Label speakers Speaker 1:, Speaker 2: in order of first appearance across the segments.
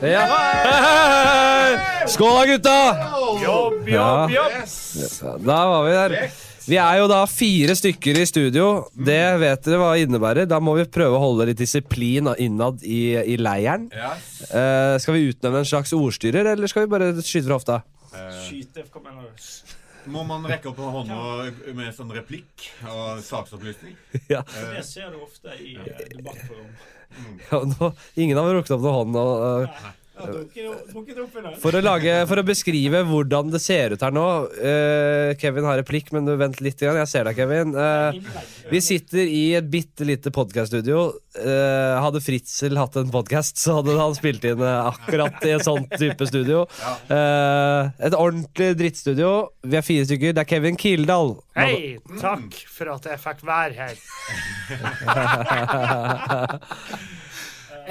Speaker 1: Ja. Skål da, gutta!
Speaker 2: Jobb,
Speaker 1: Ja.
Speaker 2: jobb, jobb!
Speaker 1: Da var vi der. Vi er jo da fire stykker i studio. Det vet dere hva innebærer. Da må vi prøve å holde litt disiplin innad i, i leiren. Eh, skal vi utnevne en slags ordstyrer, eller skal vi bare skyte fra hofta?
Speaker 2: Skyte, kom igjen nå.
Speaker 3: Må man rekke opp en hånd og- med sånn replikk og saksopplysning?
Speaker 1: eh,
Speaker 2: Det ser du ofte i eh, debattforum.
Speaker 1: Ja, nå, ingen har rukket opp noen hånd. Og, eh,
Speaker 2: Jeg har drukket- drukket opp i dag.
Speaker 1: for, å lage, for å beskrive hvordan det ser ut her nå eh, Kevin har replikk, men du vent litt. Grann. Jeg ser deg, Kevin. Eh,
Speaker 2: Innlegg.
Speaker 1: Vi sitter i et bitte lite podkaststudio. Eh, hadde Fritzel hatt en podkast, så hadde han spilt inn eh, akkurat i et sånt type studio. Eh, et ordentlig drittstudio. Vi er fire stykker. Det er Kevin Kildahl.
Speaker 4: Hei, takk for at jeg fikk være her.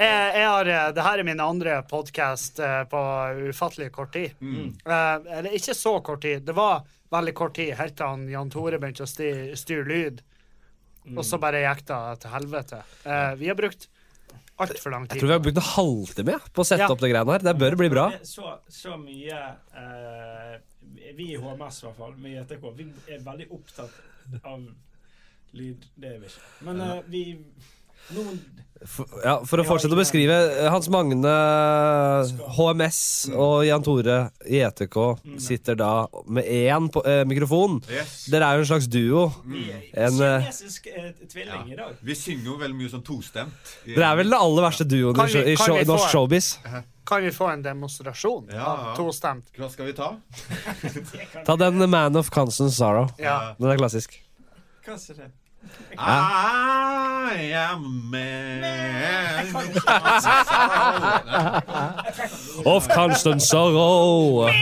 Speaker 4: jeg, jeg har, eh, det her er min andre podkast på ufattelig kort tid.
Speaker 1: Mm.
Speaker 4: Eh, eller ikke så kort tid. Det var veldig kort tid helt til han Jan Tore begynte å sti- styre lyd.
Speaker 1: Mm.
Speaker 4: Og så bare gikk det til helvete. Eh, vi har brukt altfor lang
Speaker 1: Jeg
Speaker 4: tid.
Speaker 1: tror vi har brukt en halvtime ja, på å sette
Speaker 4: Ja.
Speaker 1: opp det greiene her. Det bør bli bra.
Speaker 2: Det er Så, så mye eh, Vi i HMS, i hvert fall, vi i ETK, vi er veldig opptatt av lyd. Det er vi ikke. Men eh, vi Noen
Speaker 1: For, ja, for å fortsette å beskrive eh, Hans Magne, HMS og Jan Tore i ETK sitter da med én på, eh, mikrofon.
Speaker 3: Yes.
Speaker 1: Dere er jo en slags duo.
Speaker 2: vi er
Speaker 1: En, eh,
Speaker 2: kinesisk eh, tvilling i dag.
Speaker 3: Vi synger jo veldig mye sånn tostemt.
Speaker 1: Dere er vel den aller verste duoen i,
Speaker 4: Kan vi-
Speaker 1: sho- i
Speaker 4: kan
Speaker 1: show,
Speaker 4: vi få-
Speaker 1: norsk showbiz.
Speaker 4: Kan vi få en demonstrasjon
Speaker 3: Ja,
Speaker 4: av
Speaker 3: ja.
Speaker 4: tostemt?
Speaker 3: Hva skal vi ta?
Speaker 2: Det kan
Speaker 1: Ta den Man of Constant Sorrow.
Speaker 4: Ja.
Speaker 1: Den er klassisk.
Speaker 2: Hva er det?
Speaker 3: I am a man
Speaker 1: Of Constant Sorrow!
Speaker 3: I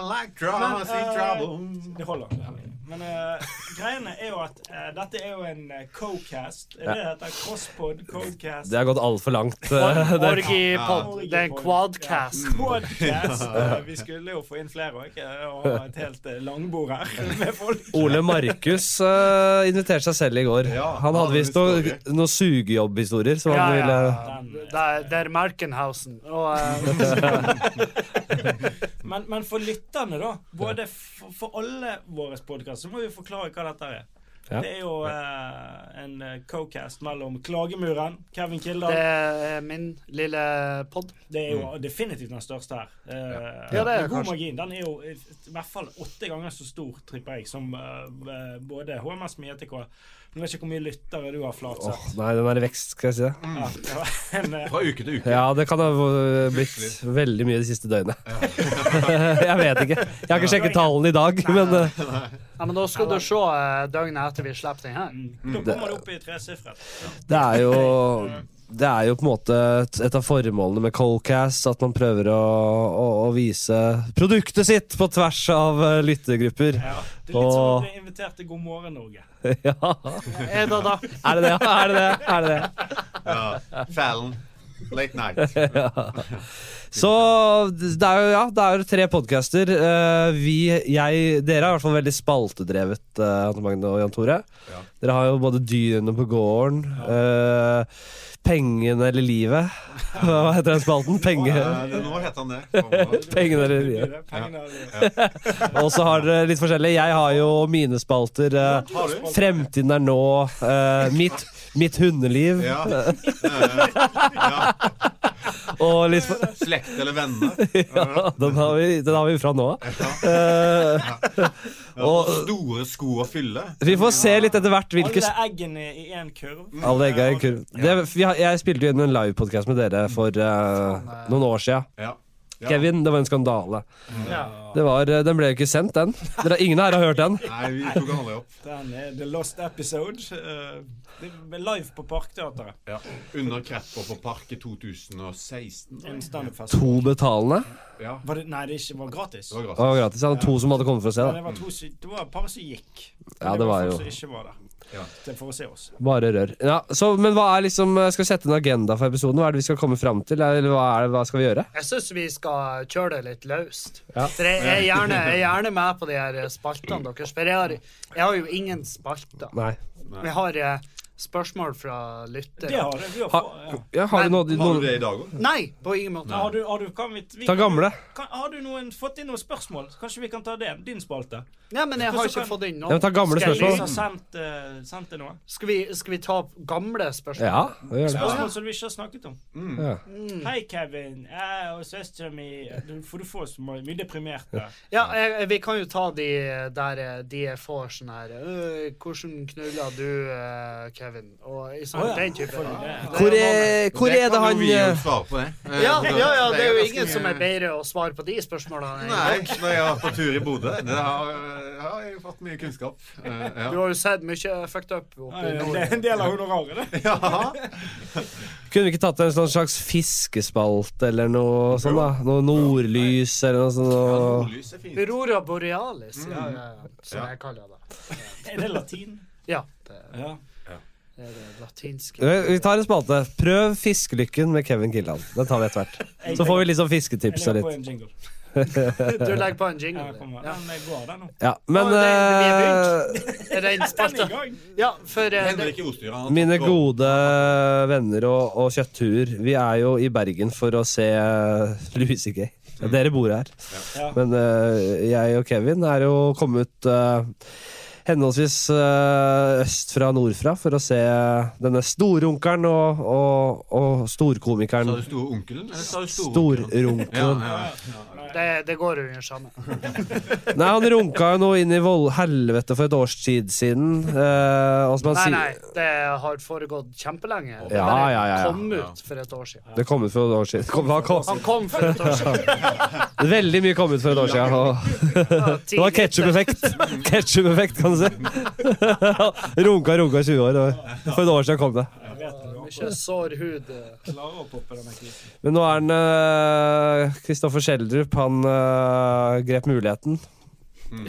Speaker 3: like crossing trouble
Speaker 2: Det holder. Men eh, greiene er jo at eh, dette er jo en eh, co-cast. Er det det heter crosspod, co-cast?
Speaker 1: Det har gått altfor langt. Det,
Speaker 4: Orgipod. Det er en quadcast.
Speaker 2: Ja, quadcast. Eh, Vi skulle jo få inn flere òg, og ha et helt eh, langbord her med folk.
Speaker 1: Ole Markus eh, inviterte seg selv i går.
Speaker 3: Ja,
Speaker 1: Han hadde visst noen
Speaker 3: historie.
Speaker 1: noe sugejobbhistorier. Som
Speaker 4: Ja,
Speaker 1: han
Speaker 4: ja,
Speaker 1: ville
Speaker 4: ja. eh, Det er, det er Merkenhausen. Og, eh,
Speaker 2: Men, men for lytterne, da. Både for, for alle våre podkaster, så må vi forklare hva dette er.
Speaker 1: Ja.
Speaker 2: Det er jo eh, en eh, co-cast mellom Klagemuren, Kevin
Speaker 4: det
Speaker 2: Kildahl
Speaker 4: er min lille pod.
Speaker 2: Det er
Speaker 1: Mm.
Speaker 2: jo definitivt den største her. Eh,
Speaker 4: Ja, det er
Speaker 2: med god
Speaker 4: kanskje-
Speaker 2: margin. Den er jo i hvert fall åtte ganger så stor, tripper jeg, som eh, både HMS med JTK. Nå vet jeg ikke hvor mye lyttere du har, Flatseth.
Speaker 1: Åh, Nei, den er i vekst, skal jeg si det.
Speaker 2: Ja, det var en, eh,
Speaker 3: Fra uke til uke.
Speaker 1: Ja, det kan ha eh, blitt veldig mye de siste døgnet. Jeg vet ikke. Jeg har ikke sjekket tallene i dag, men eh,
Speaker 4: Ja, men da skal du se eh, døgnet etter vi slipper den her.
Speaker 2: Da kommer det opp i tresifret.
Speaker 1: Det er jo det er jo på en måte et, et av formålene med Colcast at man prøver å, å, å vise produktet sitt på tvers av eh, lyttergrupper.
Speaker 2: Ja, det er litt som
Speaker 1: Åh.
Speaker 2: å bli invitert til God morgen, Norge.
Speaker 1: Ja.
Speaker 4: Er det da?
Speaker 1: Er det det? Er det det? Er det det?
Speaker 3: Ja. Fallon. Late night.
Speaker 1: Så det er jo ja, det er jo tre podcaster. Eh, vi, jeg, dere er i hvert fall veldig spaltedrevet, eh, Hanne Magne og Jan Tore.
Speaker 3: Ja.
Speaker 1: Dere har jo både dyrene på gården, eh, pengene eller livet. Hva heter den spalten? Penge,
Speaker 3: Eh, det- Nå heter han det.
Speaker 1: pengene eller livet.
Speaker 2: Pengene er livet.
Speaker 1: Og så har dere litt forskjellig. Jeg har jo mine spalter. eh,
Speaker 3: Har du?
Speaker 1: Fremtiden er nå. eh, mitt, mitt hundeliv.
Speaker 3: Ja. Eh, ja.
Speaker 1: Og litt for,
Speaker 3: Slekt eller venner.
Speaker 1: ja, den, har vi, den har vi fra nå av.
Speaker 3: Eh, Ja,
Speaker 1: Og-
Speaker 3: store sko å fylle.
Speaker 1: Vi får se litt etter hvert hvilke
Speaker 2: Alle
Speaker 1: sp-
Speaker 2: eggene i én kurv.
Speaker 1: alle egga i kurv. Det, vi har, jeg spilte jo inn en livepodkast med dere for eh, noen år sia.
Speaker 3: Ja. Ja.
Speaker 1: Kevin, det var en skandale.
Speaker 2: Ja,
Speaker 1: Det var, eh, den ble jo ikke sendt, den. Dere, ingen her har hørt den.
Speaker 3: Nei, vi tok han aldri opp.
Speaker 2: den er The Lost Episode. eh, det er live på Parkteatret.
Speaker 3: Ja. Under Krepper på Park i 2016.
Speaker 2: En standup-fest.
Speaker 1: To betalende.
Speaker 3: Ja,
Speaker 2: Var det, nei, det ikke var gratis.
Speaker 3: det var
Speaker 1: Det
Speaker 4: Ah,
Speaker 1: var
Speaker 3: gratis.
Speaker 1: gratis. Jeg hadde to som hadde kommet for å se. Da.
Speaker 2: Men det var, to, som- det var et par som gikk. Men
Speaker 1: Ja, det var
Speaker 2: folk
Speaker 1: jo-
Speaker 2: som ikke var der.
Speaker 3: Ja.
Speaker 2: Til for å se oss.
Speaker 1: Bare rør. Ja, så, men hva er liksom, skal vi sette en agenda for episoden? Hva er det vi skal komme fram til? Eller hva, er det, hva skal vi gjøre?
Speaker 4: Jeg syns vi skal kjøre det litt løst.
Speaker 1: Ja.
Speaker 4: For jeg jeg er gjerne, jeg er gjerne med på de her spaltene deres. For jeg har, jeg har jo ingen spalter.
Speaker 1: Nei.
Speaker 4: Jeg har eh, spørsmål fra
Speaker 2: Det
Speaker 4: lyttere.
Speaker 2: har det. Vi har,
Speaker 1: Ha,
Speaker 2: få- ja.
Speaker 1: ja, har du noe
Speaker 3: Har
Speaker 1: noen,
Speaker 3: du det i dag òg?
Speaker 4: Nei, på ingen måte.
Speaker 2: har du, har du, kan vi, vi
Speaker 1: Ta
Speaker 2: kan-
Speaker 1: gamle.
Speaker 2: Kan, har du noen, fått inn noen spørsmål? Kanskje vi kan ta det? Din spalte.
Speaker 4: Nei, men jeg har
Speaker 2: Hvordan
Speaker 4: ikke
Speaker 2: kan-
Speaker 4: fått inn
Speaker 1: Ja, men
Speaker 4: noen.
Speaker 1: ta gamle
Speaker 4: Skal jeg
Speaker 2: Lys
Speaker 1: spørsmål.
Speaker 2: har sendt, eh, sendt det noe.
Speaker 4: Skal vi, skal vi ta opp gamle spørsmål?
Speaker 1: Ja, det gjør det.
Speaker 2: Spørsmål som vi ikke har snakket om.
Speaker 1: Ja.
Speaker 2: Hei, Kevin. Jeg og søsteren min du, For du får så mye, mye deprimerte.
Speaker 4: Ja, jeg, jeg- vi kan jo ta de der eh, de jeg får sånn her «Øh, Hvordan knulla du, eh, Kevin? Og i sånn,
Speaker 2: Å ja,
Speaker 4: den type.
Speaker 2: får du det?
Speaker 4: Ja.
Speaker 1: Hvor er, hvor er det
Speaker 3: kan
Speaker 1: han
Speaker 3: jo vi jo
Speaker 1: eh,
Speaker 3: svare på det. Eh,
Speaker 4: ja, ja, ja, det er jo
Speaker 3: ganske
Speaker 4: ingen som
Speaker 3: mye-
Speaker 4: er bedre å svare på de spørsmålene.
Speaker 3: Nei, når jeg har vært på tur i Bodø. Det har, eh, har jeg fått mye kunnskap. Eh,
Speaker 4: Du har jo sett mye fucked up oppe i
Speaker 2: Det
Speaker 4: nord.
Speaker 2: er en del av honoraret, det.
Speaker 3: ja. ja.
Speaker 1: Kunne vi ikke tatt en sånn slags fiskespalt eller noe sånn da? Noe nordlys eller noe sånt? og-
Speaker 3: Nordlys er fint.
Speaker 4: Aurora borealis, ja, ja, ja, som
Speaker 3: Mm. Ja.
Speaker 4: jeg kaller det.
Speaker 2: Er det latin?
Speaker 4: Ja, det
Speaker 2: Ja.
Speaker 4: er det latinske.
Speaker 1: Vi tar en spalte. Prøv fiskelykken med Kevin Kildahl. Den tar vi etter hvert. Så får vi liksom
Speaker 2: Jeg
Speaker 1: fisketips og
Speaker 2: legger på
Speaker 1: litt.
Speaker 2: en jingle.
Speaker 4: Du legger på en jingle.
Speaker 2: Her kommer
Speaker 4: Ja.
Speaker 2: den. Den går, den nå.
Speaker 1: Ja, men
Speaker 4: Å, det- vi er
Speaker 1: eh,
Speaker 4: Er den
Speaker 2: Den er i
Speaker 4: spalta?
Speaker 2: gang.
Speaker 4: Ja, for eh, det,
Speaker 3: Henrik Ostyr han har
Speaker 1: Mine
Speaker 3: tatt over.
Speaker 1: gode venner og, og kjøtthuer, vi er jo i Bergen for å se eh, Louis C.K. Ja, Dere bor her.
Speaker 2: Ja.
Speaker 1: Men eh, jeg og Kevin er jo kommet eh, henholdsvis eh, øst fra og nordfra for å se denne storrunkeren og, og, og
Speaker 3: Sa
Speaker 1: storkomikeren.
Speaker 3: du store onkelen? Eller sa du store onkelen? Ja,
Speaker 1: Storrunkeren.
Speaker 3: ja,
Speaker 4: det, det går under samme.
Speaker 1: Nei, han runka jo noe inn i vold helvete for et års tid siden. eh, og som han sier-
Speaker 4: Nei, nei, det har foregått kjempelenge. Det
Speaker 1: Ja,
Speaker 4: bare
Speaker 1: ja, ja, ja.
Speaker 4: kom ut for et år siden.
Speaker 1: Det kom ut for et år siden. Det Kom, han kom,
Speaker 4: Han kom for et år siden.
Speaker 1: veldig mye kom ut for et år siden. Og det var ketsjup-effekt. Ketsjup-effekt, kan du si. runka, runka i 20 år. Og for et år siden kom det.
Speaker 2: Jeg vet det. Du
Speaker 4: Mye sår hud. eh.
Speaker 2: klarer å poppe denne krisen.
Speaker 1: Men nå er han eh, Kristoffer Schjelderup. Han eh, grep muligheten.
Speaker 3: Mm.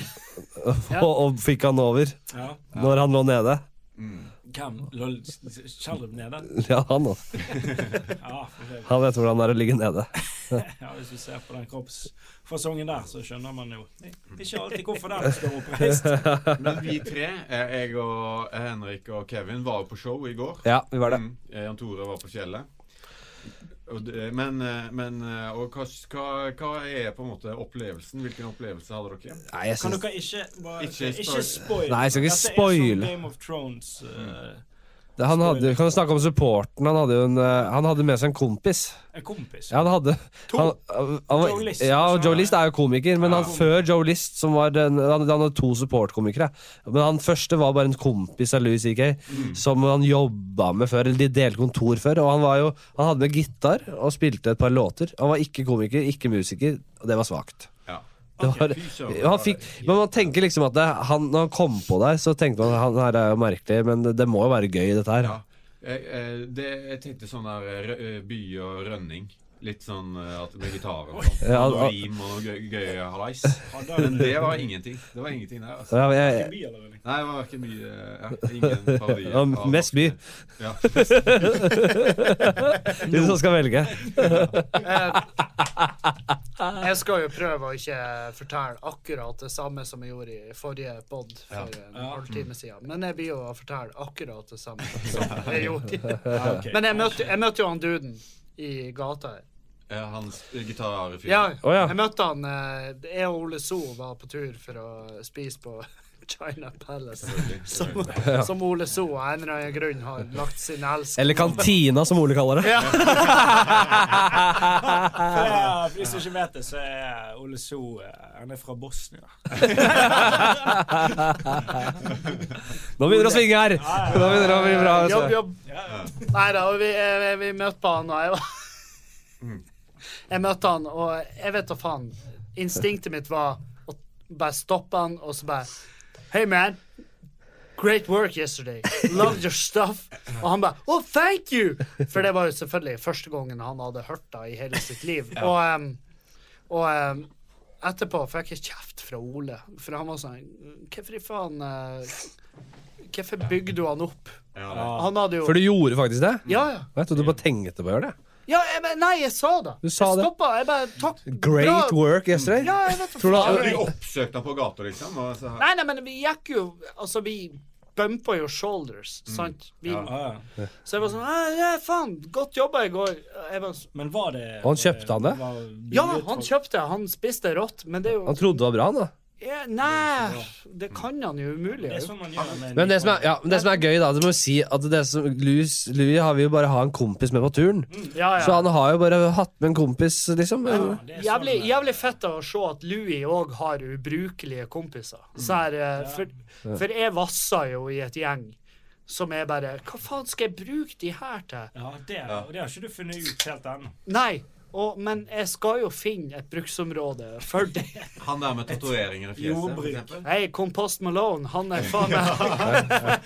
Speaker 4: Ja.
Speaker 1: og, og fikk han over
Speaker 2: Ja.
Speaker 1: når han lå nede.
Speaker 3: Mm.
Speaker 2: Hvem? Lol, Skjelv nede?
Speaker 1: Ja, han òg.
Speaker 2: Ja, for det.
Speaker 1: Han vet hvordan det er å ligge nede.
Speaker 2: ja, hvis du ser på den kroppsfasongen der, så skjønner man jo ikke alltid hvorfor den står oppreist.
Speaker 3: Men vi tre, eh, jeg og Henrik og Kevin, var jo på show i går.
Speaker 1: Ja, vi var det.
Speaker 3: Mm. Eh, Jan Tore var på fjellet. Og det, men eh, men eh, og hva, hva, hva er på en måte opplevelsen? Hvilken opplevelse hadde dere?
Speaker 1: Nei, jeg
Speaker 2: Kan
Speaker 1: syns
Speaker 2: dere ikke bare,
Speaker 3: Ikke
Speaker 2: Ikke,
Speaker 3: spoil-
Speaker 2: spoil.
Speaker 1: Nei, jeg skal ikke
Speaker 2: Dette er
Speaker 1: spoile.
Speaker 2: som Game of Thrones. eh,
Speaker 1: han hadde, Kan du snakke om supporten? Han hadde jo en, eh, han hadde med seg en kompis.
Speaker 2: en kompis.
Speaker 1: Ja, han hadde han, han, var-
Speaker 2: Joe List.
Speaker 1: Ja, og
Speaker 2: Så-
Speaker 1: Joe List er jo komiker, men
Speaker 2: Ja.
Speaker 1: han før Joe List som var den, han, han hadde to supportkomikere. Men han første var bare en kompis av Louis CK, som han jobba med før. Eller de delte kontor før. Og han, var jo, han hadde med gitar og spilte et par låter. Han var ikke komiker, ikke musiker, og det var svakt.
Speaker 3: Ja.
Speaker 1: Det var,
Speaker 3: fy søren.
Speaker 1: han fikk, men man tenker liksom at det, han, når han kom på deg, så tenkte man han her er jo merkelig, men det, det må jo være gøy, dette her.
Speaker 3: Ja. Jeg, eh, det, jeg tenkte sånn der eh, rø- eh, by og rønning. Litt sånn eh, at med gitaren og sånn.
Speaker 1: Ja,
Speaker 3: Noe
Speaker 1: al-
Speaker 3: rim og noe gøy, gøy halais.
Speaker 2: Hadde
Speaker 3: Men
Speaker 2: han
Speaker 3: det var ingenting. Det var ingenting der, altså.
Speaker 1: Ja,
Speaker 2: ikke
Speaker 1: jeg,
Speaker 2: mye, eller noe?
Speaker 3: Nei, det var ikke mye ja, Ingen parodier.
Speaker 1: Ja,
Speaker 3: av
Speaker 1: mest by.
Speaker 3: norske- Ja, mest
Speaker 1: hvis man skal velge.
Speaker 4: Eh, Jeg skal jo prøve å ikke fortelle akkurat det samme som jeg gjorde i forrige pod for en
Speaker 2: Ja.
Speaker 4: halvtime siden, men jeg blir jo å fortelle akkurat det samme som jeg gjorde.
Speaker 2: Ja, ok.
Speaker 4: Men jeg møtte, jeg møtte jo han duden i gata her.
Speaker 3: Ja, eh, Hans gitarfyr.
Speaker 4: Ja,
Speaker 1: Å, ja.
Speaker 4: jeg møtte han eh, Jeg og Ole So var på tur for å spise på China Palace, som, som Ole So av en eller annen grunn har lagt sin elsk
Speaker 1: Eller kantina, som Ole kaller det.
Speaker 4: Ja.
Speaker 1: Eh,
Speaker 2: For jeg- for de som ikke vet det, så er Ole So eh, Han er fra Bosnia.
Speaker 1: Nå begynner det å svinge her! Nå begynner det å bli bra.
Speaker 4: Jobb,
Speaker 1: Altså.
Speaker 4: jobb. Nei da, og vi, eh, vi møtte på han, og jeg var Jeg møtte han, og jeg vet da faen. Instinktet mitt var å bare stoppe han, og så bare Hey, man. Great work yesterday. Loved your stuff. Og han bare Oh, thank you! For det var jo selvfølgelig første gangen han hadde hørt det i hele sitt liv. Og, em, og em, etterpå fikk jeg kjeft fra Ole, for han var sånn Hvorfor i faen eh, Hvorfor bygde du han opp?
Speaker 3: Ja.
Speaker 4: Han hadde jo
Speaker 1: For du gjorde faktisk det?
Speaker 4: Ja, ja.
Speaker 1: Jeg trodde du bare tenkte på å gjøre det.
Speaker 4: ja jeg, men- nei, jeg sa det.
Speaker 1: Du sa det.
Speaker 4: Jeg stoppa. Jeg bare Takk.
Speaker 1: Great
Speaker 4: bra.
Speaker 1: work yesterday.
Speaker 4: Ja, jeg vet da
Speaker 1: Tror du
Speaker 4: faen.
Speaker 3: Du oppsøkte han på gata, liksom? Og så,
Speaker 4: Nei, nei, men vi gikk jo Altså, vi bumpa jo shoulders, sant? Bilen.
Speaker 2: Mm. Ja, ja.
Speaker 4: Så jeg var sånn «Nei, nei, faen, godt jobba i går. Jeg var sånn,
Speaker 2: Men var det
Speaker 1: Og han kjøpte han det?
Speaker 2: var
Speaker 4: ja,
Speaker 2: billig,
Speaker 4: han
Speaker 2: tror-
Speaker 4: kjøpte det. Han spiste det rått, men det er jo
Speaker 1: Han trodde det var bra, han da.
Speaker 4: ja, Nei, det kan han jo umulig.
Speaker 2: Det er
Speaker 4: ha gjort.
Speaker 2: sånn man gjør med en
Speaker 1: Men det som er,
Speaker 2: Nikon.
Speaker 1: ja, men det som er gøy, da, det må jo si at det som, Louis, Louis har vi jo bare ha en kompis med på turen.
Speaker 2: sånn-
Speaker 4: Ja,
Speaker 1: Så
Speaker 4: ja.
Speaker 1: han har jo bare hatt med en kompis, liksom.
Speaker 2: Ja, det er sånn
Speaker 4: Jævlig,
Speaker 2: det-
Speaker 4: jævlig fett å se at Louis òg har ubrukelige kompiser.
Speaker 2: Mm.
Speaker 4: Så her, eh, for, for jeg vasser jo i et gjeng som er bare Hva faen skal jeg bruke de her til?
Speaker 2: Ja, det, og det har ikke du funnet ut helt ennå.
Speaker 4: Nei, og, men jeg skal jo finne et bruksområde for det.
Speaker 3: Han der med tatoveringer i fjeset, for
Speaker 2: Jordbruk.
Speaker 3: eksempel.
Speaker 4: Hei, Compost Malone, han er faen meg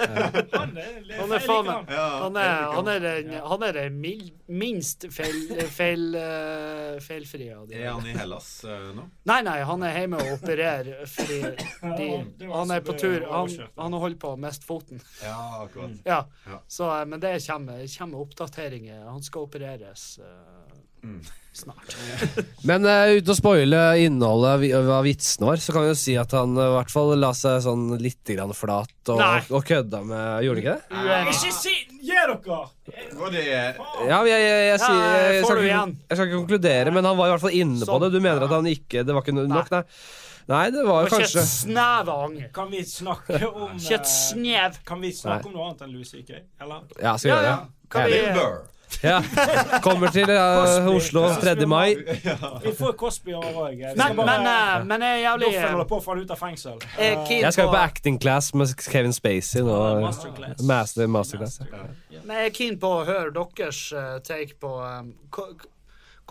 Speaker 2: Han er,
Speaker 4: Han er faen meg
Speaker 3: Ja,
Speaker 4: Han
Speaker 3: jeg
Speaker 4: er,
Speaker 3: liker
Speaker 4: han er,
Speaker 3: han.
Speaker 4: den, han er den mil- minst feil, feil, eh, feilfrie av de.
Speaker 3: Er han i Hellas eh, nå?
Speaker 4: Nei, nei, han er hjemme og opererer fordi de,
Speaker 2: det var
Speaker 4: han er
Speaker 2: altså
Speaker 4: på
Speaker 2: det
Speaker 4: tur. Han,
Speaker 2: overkjørte.
Speaker 4: han holder på å miste foten.
Speaker 3: Ja, akkurat.
Speaker 4: Ja,
Speaker 3: Ja.
Speaker 4: så, eh, Men det kommer, det kommer oppdateringer. Han skal opereres eh, snart.
Speaker 1: Men eh, uten å spoile innholdet vi- av vitsene våre, så kan vi jo si at han eh, i hvert fall la seg sånn litt grann flat og,
Speaker 4: Nei.
Speaker 1: og kødda med Gjorde han ikke det?
Speaker 2: Ikke si Gi dere!
Speaker 3: Og det er
Speaker 1: Ja, men jeg, jeg, jeg, sier-
Speaker 4: Ja,
Speaker 1: jeg,
Speaker 4: får
Speaker 1: skal
Speaker 4: du
Speaker 1: ikke,
Speaker 4: igjen.
Speaker 1: jeg skal ikke konkludere, men han var i hvert fall inne på
Speaker 4: Sånn.
Speaker 1: det. Du mener at han ikke Det var ikke nok, nei? Nei, det var jo
Speaker 4: Ikke et
Speaker 1: kanskje
Speaker 4: snev av anger.
Speaker 2: Kan vi snakke om
Speaker 4: Ikke et
Speaker 2: eh,
Speaker 4: snev.
Speaker 2: Kan vi snakke om noe annet enn Louis CK? Eller?
Speaker 1: Ja, skal vi
Speaker 4: Ja,
Speaker 1: gjøre
Speaker 4: ja.
Speaker 1: det?
Speaker 4: Kan vi,
Speaker 3: Bill Burr.
Speaker 1: Ja. Kommer til eh,
Speaker 2: Cosby.
Speaker 1: Oslo 3. mai.
Speaker 2: Vi får Cosby over òg.
Speaker 4: men, men, eh, men jeg er jævlig
Speaker 2: Doffen holder på å falle ut av fengsel. Eh,
Speaker 4: jeg er keen
Speaker 1: Jeg skal jo på
Speaker 4: på-
Speaker 1: acting class med Kevin Spacey nå.
Speaker 2: Masterclass.
Speaker 1: Master, masterclass. ja.
Speaker 4: Men jeg er keen på å høre deres eh, take på um, ko- k-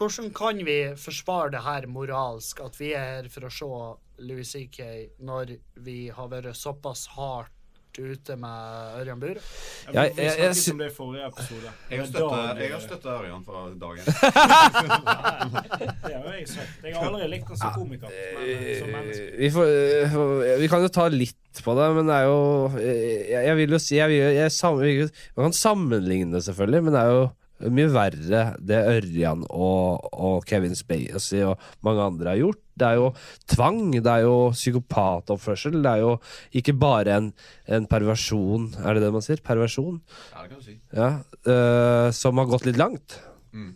Speaker 4: Hvordan kan vi forsvare det her moralsk, at vi er her for å se Louis C.K. når vi har vært såpass hardt ute med Ørjan Bure?
Speaker 1: Jeg-
Speaker 2: vi
Speaker 1: jeg- jeg
Speaker 2: snakket
Speaker 1: sy-
Speaker 2: om det i forrige episode.
Speaker 3: Jeg har
Speaker 2: Men
Speaker 3: støttet-
Speaker 2: da-
Speaker 3: jeg har støtta Ørjan fra dagen.
Speaker 2: Det har jo jeg sagt. Jeg har aldri likt han som komiker. Men eh, som menneske.
Speaker 1: Vi, får, eh, vi kan jo ta litt på det, men det er jo eh, Jeg, jeg vil jo si jeg vil, jeg sam, vi- Man kan sammenligne det, selvfølgelig, men det er jo mye verre det Ørjan og, og Kevin Spacey og mange andre har gjort. Det er jo tvang, det er jo psykopatoppførsel. Det er jo ikke bare en, en perversjon, er det det man sier? Perversjon?
Speaker 3: Ja, det kan du si.
Speaker 1: ja, eh, som har gått litt langt.
Speaker 2: Mm.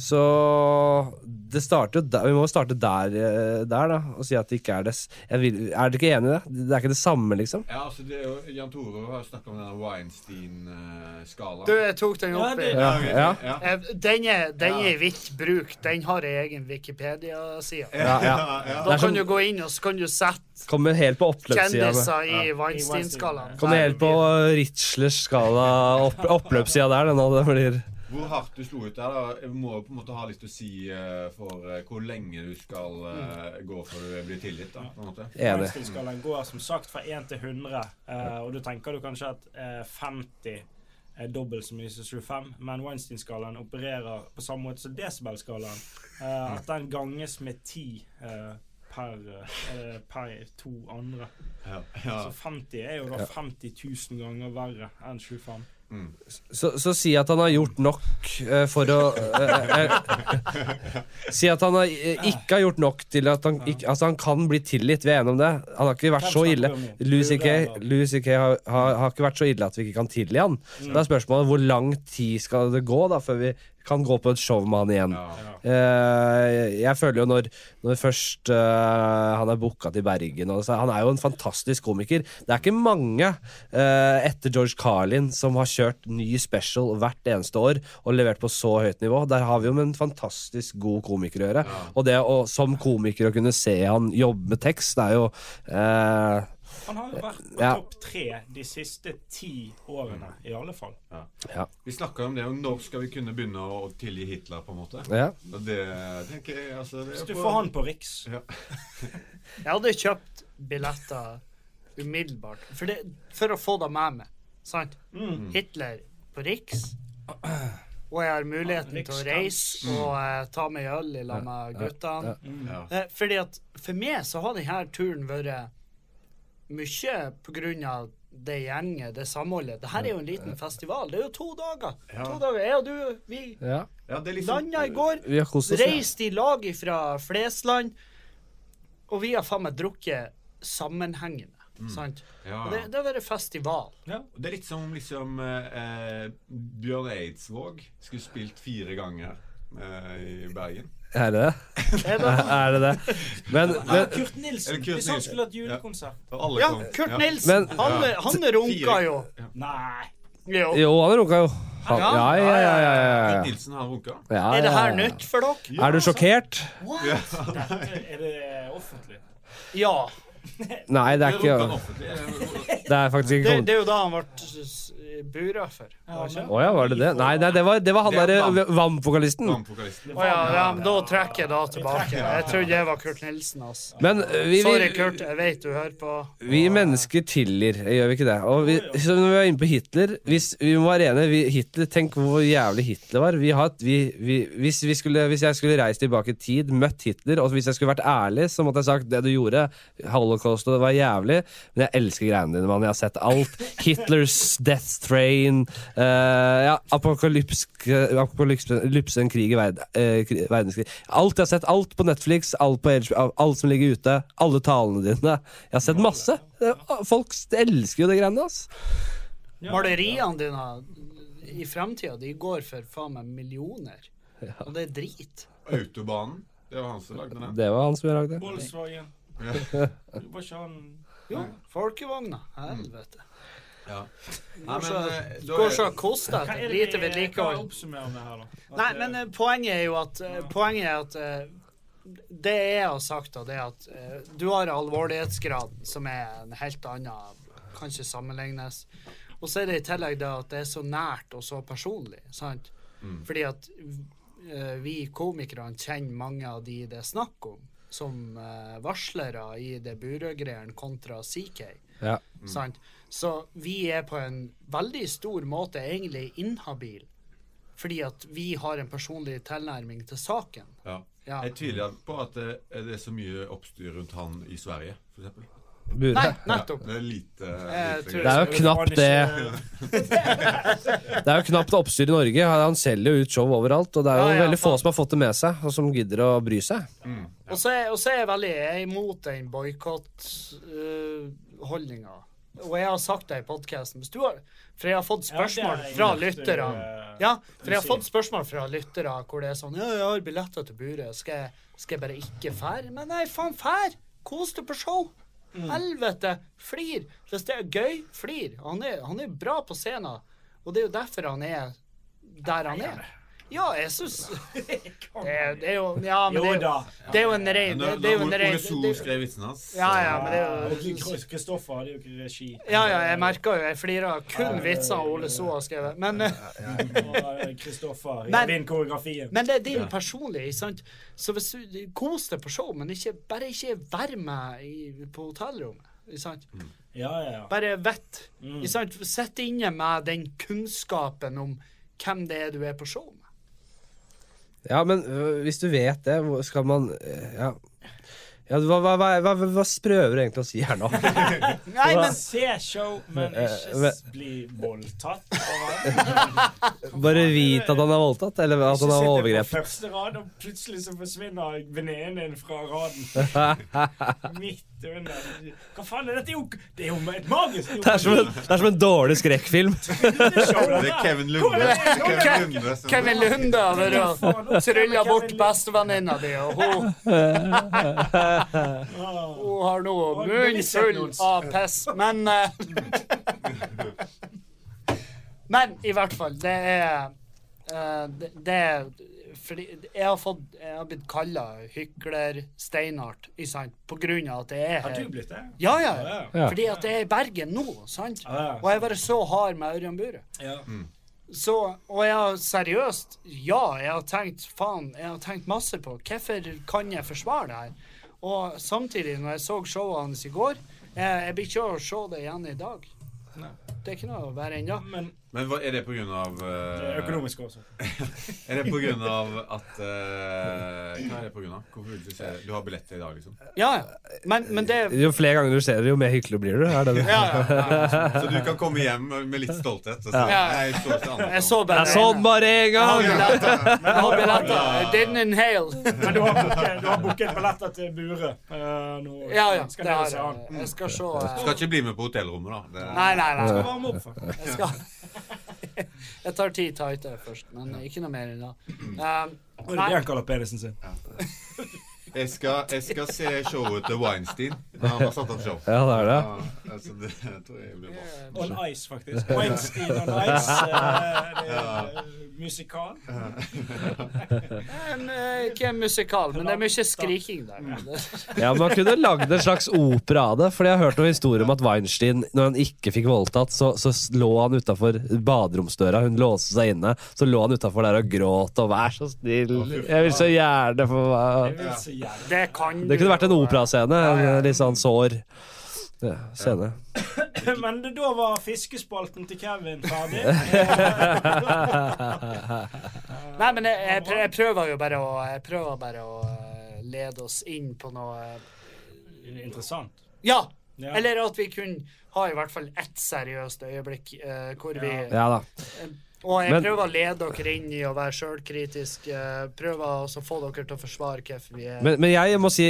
Speaker 1: Så det starter jo der, vi må jo starte der, eh, der da, og si at det ikke er det s- jeg vil, Er dere ikke enig i det? Det er ikke det samme, liksom?
Speaker 3: Ja, altså det er jo, Jan Tore har snakket om denne Weinstein-skalaen.
Speaker 4: Du, jeg tok den opp. i-
Speaker 2: det-
Speaker 1: Ja,
Speaker 3: ok.
Speaker 1: ja.
Speaker 3: ja.
Speaker 4: Eh, Den er, den er
Speaker 3: Ja.
Speaker 4: i vidt bruk. Den har ei egen Wikipedia-side.
Speaker 1: ja, ja.
Speaker 3: ja.
Speaker 1: Det sånn-
Speaker 4: Da
Speaker 1: er
Speaker 4: kan
Speaker 1: som-
Speaker 4: du gå inn, og så kan du sette
Speaker 1: Kommer helt på oppløpssida.
Speaker 4: kjendiser i
Speaker 2: I
Speaker 4: Weinstein-skalaen.
Speaker 1: Kommer helt på Ritzlers skala, opp, oppløpssida der. Den, og det blir
Speaker 3: Hvor hardt du slo ut der, da. Jeg må jo på en måte ha litt å si eh, for eh, hvor lenge du skal eh, gå før du blir tilgitt, da. på en måte.
Speaker 1: enig.
Speaker 2: Weinstein-skalaen går som sagt fra 1 til 100, eh, og du tenker du kanskje at eh, 50 er dobbelt så mye som 25, men Weinstein-skalaen opererer på samme måte som Decibel-skalaen. eh, at den ganges med 10 eh, per, eh, per to andre.
Speaker 3: Ja. Ja.
Speaker 2: Så 50 er jo da 50 000 ganger verre enn 25.
Speaker 1: Så, så si at han har gjort nok eh, for å eh, eh, Si at han har, eh, ikke har gjort nok til at han, ikke, altså han kan bli tilgitt. Vi er enige om det. Han har ikke vært
Speaker 2: Hvem
Speaker 1: så
Speaker 2: snakker
Speaker 1: ille.
Speaker 2: du om nå?
Speaker 1: Louis
Speaker 2: Det er jo
Speaker 1: CK
Speaker 2: det han
Speaker 1: Louis CK har, har, har ikke vært så ille at vi ikke kan tilgi han.
Speaker 2: Mm.
Speaker 1: Da er spørsmålet hvor lang tid skal det gå da før vi kan gå på et show med han igjen.
Speaker 3: Ja.
Speaker 1: Eh, jeg føler jo når, når først eh, han er booka til Bergen og så, Han er jo en fantastisk komiker. Det er ikke mange eh, etter George Carlin som har kjørt ny special hvert eneste år og levert på så høyt nivå. Der har vi jo med en fantastisk god komiker å gjøre. Og det å som komiker å kunne se han jobbe med tekst, det er jo eh,
Speaker 2: Han har jo vært på
Speaker 1: Ja.
Speaker 2: topp tre de siste ti årene, i alle fall.
Speaker 3: Vi snakka om det, og når skal vi kunne begynne å å tilgi Hitler, på en måte?
Speaker 1: ja.
Speaker 3: Og det tenker jeg altså det er
Speaker 2: Hvis du
Speaker 3: på-
Speaker 2: får han på Riks
Speaker 4: Jeg hadde kjøpt billetter umiddelbart. For, det, for å få det med meg. Sant?
Speaker 2: Mm.
Speaker 3: Mm.
Speaker 4: Hitler på Riks. Og jeg har muligheten til å
Speaker 2: Rikskamp.
Speaker 4: reise og eh, ta meg en øl i lag med guttene.
Speaker 3: Mm. Ja.
Speaker 4: Eh, Fordi at for meg så har denne turen vært mye på grunn av det gjenget, det samholdet. Dette er jo en liten festival. Det er jo to dager.
Speaker 3: Ja.
Speaker 4: To dager. Jeg og du, vi
Speaker 1: ja.
Speaker 3: ja, det er liksom
Speaker 4: landa i går.
Speaker 1: Vi har kost oss. ja.
Speaker 4: Reist i lag fra Flesland, og vi har faen meg drukket sammenhengende. Sant?
Speaker 3: Ja,
Speaker 4: Og
Speaker 3: ja.
Speaker 4: Det, det har vært festival.
Speaker 3: Det er litt som om liksom eh, eh, Bjørn Eidsvåg skulle spilt fire ganger eh, i Bergen.
Speaker 1: Er det det?
Speaker 4: Er det?
Speaker 1: Er det det? Men,
Speaker 2: Ja,
Speaker 1: men
Speaker 2: Kurt Nilsen!
Speaker 3: Eller Kurt
Speaker 2: Hvis han
Speaker 3: Nilsen.
Speaker 2: skulle hatt julekonsert.
Speaker 3: Og alle
Speaker 4: Ja,
Speaker 3: kom.
Speaker 4: Kurt
Speaker 3: Ja.
Speaker 4: Nilsen.
Speaker 1: Men-
Speaker 4: han
Speaker 3: Ja.
Speaker 4: han runka jo.
Speaker 2: Nei.
Speaker 4: jo.
Speaker 1: jo, han runka jo. Han,
Speaker 4: Ja.
Speaker 1: ja, ja, ja, ja, ja,
Speaker 3: Kurt
Speaker 1: ja.
Speaker 3: Nilsen har runka.
Speaker 1: ja.
Speaker 4: Er det her
Speaker 1: ja.
Speaker 4: nytt for dere?
Speaker 1: Er du sjokkert?
Speaker 3: Ja.
Speaker 2: Dette er det offentlig.
Speaker 4: Ja.
Speaker 1: Nei, det er
Speaker 3: Runka han
Speaker 1: ikke
Speaker 3: offentlig.
Speaker 1: Det er faktisk ikke
Speaker 4: Det,
Speaker 1: kommet
Speaker 4: det er jo da han ble s- bura for. Var det
Speaker 2: men-
Speaker 4: ikke?
Speaker 1: Å ja, var det det? Nei, nei det, var, det var han eh,
Speaker 3: Det er
Speaker 1: derre VAM-vokalisten.
Speaker 3: Vannpokalisten.
Speaker 4: Å ja, ja, men da trekker jeg da tilbake. Jeg trodde det var Kurt Nilsen, altså.
Speaker 1: Men eh, vi,
Speaker 4: Sorry,
Speaker 1: vi,
Speaker 4: Kurt. Jeg vet du hører på.
Speaker 1: vi mennesker tilgir, gjør vi ikke det? Og vi, så når vi var inne på Hitler hvis, Vi må være enige. Vi, Hitler, tenk hvor jævlig Hitler var. Vi har, et- vi, vi, hvis, vi skulle, hvis jeg skulle reist tilbake i tid, møtt Hitler, og hvis jeg skulle vært ærlig, så måtte jeg sagt det du gjorde, holocaust, og det var jævlig, men jeg elsker greiene dine, mann. Jeg har sett alt. Hitlers Death Train eh, ja, Apokalypsk Apokalypsen krig i verd, eh, kri- verdenskrig. Alt jeg har sett. Alt på Netflix, alt, på HBO, alt som ligger ute. Alle talene dine. Jeg har sett masse. Det- ah, Folk elsker jo de greiene, ass.
Speaker 4: Maleriene dine i fremtida, de går for faen meg millioner. Og det er drit.
Speaker 3: Autobanen. Det var han som lagde den.
Speaker 1: Det var han som lagde det.
Speaker 2: Volkswagen. Var ikke han
Speaker 4: Jo, folkevogna. Helvete.
Speaker 3: Ja. Nei, men,
Speaker 4: Går så-
Speaker 3: eh, da
Speaker 4: Går
Speaker 3: er-
Speaker 4: så og koster
Speaker 2: Hva er
Speaker 4: etter
Speaker 2: det
Speaker 4: lite
Speaker 2: vi- Hva
Speaker 4: vedlikehold.
Speaker 2: oppsummerer vi her, da? At,
Speaker 4: Nei, men
Speaker 2: eh,
Speaker 4: eh, poenget er jo at eh, Poenget er at eh, Det jeg har sagt, da, det er at eh, du har alvorlighetsgraden, som er en helt annen Kan ikke sammenlignes. Og så er det i tillegg det at det er så nært og så personlig, sant? Fordi at eh, vi komikerne kjenner mange av de det er snakk om, som eh, varslere i det Burøe-greiene kontra CK.
Speaker 1: Ja.
Speaker 3: Mm.
Speaker 4: Sant? Så vi er på en veldig stor måte egentlig inhabil, fordi at vi har en personlig tilnærming til saken.
Speaker 3: Ja.
Speaker 4: Ja.
Speaker 3: Jeg tviler på at det, det er så mye oppstyr rundt han i Sverige, for eksempel.
Speaker 1: Bure.
Speaker 4: Nei, nettopp.
Speaker 3: Det er lite,
Speaker 4: Jeg
Speaker 3: lite
Speaker 4: tror-
Speaker 1: Det er jo knapt det Det er jo knapt oppstyr i Norge. Han selger jo ut show overalt, og det er jo
Speaker 4: Ja, ja,
Speaker 1: veldig få
Speaker 4: faen.
Speaker 1: som har fått det med seg, og som gidder å bry seg.
Speaker 3: Mm.
Speaker 4: Og så er, og så er jeg veldig jeg er imot den boikottholdninga. og jeg har sagt det i podkasten, for jeg har fått
Speaker 2: Ja, det er
Speaker 4: spørsmål
Speaker 2: jeg
Speaker 4: fra
Speaker 2: imot,
Speaker 4: lytterne.
Speaker 2: eh,
Speaker 4: Ja, for jeg har
Speaker 2: sier.
Speaker 4: fått spørsmål fra lyttere hvor det er sånn Ja, jeg har billetter til buret. Skal jeg, skal jeg bare ikke fære? Men nei, faen, fær! Kos deg på show! Helvete! Flir! Hvis det er gøy, flir. Han er, han er bra på scenen. Og det er jo derfor han er der han er. Ja, jeg syns det, er- det er jo Eh, Ja, men det
Speaker 2: Jo
Speaker 4: er jo,
Speaker 2: da.
Speaker 4: det er jo en
Speaker 3: Men
Speaker 4: rein
Speaker 3: da-
Speaker 4: det, det er jo
Speaker 3: da
Speaker 4: en
Speaker 3: Ole
Speaker 4: rein
Speaker 3: So
Speaker 4: det-
Speaker 3: skrev vitsen hans.
Speaker 4: Ja, ja, men det er jo
Speaker 2: Kri- Kristoffer hadde jo ikke regi.
Speaker 4: Ja, ja, jeg merka jo. Jeg flirer av kun vitser Ole So har skrevet. Men eh,
Speaker 2: Og Kristoffer
Speaker 4: Men-
Speaker 2: vinner koreografien.
Speaker 4: Men det er din personlige, ikke sant? Så hvis du kos deg på show, men ikke, bare ikke vær med i, på hotellrommet. Ikke sant?
Speaker 2: Ja, ja, ja.
Speaker 4: Bare vett.
Speaker 2: Mm.
Speaker 4: Ikke sant? Sitt inne med den kunnskapen om hvem det er du er på show med.
Speaker 1: Ja, men øh, hvis du vet det, hvor skal man øh, Ja, ja hva, hva, hva, hva, hva prøver du egentlig å si her nå?
Speaker 4: Nei, men
Speaker 2: Se show, men
Speaker 1: Eh,
Speaker 2: ikke
Speaker 1: men-
Speaker 2: s- bli voldtatt.
Speaker 1: Bare vit at han Altså, er voldtatt, eller at han har overgrep.
Speaker 2: Sitter på første rad, og plutselig så forsvinner venninnen din fra raden. Midt under. Hva faen er dette? Det er jo- Det er jo et magisk
Speaker 1: Det er som en, det er som en dårlig skrekkfilm.
Speaker 2: show,
Speaker 3: Det er Kevin Lunde. Kevin Lunde som-
Speaker 4: Kevin Lunde har vært og trylla bort bestevenninna di, og hun,
Speaker 2: Ah.
Speaker 4: hun har nå munnen full av piss. Men eh, Men i hvert fall, det er eh, det, det er fordi jeg har, fått, jeg har blitt kalla hykler Steinart, ikke sant, på grunn av at jeg er
Speaker 2: Har du
Speaker 4: her.
Speaker 2: blitt det?
Speaker 4: Ja, ja.
Speaker 1: Ja.
Speaker 4: Fordi at jeg er i Bergen nå, sant?
Speaker 2: Ah, Ja.
Speaker 4: Og jeg er bare så hard med Ørjan Bure.
Speaker 2: Ja.
Speaker 4: Så, og jeg har seriøst Ja, jeg har tenkt faen, jeg har tenkt masse på hvorfor kan jeg forsvare det her? Og samtidig, når jeg så showet hans i går Jeg, jeg blir ikke å se det igjen i dag. Det er ikke noe verre ennå.
Speaker 2: Men
Speaker 3: Men hva, er det på grunn av
Speaker 2: Det er
Speaker 3: eh,
Speaker 2: Økonomisk også.
Speaker 3: Er det på grunn av at eh, Hva er det på grunn av? Hvorfor vil du se det? Du har billetter i dag, liksom.
Speaker 4: Ja, ja. Men, men det
Speaker 1: Jo flere ganger du ser det, jo mer hyggelig blir du. Er det det?
Speaker 4: ja, ja.
Speaker 3: Så du kan komme hjem med litt stolthet. Og si,
Speaker 4: Ja.
Speaker 3: jeg, står til andre
Speaker 4: Jeg så bare
Speaker 1: Eh, Jeg så den sånn bare én
Speaker 4: Jeg har
Speaker 1: gang!
Speaker 4: billetter. Jeg har billetter. I didn't inhale.
Speaker 2: Men du har booket, du har booket billetter til Bure. eh, nå
Speaker 4: Ja, ja.
Speaker 2: skal
Speaker 4: Det
Speaker 2: dere
Speaker 4: har
Speaker 2: se han.
Speaker 4: jeg. Jeg skal se
Speaker 3: Du
Speaker 4: eh,
Speaker 3: skal ikke bli med på hotellrommet, da. Det,
Speaker 4: Nei, nei, nei.
Speaker 2: Varm opp for.
Speaker 4: Jeg skal Jeg tar ti tighter først, men ikke noe mer enn det. Um,
Speaker 2: Og det er
Speaker 4: nei,
Speaker 2: det han kaller penisen sin.
Speaker 3: Jeg, skal, jeg skal se showet til Weinstein. Han har satt opp show.
Speaker 1: Ja, det er det.
Speaker 3: Ja, altså, det tror jeg blir bra.
Speaker 2: On Ice, faktisk. Weinstein on Ice. eh, det er, eh, musikal.
Speaker 4: en, eh, ikke en musikal, men det er mye skriking der.
Speaker 1: Ja, Man kunne lagd en slags opera av det. Fordi jeg har hørt noen historier om at Weinstein, når han ikke fikk voldtatt, så, så lå han utafor baderomsdøra. Hun låste seg inne. Så lå han utafor der og gråt og 'vær så snill, jeg vil så gjerne få
Speaker 2: Jeg vil så gjerne.
Speaker 4: Det kan
Speaker 1: Det
Speaker 4: du
Speaker 1: kunne vært en
Speaker 4: jo, eh,
Speaker 1: operascene. En litt sånn sår ja, scene.
Speaker 2: Men det- da var fiskespalten til Kevin ferdig.
Speaker 4: Nei, men jeg, jeg, prø- jeg prøver jo bare å Jeg prøver bare å eh, lede oss inn på noe eh,
Speaker 2: Eh, Interessant.
Speaker 4: Ja!
Speaker 2: Ja.
Speaker 4: Eller at vi kunne ha i hvert fall ett seriøst øyeblikk eh, hvor vi
Speaker 1: Ja da.
Speaker 4: Og jeg
Speaker 1: Men-
Speaker 4: prøver å lede dere inn i å være sjølkritisk. eh, prøver også å få dere til å forsvare hvorfor vi er
Speaker 1: Men, men jeg må si,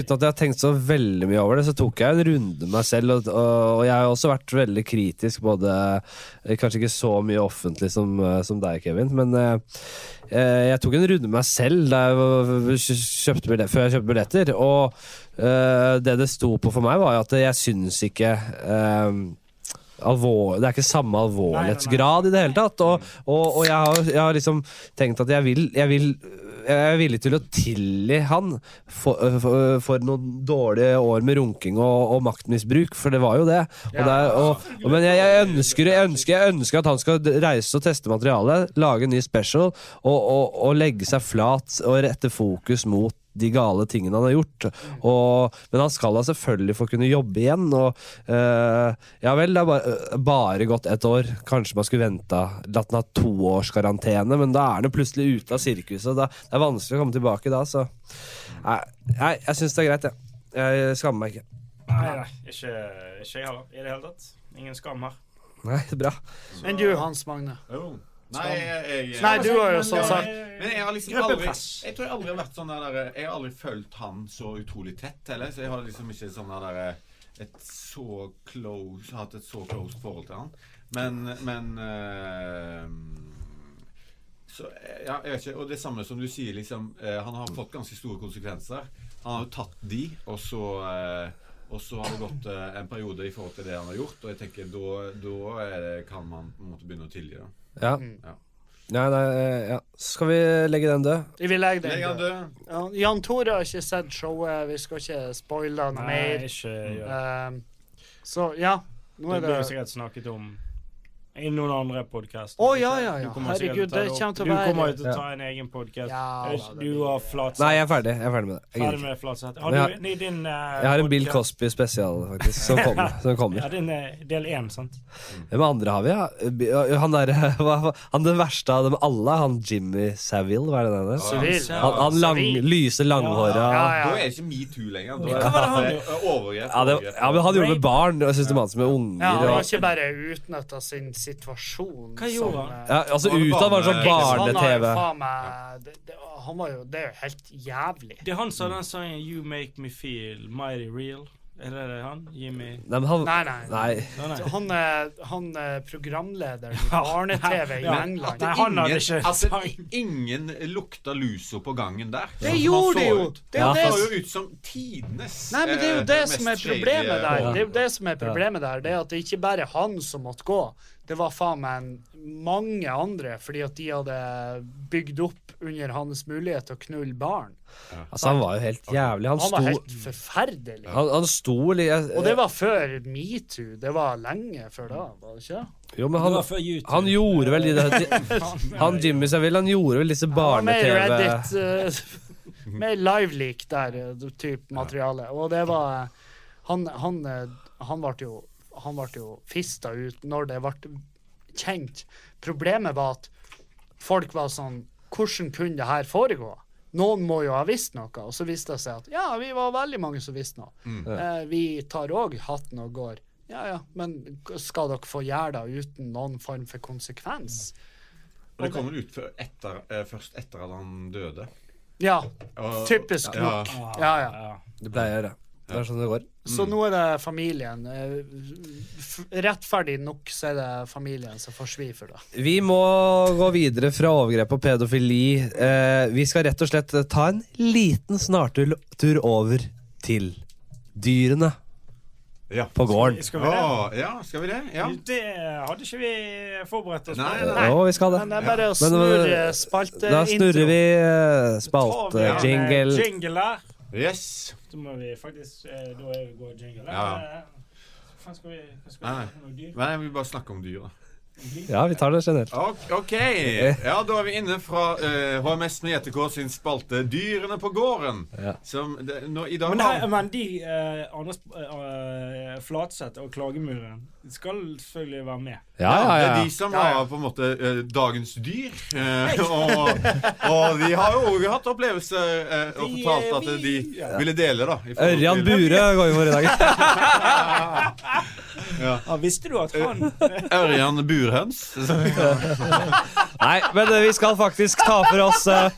Speaker 1: uten at jeg har tenkt så veldig mye over det, så tok jeg en runde med meg selv. Og, og jeg har også vært veldig kritisk, både eh, Kanskje ikke så mye offentlig som, som deg, Kevin, men eh, eh, jeg tok en runde med meg selv da jeg var- kjøpte billett, før jeg kjøpte billetter. Og eh, det det sto på for meg, var jo at jeg syns ikke eh, alvor, det er ikke samme alvorlighetsgrad i det hele tatt. Og, og, og jeg, har, jeg har liksom tenkt at jeg vil, jeg vil jeg er villig til å tilgi han for, eh, for, for noen dårlige år med runking og, og maktmisbruk, for det var jo det. Og der, og, og, men jeg, jeg, ønsker, jeg, ønsker, jeg ønsker at han skal reise og teste materialet, lage en ny special og, og, og legge seg flat og rette fokus mot de gale tingene han har gjort. Og, men han skal da selvfølgelig få kunne jobbe igjen. Og eh, ja vel, det har bare, eh, bare gått ett år. Kanskje man skulle venta latt den ha toårskarantene, men da er han jo plutselig ute av sirkuset. Da, det er vanskelig å komme tilbake da, så Nei, nei, jeg syns det er greit, jeg. Jeg skammer meg ikke.
Speaker 2: Nei, nei. Ikke, ikke jeg heller. I det hele tatt. Ingen skam her.
Speaker 1: Nei, bra.
Speaker 4: Men du, Hans Magne.
Speaker 3: Jo. Nei, jeg, jeg,
Speaker 4: Nei, du har jo
Speaker 2: Men,
Speaker 4: sånn sagt
Speaker 2: eh,
Speaker 3: Men jeg har liksom aldri
Speaker 2: Gruppepress.
Speaker 3: Jeg tror jeg aldri har vært sånn der Jeg har aldri følt han så utrolig tett heller, så jeg har liksom ikke sånn der et så close Hatt et så close forhold til han. Men Men eh, så, eh, ja, jeg vet ikke, og det samme som du sier, liksom, eh, han har fått ganske store konsekvenser. Han har jo tatt de, og så, eh, og så har det gått eh, en periode i forhold til det han har gjort, og jeg tenker da, da er det, kan man på en måte begynne å tilgi. da.
Speaker 1: Ja.
Speaker 4: Mm.
Speaker 3: Ja.
Speaker 1: Nei, nei, ja. Skal vi legge den død?
Speaker 4: Vi vil legge
Speaker 3: Legg han
Speaker 4: den død.
Speaker 3: død.
Speaker 4: Ja, Jan Tore har ikke sett showet. Vi skal ikke spoile
Speaker 2: Nei,
Speaker 4: noe mer.
Speaker 2: ikke gjør det.
Speaker 4: Ehm, så ja, nå
Speaker 2: Det
Speaker 4: er
Speaker 2: blir jo
Speaker 4: det
Speaker 2: sikkert snakket om i noen andre podkaster.
Speaker 4: Å, ja, ja, ja.
Speaker 2: Du kommer sikkert
Speaker 4: Herregud,
Speaker 2: til å ta opp. Du
Speaker 4: det kommer til å være-
Speaker 2: kommer jo til
Speaker 1: Ja.
Speaker 2: å ta en egen podkast.
Speaker 4: Ja, da, det
Speaker 2: du
Speaker 4: blir-
Speaker 2: har flatsett.
Speaker 1: Nei, jeg er ferdig. Jeg er ferdig med det. Jeg
Speaker 2: Ferdig
Speaker 1: gidder ikke.
Speaker 2: med flatsett. Har
Speaker 1: Men
Speaker 2: du
Speaker 1: jeg-
Speaker 2: nei, din eh,
Speaker 1: Jeg har en Bill
Speaker 2: podcast-
Speaker 1: Cosby spesial, faktisk, som kommer. Som kommer.
Speaker 2: Ja, din er del én, sant?
Speaker 1: Hvem andre har vi, ja? Han, der, hva- hva- han den verste av dem alle, han Jimmy Savile, hva er det den heter?
Speaker 4: Sivil.
Speaker 3: Ja.
Speaker 1: Han, han lang,
Speaker 4: Savile.
Speaker 1: lyse,
Speaker 4: Ja,
Speaker 1: langhåra
Speaker 4: ja.
Speaker 3: Da er ikke metoo lenger. Da
Speaker 2: Hva var det han
Speaker 3: er det overgrep.
Speaker 1: ja, det- ja, men han gjorde det med barn, og systematisk med
Speaker 4: Ja, han
Speaker 1: unger.
Speaker 4: har
Speaker 1: Og,
Speaker 4: ikke bare utnytta sin situasjon
Speaker 2: Hva gjorde
Speaker 4: som,
Speaker 2: han?
Speaker 4: eh,
Speaker 1: ja, altså
Speaker 3: Han var
Speaker 1: Utad var det sånn
Speaker 3: barne-
Speaker 4: han har jo
Speaker 1: barne-TV.
Speaker 4: faen meg det, det, Han var jo Det er jo helt jævlig.
Speaker 2: Det er han sa den sangen 'You Make Me Feel Mighty Real'. Er det det han? Jimmy
Speaker 1: Nei, men han
Speaker 4: Nei, nei.
Speaker 1: Nei.
Speaker 2: Nei, nei.
Speaker 4: Han er, han er programleder i barne-TV i
Speaker 2: Ja.
Speaker 4: England.
Speaker 2: Nei, han hadde ikke
Speaker 3: Ingen, altså,
Speaker 2: sang.
Speaker 3: ingen lukta luso på gangen der.
Speaker 4: Det
Speaker 3: Han så
Speaker 4: gjorde de jo.
Speaker 3: ut-
Speaker 4: Det er jo
Speaker 1: Ja.
Speaker 4: det
Speaker 3: Han
Speaker 4: som-
Speaker 3: så jo ut som tidenes
Speaker 4: Nei, men det er jo
Speaker 3: eh,
Speaker 4: det
Speaker 3: mest
Speaker 4: som er
Speaker 3: shady,
Speaker 4: problemet
Speaker 3: eh,
Speaker 4: der. Det er jo det som er problemet der, det er at det ikke bare er han som måtte gå. Det var faen meg en- mange andre, fordi at de hadde bygd opp under hans mulighet til å knulle barn.
Speaker 1: Altså, han var jo helt jævlig. Han
Speaker 4: Han var
Speaker 1: sto
Speaker 4: helt forferdelig.
Speaker 1: han, han sto li-
Speaker 4: Og det var før metoo. Det var lenge før da, var det ikke?
Speaker 1: Jo, men
Speaker 2: Det var
Speaker 1: han,
Speaker 2: før YouTube.
Speaker 1: han gjorde vel de der Han Jimmy Savile, han gjorde vel disse
Speaker 4: var mer
Speaker 1: barne-TV
Speaker 4: Reddit, eh, mer liveleak der, eh, typ materiale. Og det var eh, Han, han, eh, han ble jo Han ble jo fista ut når det ble kjent. Problemet var at folk var sånn Hvordan kunne det her foregå? Noen må jo ha visst noe. Og så viste det seg at ja, vi var veldig mange som visste noe. Eh, vi tar òg hatten og går. Ja ja, men skal dere få gjøre det uten noen form for konsekvens?
Speaker 3: Og det kom vel ut før- etter, eh, først etter at han døde.
Speaker 4: Ja,
Speaker 3: Og-
Speaker 4: typisk
Speaker 3: ja.
Speaker 4: nok. Ja, ja.
Speaker 1: Det pleier jeg å gjøre. Det er sånn det går.
Speaker 4: Så
Speaker 3: Mm.
Speaker 4: nå er det familien. eh, f- Rettferdig nok så er det familien som får svi for det.
Speaker 1: Vi må gå videre fra overgrep og pedofili. Eh, vi skal rett og slett ta en liten snartur tur over til dyrene
Speaker 3: Ja.
Speaker 1: på gården.
Speaker 2: Skal vi det?
Speaker 3: Å, ja, skal vi det? Ja.
Speaker 2: Det hadde ikke vi forberedt oss på.
Speaker 3: Nei, nei.
Speaker 1: Jo, vi skal
Speaker 4: Men det er
Speaker 1: det.
Speaker 4: bare å
Speaker 1: Men,
Speaker 4: snurre
Speaker 1: eh,
Speaker 4: spalte
Speaker 1: Da snurrer vi eh,
Speaker 2: Tar vi en, eh,
Speaker 1: spalte-jingle.
Speaker 2: jingle der.
Speaker 3: Yes.
Speaker 2: Så må vi faktisk eh, Da er vi går jingle. der.
Speaker 3: Ja.
Speaker 2: Eh, hva Faen, skal vi hva skal vi
Speaker 3: Nei.
Speaker 2: snakke om noe dyr?
Speaker 3: Nei, jeg vil bare snakke om dyr, da.
Speaker 1: Ja, vi tar det generelt.
Speaker 3: Ok, ok. Ja, da er vi inne fra eh, HMS med JTK sin spalte 'Dyrene på gården'.
Speaker 1: Ja.
Speaker 3: Som det, nå, i dag
Speaker 2: Men, nei, men de eh, Anders eh, Flatseth og Klagemuren skal selvfølgelig være med.
Speaker 1: Ja, ja,
Speaker 3: Det er
Speaker 1: ja.
Speaker 3: de som
Speaker 4: Ja, ja.
Speaker 3: var på en måte eh, dagens dyr. eh, og, og de har jo også hatt opplevelser eh, og
Speaker 2: Vi,
Speaker 3: fortalt
Speaker 2: eh,
Speaker 3: at de
Speaker 2: vi- ja.
Speaker 3: ville dele, da. i forhold
Speaker 1: Ørjan
Speaker 3: til-
Speaker 1: Bure går vi for i dag.
Speaker 2: Ja, visste du at
Speaker 3: Eh.
Speaker 2: han
Speaker 3: Ørjan Burhøns.
Speaker 1: Nei, men eh, vi skal faktisk ta for oss eh,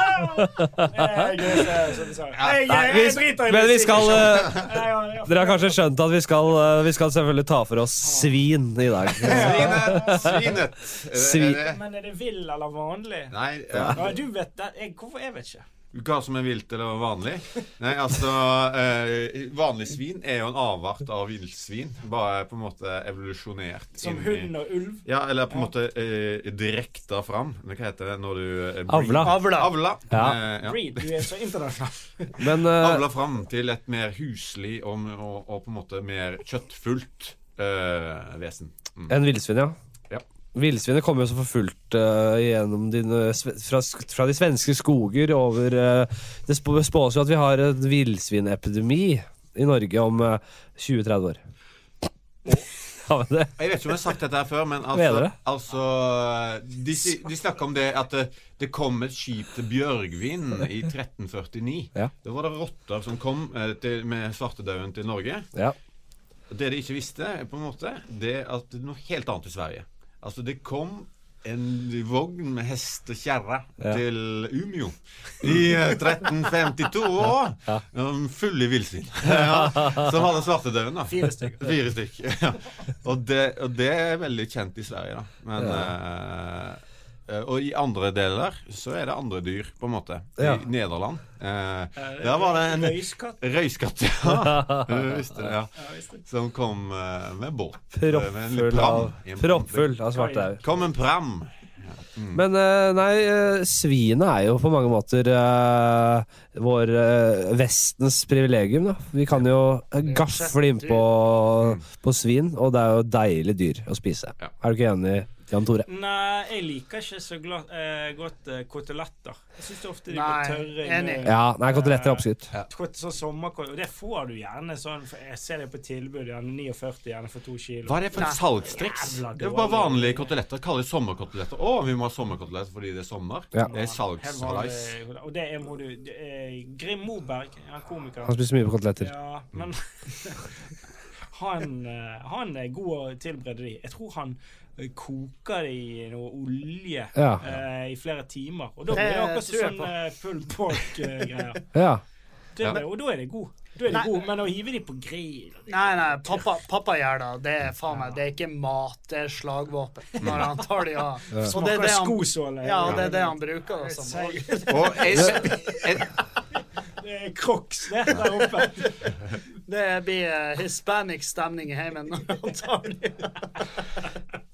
Speaker 2: Jeg er som du sa. Jeg,
Speaker 1: Nei,
Speaker 2: jeg,
Speaker 1: vi,
Speaker 2: jeg driter i
Speaker 1: men vi
Speaker 2: musikk. liksom.
Speaker 1: skal eh,
Speaker 2: Ja, ja, ja.
Speaker 1: Dere har kanskje skjønt at vi skal, eh, vi skal selvfølgelig ta for oss svin i dag.
Speaker 3: Svinet. Svinet. Er det-
Speaker 1: Svi-
Speaker 3: er det-
Speaker 2: Men er det vill eller vanlig?
Speaker 3: Nei, ja.
Speaker 2: Ja, du vet det. Jeg, hvorfor? Jeg vet ikke.
Speaker 3: hva som er vilt eller vanlig? Nei, altså eh, Vanlig svin er jo en avart av villsvin. Bare på en måte evolusjonert.
Speaker 2: Som
Speaker 3: inn i-
Speaker 2: hund og ulv.
Speaker 3: Ja, eller på en måte eh, direkta fram. Men Hva heter det når du eh, breed-
Speaker 1: Avla.
Speaker 4: Avla.
Speaker 3: Avla.
Speaker 1: Ja.
Speaker 3: Eh, ja.
Speaker 2: Breed. Du er så internasjonal.
Speaker 1: Men eh,
Speaker 3: Avla fram til et mer huslig og, og, og på en måte mer kjøttfullt eh, vesen. Mm.
Speaker 1: En villsvin, ja.
Speaker 3: Ja.
Speaker 1: Villsvinet kommer jo så for fullt eh, gjennom dine, sve- fra, sk- fra de svenske skoger over eh, Det sp- spås jo at vi har en villsvinepidemi i Norge om eh, 20-30 år. Ja, men det,
Speaker 3: Jeg vet ikke om jeg har sagt dette her før, men
Speaker 1: Mener
Speaker 3: altså,
Speaker 1: det.
Speaker 3: altså de, si- de snakker om det at det, det kom et skip til Bjørgvin i 1349.
Speaker 1: Ja.
Speaker 3: Da var det rotter som kom eh, til, med svartedauden til Norge.
Speaker 1: ja.
Speaker 3: Det de ikke visste, på en måte, det er at det er noe helt annet i Sverige. Altså, det kom en vogn med hest og kjerre
Speaker 1: Ja.
Speaker 3: til Umeå i eh, 1352 år. Um, Full i villsvin. ja, som hadde svartedauden, da.
Speaker 2: Fire stykker.
Speaker 3: Fire stykk. ja. og, det, og det er veldig kjent i Sverige, da. Men eh, eh, Og i andre deler så er det andre dyr, på en måte.
Speaker 1: Ja.
Speaker 3: I Nederland. eh, der var det en
Speaker 2: Røyskatt.
Speaker 3: røyskatt, ja. Du visste det, ja.
Speaker 2: Ja, visst det.
Speaker 3: Som kom eh, med båt. Eh, med en
Speaker 1: Proppfull
Speaker 3: pram.
Speaker 1: av,
Speaker 3: I en
Speaker 1: proppfull av svartau.
Speaker 3: Kom en pram.
Speaker 1: Men eh, nei, eh, svinet er jo på mange måter eh, vår eh, Vestens privilegium, da. Vi kan jo eh, gafle innpå på svin, og det er jo deilig dyr å spise.
Speaker 3: Mm. Ja. Mm.
Speaker 1: Er du ikke enig, Jan Tore?
Speaker 2: Nei, jeg liker ikke så gla eh, godt eh, koteletter. Jeg syns ofte de
Speaker 4: Nei,
Speaker 2: blir tørre. i
Speaker 4: enig.
Speaker 2: munnen.
Speaker 1: Ja, nei, koteletter er oppskutt.
Speaker 2: Kott- Sånn sommerkott. Og det får du gjerne sånn for Jeg ser det på tilbud. Gjerne 49 gjerne for to kilo.
Speaker 3: Hva er det for
Speaker 4: Nei.
Speaker 3: et salgstriks?
Speaker 2: Jævla
Speaker 3: Det er bare
Speaker 2: dårlig.
Speaker 3: vanlige koteletter. Kaller det sommerkoteletter. Å, vi må ha sommerkoteletter fordi det er sommer.
Speaker 1: Ja.
Speaker 3: Det er
Speaker 2: Her var
Speaker 3: salgshalais.
Speaker 2: det- Og det er må du det er Grim Moberg, han
Speaker 1: Han
Speaker 2: komikeren
Speaker 1: spiser mye på koteletter.
Speaker 2: Ja, men han, eh, han er god å tilberede de. Jeg tror han eh, koker det i noe olje
Speaker 1: Ja.
Speaker 2: eh, i flere timer. Og da
Speaker 4: Det
Speaker 2: blir det akkurat
Speaker 4: tror jeg
Speaker 2: sånn eh, pull pork-greier.
Speaker 1: Ja.
Speaker 3: Ja.
Speaker 2: Og da er det god. Da er det
Speaker 4: Nei.
Speaker 2: god, men å hive de på grill
Speaker 4: Nei, nei, pappa, pappa gjør det. Det er faen meg, det er ikke mat, det er slagvåpen når han tar de av. Og det er
Speaker 2: Smaker
Speaker 4: det han,
Speaker 2: skosåle.
Speaker 4: ja, og det er det han bruker det som. Og-
Speaker 2: Sier-
Speaker 3: Og jeg, sp- jeg,
Speaker 2: Det er Crocs, det, der oppe.
Speaker 4: Det blir eh, hispanic stemning i heimen når han tar de.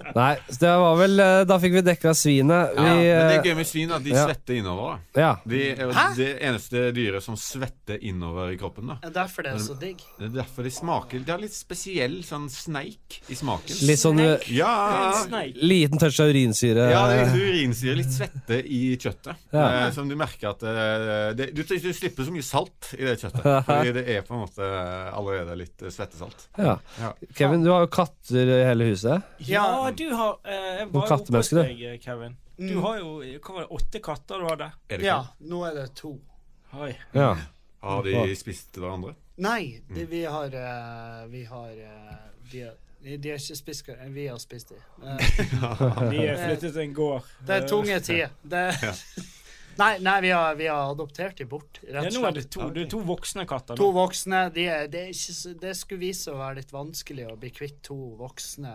Speaker 1: Nei, så det var vel eh, Da fikk vi dekka svinet.
Speaker 3: Ja,
Speaker 1: Vi,
Speaker 3: men det
Speaker 1: eh,
Speaker 3: er gøy med svin at de
Speaker 1: ja.
Speaker 3: svetter innover. da.
Speaker 1: ja.
Speaker 3: De er jo det eneste dyret som svetter innover i kroppen. da
Speaker 4: Det er derfor det er så digg.
Speaker 3: Det er derfor de smaker De har litt spesiell sånn sneik i smaken.
Speaker 1: Litt sånn eh,
Speaker 3: Ja!
Speaker 2: En sneik.
Speaker 1: liten touch av urinsyre.
Speaker 3: Ja, det er litt urinsyre, litt svette i kjøttet.
Speaker 1: Eh. Ja.
Speaker 3: Eh, som du merker at eh, det, du, du slipper så mye salt i det kjøttet. Fordi det er på en måte allerede litt eh, svettesalt.
Speaker 1: Ja.
Speaker 3: Ja.
Speaker 1: Kevin, du har jo katter i hele huset.
Speaker 2: Ja, du har eh, Jeg var jo oppe hos
Speaker 1: kattemenneske, du.
Speaker 2: deg, eh, Kevin.
Speaker 4: Mm.
Speaker 2: Du har jo hva var det, åtte katter du hadde.
Speaker 3: Er det
Speaker 4: Ja,
Speaker 3: ikke?
Speaker 4: nå er det to.
Speaker 2: Oi.
Speaker 1: Ja.
Speaker 3: Har de spist hverandre?
Speaker 4: Nei, det, vi har eh, Vi har eh, vi har, De har ikke spist hver- Vi har spist de. Eh,
Speaker 2: De eh, flyttet til en gård. Eh,
Speaker 4: Det er tunge tider. Det... Nei, nei vi, har, vi har adoptert de bort,
Speaker 2: Ja,
Speaker 4: rett og
Speaker 2: nå er det
Speaker 4: slett.
Speaker 2: to, det er to voksne katter. Nå.
Speaker 4: To voksne. De er, det, er ikke, så- det skulle vise seg å være litt vanskelig å bli kvitt to voksne,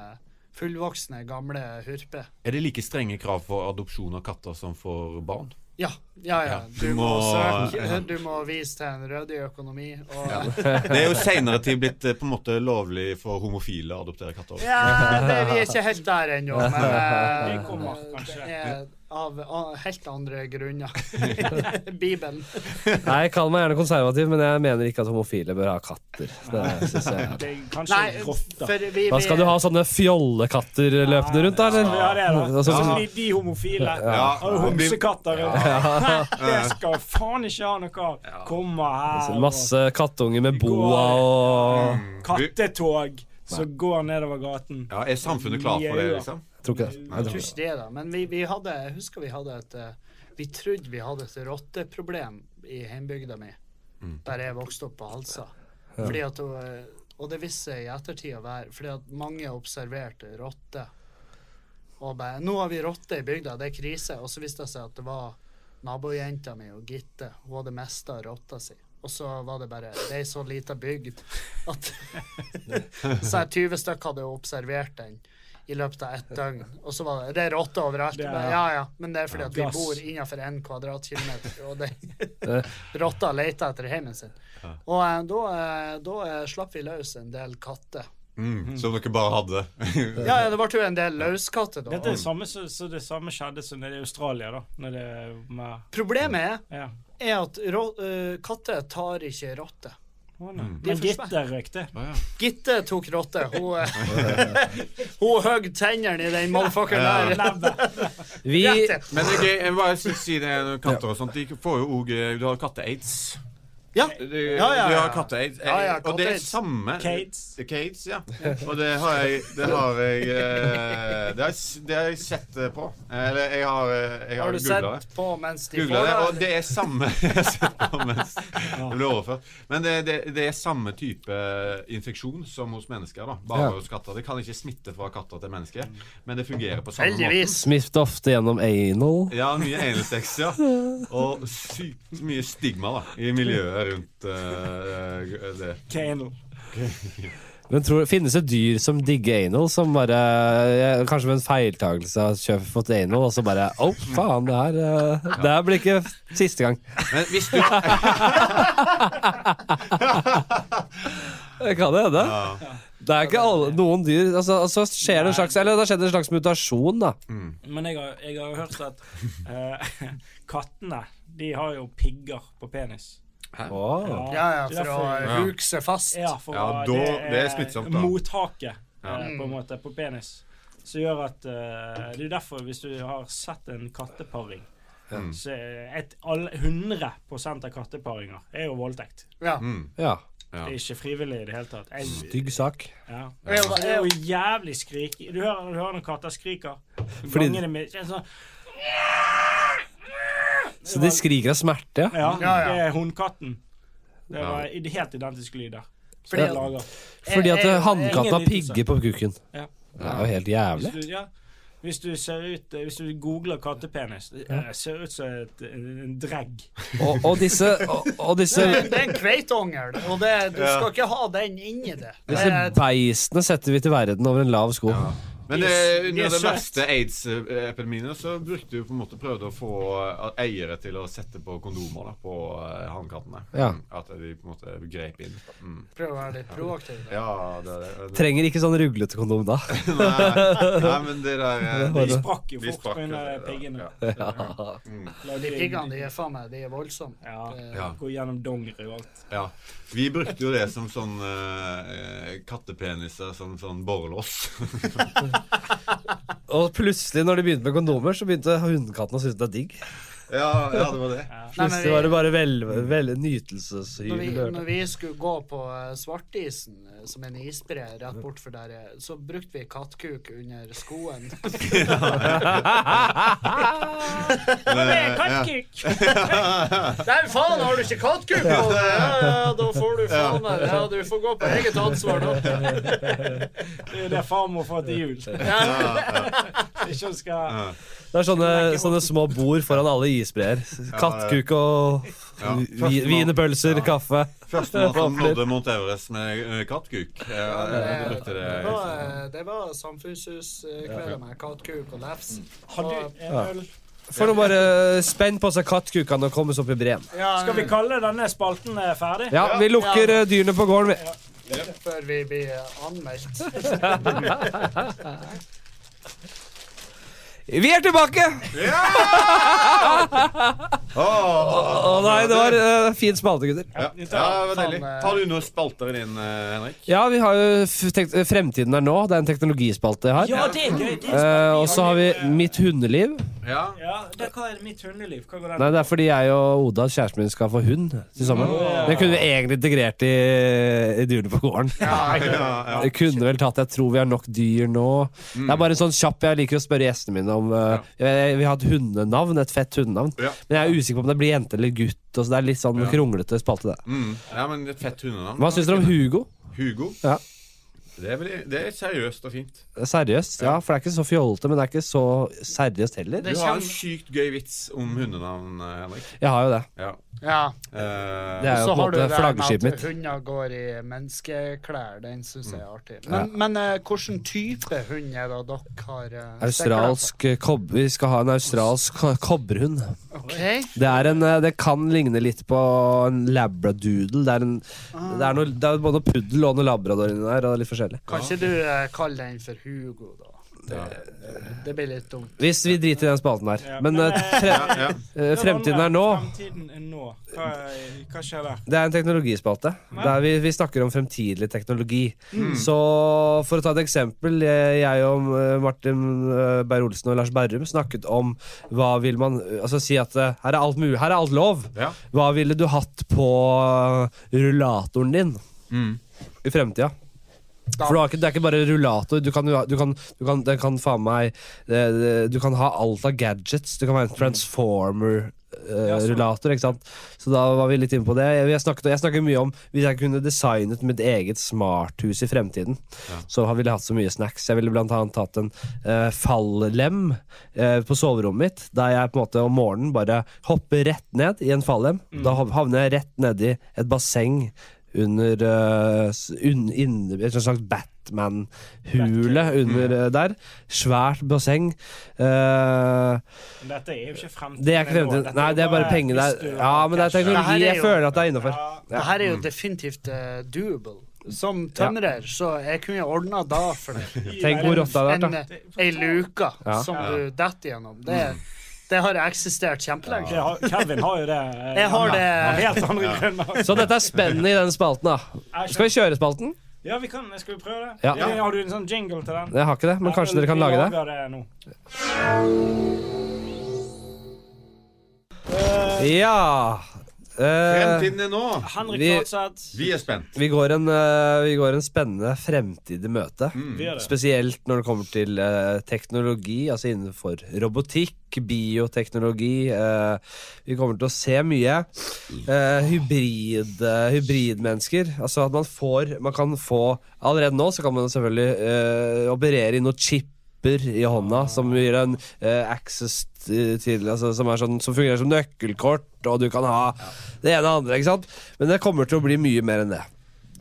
Speaker 4: fullvoksne, gamle hurper.
Speaker 3: Er det like strenge krav for adopsjon av katter som for barn?
Speaker 4: Ja, ja, ja.
Speaker 3: Ja,
Speaker 4: Du
Speaker 3: du
Speaker 4: må
Speaker 3: må-
Speaker 4: søke, du må vise til en rød i økonomi. Og, ja.
Speaker 3: Det er jo seinere tid blitt eh, på en måte lovlig for homofile å adoptere katter.
Speaker 4: det, vi er ikke helt der ennå, men eh,
Speaker 2: Det kommer kanskje.
Speaker 4: det er av av helt andre grunner. Bibelen.
Speaker 1: Nei, kall meg gjerne konservativ, men jeg mener ikke at homofile bør ha katter. Det synes jeg er-
Speaker 2: Det er kanskje
Speaker 4: Nei,
Speaker 2: rotter.
Speaker 4: for vi,
Speaker 1: Da skal du ha sånne fjollekatter løpende rundt, da,
Speaker 2: Ja,
Speaker 1: eller?
Speaker 2: det er det.
Speaker 1: Altså,
Speaker 2: Sånn de, de homofile.
Speaker 3: Ja.
Speaker 2: Har du homsekatter rundt? Det skal faen ikke ha noe av. Kommer her. og-
Speaker 1: Masse kattunger med boa og
Speaker 2: Kattetog som går nedover gaten.
Speaker 3: Mm. Ja, Er samfunnet klart for det, liksom?
Speaker 1: Jeg tror ikke det. Jeg
Speaker 4: Jeg
Speaker 1: tror
Speaker 4: tror
Speaker 1: ikke det.
Speaker 4: ikke det, da. Men vi, vi hadde, jeg husker vi hadde et eh, Vi trodde vi hadde et rotteproblem i heimbygda mi,
Speaker 2: Mm.
Speaker 4: der jeg vokste opp på Halsa. Fordi at, eh, og det viste seg i ettertid å være fordi at mange observerte rotter. Og bare 'Nå har vi rotte i bygda, det er krise.' Og så viste det seg at det var nabojenta mi og Gitte. Hun hadde mista rotta si. Og så var det bare Det er ei så lita bygd at Så her 20 stykker hadde observert den i løpet av ett døgn. Og så var det Det er rotter overalt.
Speaker 2: Det er-
Speaker 4: Bare, ja, ja. Men det er fordi at vi
Speaker 2: Gass.
Speaker 4: bor innenfor én kvadratkilometer, og det rotta leter etter heimen sin. Og eh, da, eh, da eh, slapp vi løs en del katter.
Speaker 3: Mm, som dere bare hadde.
Speaker 4: Ja, ja, det ble jo en del løskatter da.
Speaker 2: Dette er det samme, så, så det samme skjedde som nede i Australia, da. Når det er med
Speaker 4: Problemet er
Speaker 2: Ja.
Speaker 4: er at rå, eh, katter tar ikke rotter.
Speaker 2: Å, nei.
Speaker 3: Mm.
Speaker 4: De er
Speaker 2: Men
Speaker 4: for svære.
Speaker 2: Gitte røyk det.
Speaker 4: Gitte tok rotter. Hun, eh, hun høgg tennene i den motherfuckeren der.
Speaker 1: Vi
Speaker 4: Rett til.
Speaker 3: Men det er gøy, jeg vil bare si- si det med katter og sånt. De får jo òg Du har katte-aids.
Speaker 4: Ja.
Speaker 3: Du,
Speaker 4: Ja, ja,
Speaker 3: du
Speaker 4: ja.
Speaker 3: har katte-aids.
Speaker 4: Ja, ja,
Speaker 3: og det er
Speaker 4: katte-aids.
Speaker 3: samme
Speaker 2: Kates.
Speaker 3: Kates, ja. Og det har jeg Det har jeg, eh, det har jeg, s- det har jeg sett eh, på. Eller jeg har, eh, jeg
Speaker 4: Har
Speaker 3: har
Speaker 4: du
Speaker 3: googla det.
Speaker 4: sett på mens de
Speaker 3: Googlet
Speaker 4: får
Speaker 3: det,
Speaker 4: det?
Speaker 3: og det er samme Jeg har sett på mens det ble overført. Men det, det, det er samme type eh, infeksjon som hos mennesker. da Bare
Speaker 1: Ja.
Speaker 3: hos katter. Det kan ikke smitte fra katter til mennesker, men det fungerer på samme måte.
Speaker 4: Heldigvis.
Speaker 1: smitter ofte gjennom anal.
Speaker 3: Ja, mye analsex, ja. Og sykt mye stigma da i miljøet rundt eh, det.
Speaker 2: Canal.
Speaker 1: Men tror, finnes det dyr som digger anal, som bare eh, Kanskje ved en feiltagelse har kjøpt fått anal, og så bare Å, faen, det her eh, Det her blir ikke siste gang.
Speaker 3: Men hvis du
Speaker 1: Det kan det hende. Det er ikke alle, noen dyr altså, altså skjer det en slags Eller det har skjedd en slags mutasjon, da.
Speaker 2: Men jeg har, jeg har hørt at eh, kattene, de har jo pigger på penis.
Speaker 1: Åh.
Speaker 4: Ja, ja,
Speaker 2: det er
Speaker 4: for å
Speaker 2: derfor-
Speaker 4: huke seg fast.
Speaker 2: Ja, for
Speaker 3: Ja,
Speaker 2: å-
Speaker 3: da- det er smittsomt, da.
Speaker 2: Mottaket,
Speaker 3: Ja.
Speaker 2: eh, på en måte, på penis. Som gjør at eh, Det er derfor, hvis du har sett en katteparing så er et, alle- 100 av katteparinger er jo voldtekt.
Speaker 4: Ja.
Speaker 1: Ja.
Speaker 3: Ja.
Speaker 2: Det er ikke frivillig i det hele tatt. Jeg,
Speaker 1: Stygg sak.
Speaker 2: ja.
Speaker 4: Jeg var-
Speaker 2: Det er jo jævlig skrik Du hører, du hører når katter skriker.
Speaker 1: Fordi-
Speaker 2: Ganger det med det er sånn,
Speaker 1: Så de skriker av smerte, ja.
Speaker 2: ja,
Speaker 4: Ja, ja.
Speaker 2: det er hundkatten. Det
Speaker 3: Ja.
Speaker 2: var i- det er helt identiske lyder. Som
Speaker 4: Fordi
Speaker 2: de
Speaker 4: at-
Speaker 2: lager.
Speaker 1: Fordi at
Speaker 4: Jeg- jeg-
Speaker 1: hannkatten har
Speaker 2: ingen lidelse.
Speaker 1: pigger på kukken.
Speaker 2: Ja.
Speaker 1: Det er jo helt
Speaker 2: Hvis
Speaker 1: jævlig.
Speaker 2: du, ja, hvis du ser ut Hvis du googler kattepenis, det eh, ser ut som et, en, en dregg.
Speaker 1: Og, og disse, og, og disse
Speaker 4: Det er en kveitongel, og det, du skal ikke ha den inni det.
Speaker 1: disse
Speaker 4: det
Speaker 1: beistene setter vi til verden over en lav sko.
Speaker 3: Men
Speaker 2: De
Speaker 3: eh,
Speaker 2: er s- de
Speaker 3: under
Speaker 2: er
Speaker 3: den
Speaker 2: søt.
Speaker 3: verste aids-epidemien så brukte du på en måte prøvde å få eh, eiere til å sette på kondomer da, på eh, hannkattene.
Speaker 1: Ja.
Speaker 3: Mm, At de på en måte grep inn. Mm.
Speaker 4: Prøv å være litt proaktiv. da.
Speaker 3: Ja, det er det.
Speaker 1: Trenger ikke sånn ruglete kondom da.
Speaker 3: Nei, nei, men det der eh,
Speaker 1: Det var
Speaker 2: De
Speaker 1: det.
Speaker 2: sprakk jo
Speaker 3: de
Speaker 2: fort
Speaker 3: sprakk,
Speaker 2: under
Speaker 3: altså.
Speaker 2: piggene.
Speaker 1: Ja.
Speaker 3: mm.
Speaker 2: Lagde-
Speaker 4: De piggene, de er faen meg de er voldsomme.
Speaker 2: Ja.
Speaker 4: Det-
Speaker 3: Ja.
Speaker 2: Gå gjennom dongeri og alt.
Speaker 3: Ja. Vi brukte jo det som sånn eh, kattepeniser, som sånn borrelås.
Speaker 1: Og plutselig, når de begynte med kondomer, så begynte hundekatten å synes det er digg.
Speaker 3: ja, ja, det var det.
Speaker 4: Nei, men
Speaker 1: Plutselig var det bare vel, vel, nytelseshyl.
Speaker 4: Når vi,
Speaker 1: i
Speaker 4: når
Speaker 1: dørene.
Speaker 4: vi skulle gå på eh, svartisen, eh, som en isbre rett bortfor der, eh, så brukte vi kattkuk under skoen. Eh,
Speaker 3: eh,
Speaker 2: Kattkuk!
Speaker 4: Nei, faen, har du ikke kattkuk på deg? Ja, ja, da får du faen meg Ja, du får gå på eget ansvar, da.
Speaker 2: Det er jo det farmor får til jul. Ikke hun skal
Speaker 3: Ja.
Speaker 1: Det er sånne, sånne små bord foran alle isbreer. Kattkuk og
Speaker 3: Ja.
Speaker 1: vi- wienerpølser,
Speaker 3: Ja.
Speaker 1: kaffe.
Speaker 3: Førstemann som nådde Mount Everest med eh, kattkuk. Eh, jeg brukte det.
Speaker 4: Det var, eh, det var samfunnshuskvelder med kattkuk og lefs.
Speaker 2: Ha du en
Speaker 1: Ja.
Speaker 2: øl?
Speaker 1: For nå bare eh, spenn på seg kattkukene og komme oss opp i breen.
Speaker 4: Ja,
Speaker 2: Skal vi kalle denne spalten eh, ferdig?
Speaker 1: Ja, vi lukker eh, dyrene på gården, vi.
Speaker 4: Før vi blir eh, anmeldt.
Speaker 1: Vi er tilbake! Å nei, det var eh, fin spalte, gutter.
Speaker 3: Ja, ja, det var deilig. Har du noen spalter i din, eh, Henrik?
Speaker 1: Ja, vi har jo f- tenkt, eh, Fremtiden er nå. Det er en teknologispalte jeg har.
Speaker 2: Ja, det er gøy. Det
Speaker 1: Eh,
Speaker 2: er
Speaker 1: og
Speaker 2: spennende.
Speaker 1: så har vi Mitt hundeliv.
Speaker 3: Ja.
Speaker 2: Ja, det, hva er mitt hundeliv? Hva går den
Speaker 1: Nei, Det er fordi jeg og Oda, kjæresten min, skal få hund til sommeren. Det kunne vi egentlig integrert i, i Dyrene på gården. Vi kunne vel tatt Jeg tror vi har nok dyr nå. Det er bare en sånn kjapp Jeg liker å spørre gjestene mine om eh, jeg, Vi har et hundenavn, et fett hundenavn.
Speaker 3: Ja.
Speaker 1: Men jeg er usikker på om det blir jente eller gutt. Og så det er litt sånn kronglete spalte, det.
Speaker 3: Mm. ja, men et fett hundenavn.
Speaker 1: Hva syns dere om Hugo?
Speaker 3: Hugo.
Speaker 1: Ja.
Speaker 3: Det er, veldig, det er seriøst og fint.
Speaker 1: Seriøst? Ja, for det er ikke så fjollete, men det er ikke så seriøst heller.
Speaker 3: Du har en sykt gøy vits om hundenavn, eh, Henrik.
Speaker 1: Jeg har jo det.
Speaker 3: Ja.
Speaker 4: Ja.
Speaker 3: Eh,
Speaker 1: Det er jo på
Speaker 4: Så
Speaker 1: en
Speaker 4: har du
Speaker 1: måte
Speaker 4: det der
Speaker 1: flaggskipet
Speaker 4: med at
Speaker 1: mitt. Mm.
Speaker 4: hunder går i menneskeklær. Den syns jeg er artig. Men, men eh, hvilken type hund er det dere har? eh, stekker
Speaker 1: Australsk eh, kob... Vi skal ha en australsk ko- kobberhund.
Speaker 4: dere på? Ok.
Speaker 1: Det, er en, eh, det kan ligne litt på en labradoodle. Det er, en, det er, noe, det er både noe puddel og noe labrador inni der. Og det er litt forskjellig.
Speaker 4: Kan ikke du eh, kalle den for Hugo, da?
Speaker 3: Ja.
Speaker 4: Det blir litt dumt.
Speaker 1: Hvis vi driter i den spalten der.
Speaker 2: Ja.
Speaker 1: Men eh, fre
Speaker 3: Ja, ja.
Speaker 1: eh, fremtiden er nå.
Speaker 2: Fremtiden er nå. Hva, hva skjer der?
Speaker 1: Det er en teknologispalte. Der vi, vi snakker om fremtidig teknologi. Så for å ta et eksempel. Jeg, jeg og eh, Martin eh, Beyer-Olsen og Lars Berrum snakket om hva vil man Altså si at eh, her er alt mulig. Her er alt lov.
Speaker 3: Ja.
Speaker 1: Hva ville du hatt på eh, rullatoren din
Speaker 3: Mm.
Speaker 1: i fremtida? For du har ikke, det er ikke bare rullator. Du kan, jo ha- du kan, du kan, det kan faen meg det, det, Du kan ha alt av gadgets. Du kan være en
Speaker 2: Ja, sånn.
Speaker 1: transformer-rullator. ikke sant? Så da var vi litt inne på det. Jeg, jeg, snakket, jeg snakker mye om hvis jeg kunne designet mitt eget smarthus i fremtiden, så ville jeg hatt så mye snacks. Jeg ville blant annet tatt en eh, fallem eh, på soverommet mitt, der jeg på en måte om morgenen bare hopper rett ned i en fallem. Da hav- havner jeg rett nedi et basseng under eh, s- un, inne, Et slags Batman-hule under eh, der. Svært basseng. Eh,
Speaker 2: Men Dette er jo ikke fremtiden.
Speaker 1: det er ikke
Speaker 2: nå.
Speaker 1: fremtiden.
Speaker 2: Dette
Speaker 1: Nei, det er bare penger
Speaker 2: hvis
Speaker 1: der.
Speaker 2: du
Speaker 1: Ja,
Speaker 2: har
Speaker 1: men det er
Speaker 2: cash.
Speaker 4: Det her
Speaker 1: teknologi
Speaker 4: er
Speaker 1: jeg
Speaker 4: jo-
Speaker 1: føler at det er innafor.
Speaker 2: Ja,
Speaker 4: Det her er
Speaker 1: Mm.
Speaker 4: jo definitivt eh, doable. Som tømrer, så jeg kunne ordna da for deg.
Speaker 2: i
Speaker 1: Tenk hvor
Speaker 2: verden.
Speaker 1: rotta det har vært,
Speaker 4: En,
Speaker 1: da.
Speaker 4: eh, ei luke
Speaker 1: Ja. Mm.
Speaker 4: som du detter gjennom. Det, det har eksistert kjempelenge.
Speaker 2: Det har- Kevin har jo det. eh,
Speaker 4: Jeg har
Speaker 2: hjemme.
Speaker 4: det.
Speaker 2: Av Helt andre grunner.
Speaker 1: Så dette er spennende i den spalten, da. Skal vi kjøre spalten?
Speaker 2: Ja, vi kan. Skal vi prøve det?
Speaker 1: Ja.
Speaker 2: Har du en sånn jingle til den?
Speaker 1: Jeg har ikke det, men kanskje dere kan lage det?
Speaker 2: nå.
Speaker 1: Ja. Eh,
Speaker 3: Fremtiden er nå.
Speaker 2: Henrik
Speaker 1: Vi-
Speaker 2: Flatseth.
Speaker 3: Vi er spent.
Speaker 1: vi, går en, eh, vi går en spennende fremtid i møte.
Speaker 2: Vi gjør det.
Speaker 1: Spesielt når det kommer til eh, teknologi, altså innenfor robotikk, bioteknologi. eh, vi kommer til å se mye eh, hybrid, eh, hybridmennesker. Altså at man får Man kan få Allerede nå så kan man selvfølgelig eh, operere i noen chipper i hånda som gir en eh, access t- til altså, som, er sånn, som fungerer som nøkkelkort, og du kan ha det ene og andre, ikke sant? Men det kommer til å bli mye mer enn det.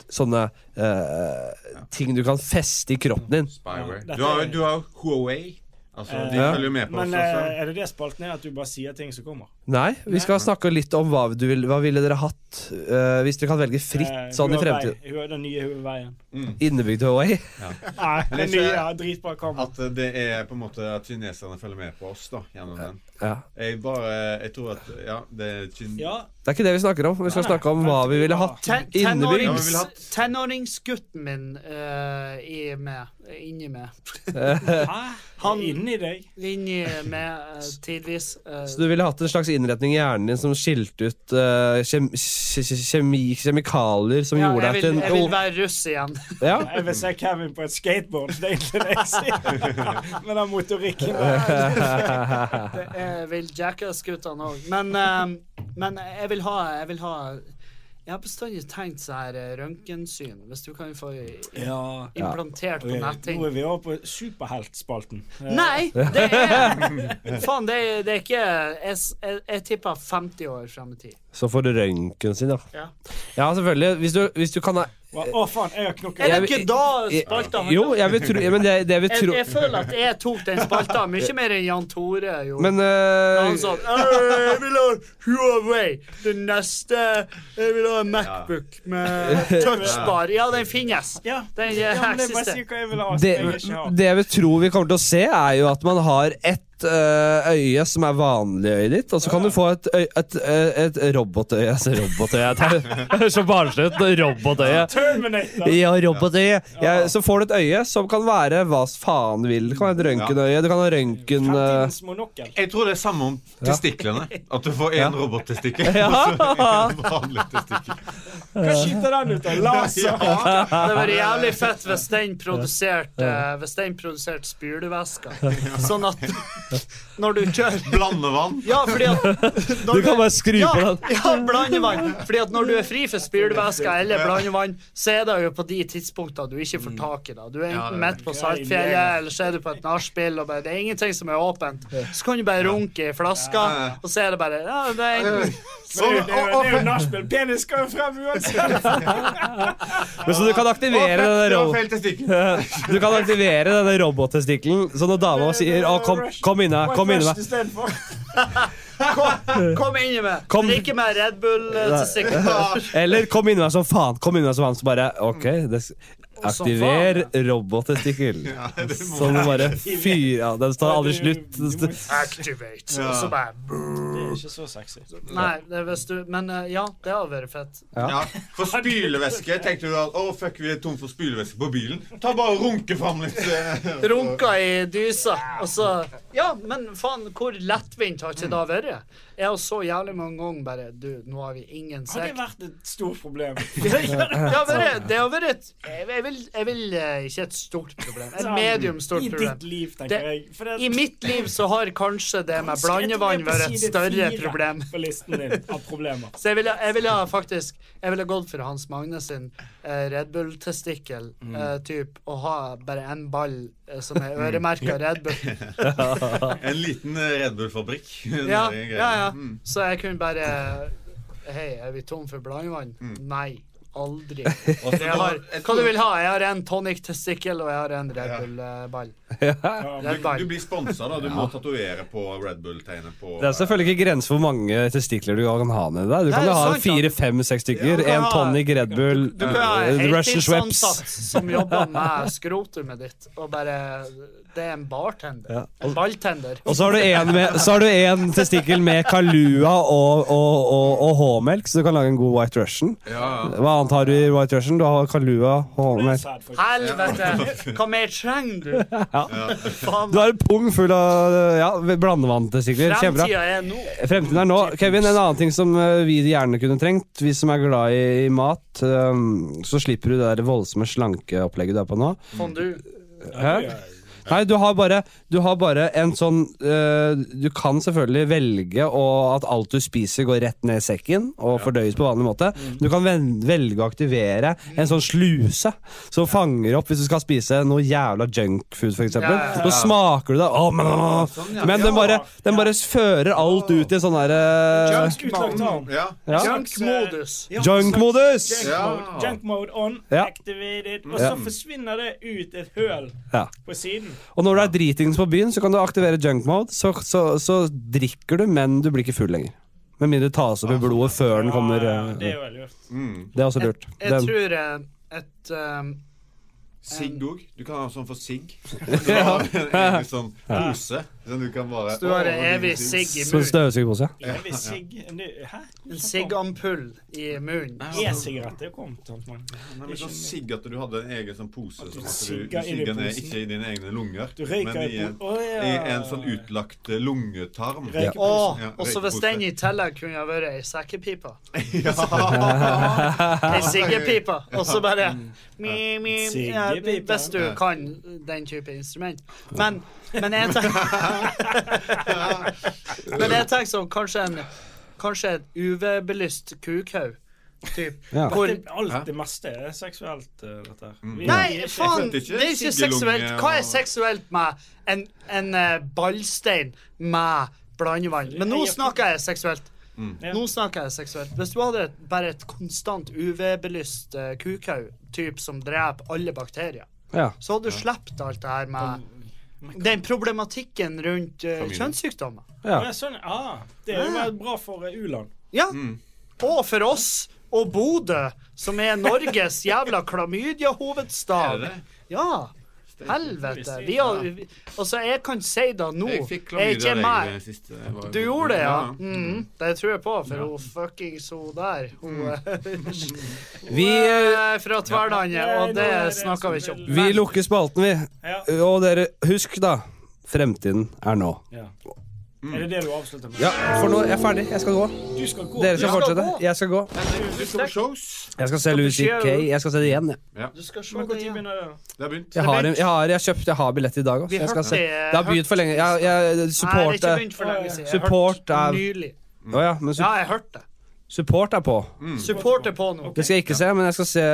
Speaker 1: sånne eh, ting du kan feste i kroppen din.
Speaker 3: Spyware.
Speaker 2: Ja,
Speaker 3: Du har,
Speaker 2: dette er-
Speaker 3: du har Huawei. Altså, de
Speaker 2: Eh,
Speaker 3: følger jo med på
Speaker 2: Men
Speaker 3: oss
Speaker 2: eh,
Speaker 3: også.
Speaker 2: er det det spalten er, at du bare sier ting som kommer?
Speaker 1: Nei, vi skal snakke litt om hva, du vil, hva ville dere hatt eh, hvis dere kan velge
Speaker 2: Eh,
Speaker 1: fritt sånn i
Speaker 2: Huawei.
Speaker 1: fremtiden.
Speaker 2: Hua- Den nye Huawei-en.
Speaker 1: Innebygd Hawaii.
Speaker 2: Nei,
Speaker 3: det er
Speaker 2: den
Speaker 3: ikke-
Speaker 2: nye har dritbra kamera.
Speaker 3: At det er på en måte at kineserne følger med på oss da, gjennom den.
Speaker 1: Ja.
Speaker 3: Jeg bare Jeg tror at Ja, det er kin...
Speaker 2: Ja,
Speaker 1: Det er ikke det vi snakker om. Vi skal
Speaker 2: Nei,
Speaker 1: snakke om hva vi ville hatt
Speaker 4: Ten-
Speaker 1: innebygd.
Speaker 4: tenårings-
Speaker 3: Ja, vi vil ha-
Speaker 4: Tenåringsgutten min eh, i med, inni meg.
Speaker 2: hæ? Han inni deg.
Speaker 4: Inni meg eh, tidvis. eh,
Speaker 1: Så du ville hatt en slags innretning i hjernen din som skilte ut eh, kjem, kje- kje- kjemi, kjemikalier som
Speaker 4: ja,
Speaker 1: gjorde
Speaker 4: jeg,
Speaker 1: deg
Speaker 4: vil,
Speaker 1: til
Speaker 4: jeg vil
Speaker 1: en
Speaker 4: være russ igjen.
Speaker 1: ja?
Speaker 2: Jeg vil se Kevin på et skateboard. Det er egentlig det jeg sier. Med den motorikken der.
Speaker 4: Det er, vil Jackass-guttene òg. Men, eh, men jeg vil ha Jeg vil ha jeg har bestandig tenkt så her eh, røntgensyn, hvis du kan få i-
Speaker 2: Ja.
Speaker 4: implantert på
Speaker 2: Ok,
Speaker 4: netting.
Speaker 2: Nå er vi over på superheltspalten. Eh,
Speaker 4: Nei! Det er Faen, det, er- det er ikke Jeg, s- jeg, jeg tipper 50 år fram i tid.
Speaker 1: Så får du røntgen sin, da.
Speaker 4: Ja.
Speaker 1: Ja, selvfølgelig. Hvis du, hvis du kan ha
Speaker 2: Å, å, faen, jeg har knokket.
Speaker 4: Er det
Speaker 1: Jeg vil-
Speaker 4: ikke da spalta handler
Speaker 1: Jo,
Speaker 4: om?
Speaker 1: jeg vil tro ja, Men det, det jeg vil
Speaker 4: Jeg,
Speaker 1: tro
Speaker 4: jeg føler at jeg tok den spalta mye mer enn Jan Tore gjorde.
Speaker 1: Men eh,
Speaker 4: han sånn «Øh, Jeg vil ha Huawei! Det neste Jeg vil ha en Macbook med touchbar. Ja, den finnes.
Speaker 2: Ja.
Speaker 4: Den
Speaker 2: Ja,
Speaker 4: eh,
Speaker 2: men det er bare å si
Speaker 4: eksisterer.
Speaker 2: hva jeg vil ha. som
Speaker 1: det,
Speaker 2: jeg ikke har.
Speaker 1: det jeg vil tro vi kommer til å se, er jo at man har ett eh, øye som er vanlig øyet ditt, og så kan du få et, øy- et, eh, et robotøye Altså robotøye Det er så barnslig ut. Robotøye.
Speaker 2: Terminator!
Speaker 1: Ja, robotøye. Jeg- så får du et øye som kan være hva faen du vil. Det kan være et røntgenøye, du kan ha røntgen... eh,
Speaker 2: Fremtidens monokkel.
Speaker 3: Jeg tror det er samme om testiklene. At du får én robottestikkel og så
Speaker 1: Ja.
Speaker 3: en vanlig testikkel.
Speaker 2: Hva skyter den ut av? Laser?
Speaker 3: Ja.
Speaker 4: Det var jævlig fett hvis den produserte eh, Hvis den produserte spylevæske. Sånn at når du kjører
Speaker 3: Blandevann.
Speaker 4: Ja, fordi at når
Speaker 1: Du kan bare skru
Speaker 4: ja,
Speaker 1: på den.
Speaker 4: Ja, blandevann. Fordi at når du er fri for spylevæske eller blandevann, så er det jo på de tidspunktene du ikke får tak i det. Du er
Speaker 3: det er
Speaker 4: enten midt på
Speaker 2: det.
Speaker 4: Saltfjellet, eller så er du på et nachspiel, og bare, det er ingenting som er åpent. Så kan du bare runke i flaska, og så er det bare ja, det er enten,
Speaker 2: Det er jo- det er jo- det er jo nachspiel. Penis skal jo frem uansett.
Speaker 1: Men så du kan aktivere denne
Speaker 3: Det var
Speaker 1: ro-
Speaker 3: feil testikkel.
Speaker 1: Du kan aktivere denne robottestikkelen, så når dama sier å, kom, kom inne,
Speaker 2: White
Speaker 1: kom inne
Speaker 2: Rush istedenfor.
Speaker 4: Kom inn i meg.
Speaker 1: Kom.
Speaker 4: Drikke meg Red Bull. eh, til sikkert.
Speaker 1: Eller kom inn meg som faen. Kom inn meg som faen, så bare OK. Det,
Speaker 4: som
Speaker 1: aktiver
Speaker 4: faen,
Speaker 1: robottestikkel.
Speaker 3: Ja, det må-
Speaker 1: Sånn bare fyr Ja, den tar aldri slutt.
Speaker 2: Du- du må-
Speaker 4: Activate. Og så bare
Speaker 2: Det er ikke så sexy.
Speaker 4: Nei, det er hvis du Men eh, ja, det hadde vært fett.
Speaker 3: Ja, For spylevæske tenkte du at å, fuck, vi er tom for spylevæske på bilen. Ta bare og runke fram litt. eh,
Speaker 4: Runka i dysa, og så Ja, men faen, hvor lettvint har ikke det vært? Jeg har så jævlig mange ganger bare Du, nå har vi ingen
Speaker 2: Har det
Speaker 4: sekk.
Speaker 2: vært et stort problem?
Speaker 4: Det har vært, det har vært et jeg, jeg, vil, jeg vil eh, ikke et stort problem. Et medium stort
Speaker 2: I ditt
Speaker 4: problem.
Speaker 2: liv, tenker
Speaker 4: Det-
Speaker 2: jeg. For det-
Speaker 4: I mitt liv så har kanskje det med
Speaker 2: Skal jeg
Speaker 4: blandevann
Speaker 2: tilbake på
Speaker 4: vært et
Speaker 2: side
Speaker 4: større
Speaker 2: fire
Speaker 4: problem.
Speaker 2: På listen din av problemer.
Speaker 4: Så jeg ville, jeg ville faktisk Jeg ville gått for Hans Magne sin eh, Red Bull-testikkel eh, typ, og ha bare en ball eh, som er øremerka Red Bull.
Speaker 3: En liten eh, Red Bull-fabrikk. Den
Speaker 4: Ja,
Speaker 3: der greia.
Speaker 4: ja, ja.
Speaker 3: Mm.
Speaker 4: Så jeg kunne bare Hei, er vi tom for blandevann? Nei. Aldri.
Speaker 3: Og så
Speaker 4: Jeg har,
Speaker 3: jeg
Speaker 4: hva
Speaker 3: tror-
Speaker 4: du vil ha? Jeg har en tonic-testikkel, og jeg har en Red Bull-ball. Red
Speaker 3: Du
Speaker 4: Bull.
Speaker 3: blir sponsa, da. Du må tatovere på Red Bull-tegnet på
Speaker 1: Det er selvfølgelig ikke grenser for hvor mange testikler du kan ha nedi deg. Du kan
Speaker 4: Nei,
Speaker 1: jo ha
Speaker 4: sant, ja.
Speaker 1: fire-fem-seks
Speaker 4: Ja,
Speaker 1: stykker.
Speaker 4: du kan
Speaker 1: En
Speaker 4: ha-
Speaker 1: tonic Red Bull,
Speaker 4: Du kan ha en sånn
Speaker 1: eh, Russian Schweps.
Speaker 4: heltidsansatt som jobber med skrotumet ditt, og bare Det er en bartender. En balltender.
Speaker 1: Og så har du en med- så har du en testikkel med Kalua og, og, og, og H-melk, så du kan lage en god White Russian.
Speaker 3: Ja,
Speaker 1: Hva annet har du i White Russian? Du har Kalua, H-melk
Speaker 2: Sad, faktisk.
Speaker 4: Helvete! Hva mer trenger du? Faen.
Speaker 1: Du har en pung full av ja, blandevanntestikler. Kjempebra.
Speaker 4: Fremtida er nå.
Speaker 1: Fremtiden er nå. Kevin, en annen ting som eh, vi gjerne kunne trengt, vi som er glad i, i mat, eh, så slipper du det der voldsomme slankeopplegget du er på nå.
Speaker 4: Fondue.
Speaker 1: Hæ? Nei, du har bare, du har bare en sånn eh, Du kan selvfølgelig velge å, at alt du spiser, går rett ned i sekken og fordøyes på vanlig måte. Du kan ven- velge å aktivere en sånn sluse som fanger opp hvis du skal spise noe jævla junkfood, f.eks.
Speaker 4: Ja, ja, ja.
Speaker 1: Så smaker du det Åh, men,
Speaker 3: Sånn, ja.
Speaker 1: men den bare, den bare fører alt ut i sånn derre
Speaker 2: Junks utlagt tarm.
Speaker 3: Ja.
Speaker 1: ja.
Speaker 4: Junk-modus.
Speaker 2: Ja,
Speaker 1: Junk-modus!
Speaker 2: slags Junk
Speaker 3: Ja.
Speaker 2: mode. Junk mode on,
Speaker 1: Ja.
Speaker 2: activated, og
Speaker 1: Ja.
Speaker 2: så forsvinner det ut et høl
Speaker 1: Ja.
Speaker 2: på siden.
Speaker 1: Og når du er dritings på byen, så kan du aktivere junk mode. Så, så, så drikker du, men du blir ikke full lenger. Med mindre det tas opp i blodet før den kommer.
Speaker 2: Ja, ja,
Speaker 1: eh,
Speaker 2: det er jo lurt.
Speaker 3: Mm.
Speaker 1: Det er også lurt.
Speaker 4: Jeg
Speaker 1: Den-
Speaker 4: tror eh, et um,
Speaker 3: Sigg òg. Du kan ha sånn for sigg.
Speaker 1: Ja.
Speaker 3: En sånn pose. Sånn du kan bare
Speaker 4: Så du har
Speaker 3: Å, nå
Speaker 4: evig
Speaker 3: blir det
Speaker 4: sigg i
Speaker 1: Så
Speaker 4: munnen.
Speaker 1: støvsugerpose.
Speaker 2: Evig sigg... nu- Hæ?
Speaker 4: En siggampull i munnen.
Speaker 2: E-sigarett er jo kommet. sant, men
Speaker 3: Nei, men sånn sigg at du hadde en egen sånn pose. Sånn at du, du
Speaker 2: sigger inn i
Speaker 3: sigger ned
Speaker 2: posen.
Speaker 3: ikke i dine egne lunger,
Speaker 2: Du røyker
Speaker 3: men
Speaker 2: i
Speaker 3: i en,
Speaker 2: po- Å, ja.
Speaker 3: i en sånn utlagt eh, lungetarm.
Speaker 2: Røyker
Speaker 4: Å,
Speaker 3: Ja,
Speaker 4: og så hvis
Speaker 3: røykepose.
Speaker 4: den i tillegg kunne ha vært ei sekkepipe.
Speaker 3: Ja.
Speaker 4: Ei siggepipe. Og så bare mi, mi, ja,
Speaker 2: Siggepipe.
Speaker 4: Hvis du kan den type instrument. Men, men jeg tenker Men jeg tenker sånn kanskje en Kanskje et UV-belyst kukhaug. Typ.
Speaker 1: Ja.
Speaker 4: Hvor
Speaker 2: Det, alt det meste er seksuelt, eh, dette her.
Speaker 1: Mm.
Speaker 2: Vi-
Speaker 4: Nei, faen!
Speaker 3: følte
Speaker 4: Det
Speaker 3: ikke
Speaker 4: er ikke
Speaker 3: siggelunge
Speaker 4: seksuelt. Hva er
Speaker 3: og-
Speaker 4: seksuelt med en, en eh, ballstein med blandevann? Men nå snakker jeg seksuelt.
Speaker 3: Mm.
Speaker 2: Ja.
Speaker 4: Nå snakker jeg seksuelt. Hvis du hadde et, bare et konstant UV-belyst uh, kukhaug-typ som dreper alle bakterier,
Speaker 1: Ja.
Speaker 4: så hadde du sluppet alt det her med den problematikken rundt eh,
Speaker 3: Familie.
Speaker 4: kjønnssykdommer.
Speaker 1: ja.
Speaker 2: Ja, sånn, ah, det er jo
Speaker 4: Ja.
Speaker 2: vært bra for eh, u-land.
Speaker 4: Ja.
Speaker 3: Mm.
Speaker 4: Og for oss og Bodø, som er Norges jævla
Speaker 3: Er
Speaker 4: klamydia-hovedstad.
Speaker 3: det det?
Speaker 4: Ja. Helvete. Vi har, vi, altså, jeg kan si det nå.
Speaker 3: Jeg fikk klamydia
Speaker 4: Jeg er ikke
Speaker 3: jeg,
Speaker 4: meg.
Speaker 3: det siste. Jeg var-
Speaker 4: Du gjorde det, ja? Mm, det tror jeg på, for hun fuckings hun der Hun,
Speaker 1: Vi, eh,
Speaker 4: hun er fra Tverlandet,
Speaker 2: Nei, nå
Speaker 4: og
Speaker 2: er
Speaker 4: det
Speaker 2: det
Speaker 4: snakker vi ikke
Speaker 2: som
Speaker 4: om.
Speaker 2: vil-
Speaker 1: vi lukker spalten, vi.
Speaker 2: Ja.
Speaker 1: Og dere, husk da. Fremtiden er nå.
Speaker 2: Ja. Er det det du avslutter med?
Speaker 1: Mm. Ja, for nå er jeg ferdig. Jeg skal gå.
Speaker 2: Du skal gå.
Speaker 1: Dere skal
Speaker 4: skal
Speaker 1: fortsette.
Speaker 4: gå.
Speaker 1: Jeg skal gå.
Speaker 3: Du skal på shows.
Speaker 1: Jeg skal se Lucy K. Jeg skal se det igjen. jeg.
Speaker 4: Du skal se
Speaker 2: Men
Speaker 4: det
Speaker 2: når
Speaker 4: igjen.
Speaker 2: begynner det? da?
Speaker 3: Det har begynt.
Speaker 1: Jeg har, en- jeg har, jeg har kjøpt jeg har billett i dag også,
Speaker 4: Vi
Speaker 1: så Jeg skal
Speaker 4: hørte
Speaker 1: se.
Speaker 4: det-
Speaker 1: Det har begynt for lenge. Jeg, jeg,
Speaker 4: Nei, det er
Speaker 1: support
Speaker 4: ikke
Speaker 1: er
Speaker 4: begynt for lenge siden. Jeg
Speaker 1: Support
Speaker 4: hørte
Speaker 1: er-
Speaker 4: nylig.
Speaker 1: Å ja, men
Speaker 4: Ja,
Speaker 1: su-
Speaker 4: jeg hørte det.
Speaker 1: support er på.
Speaker 4: Support er på nå.
Speaker 1: Det skal jeg ikke se, men jeg skal se,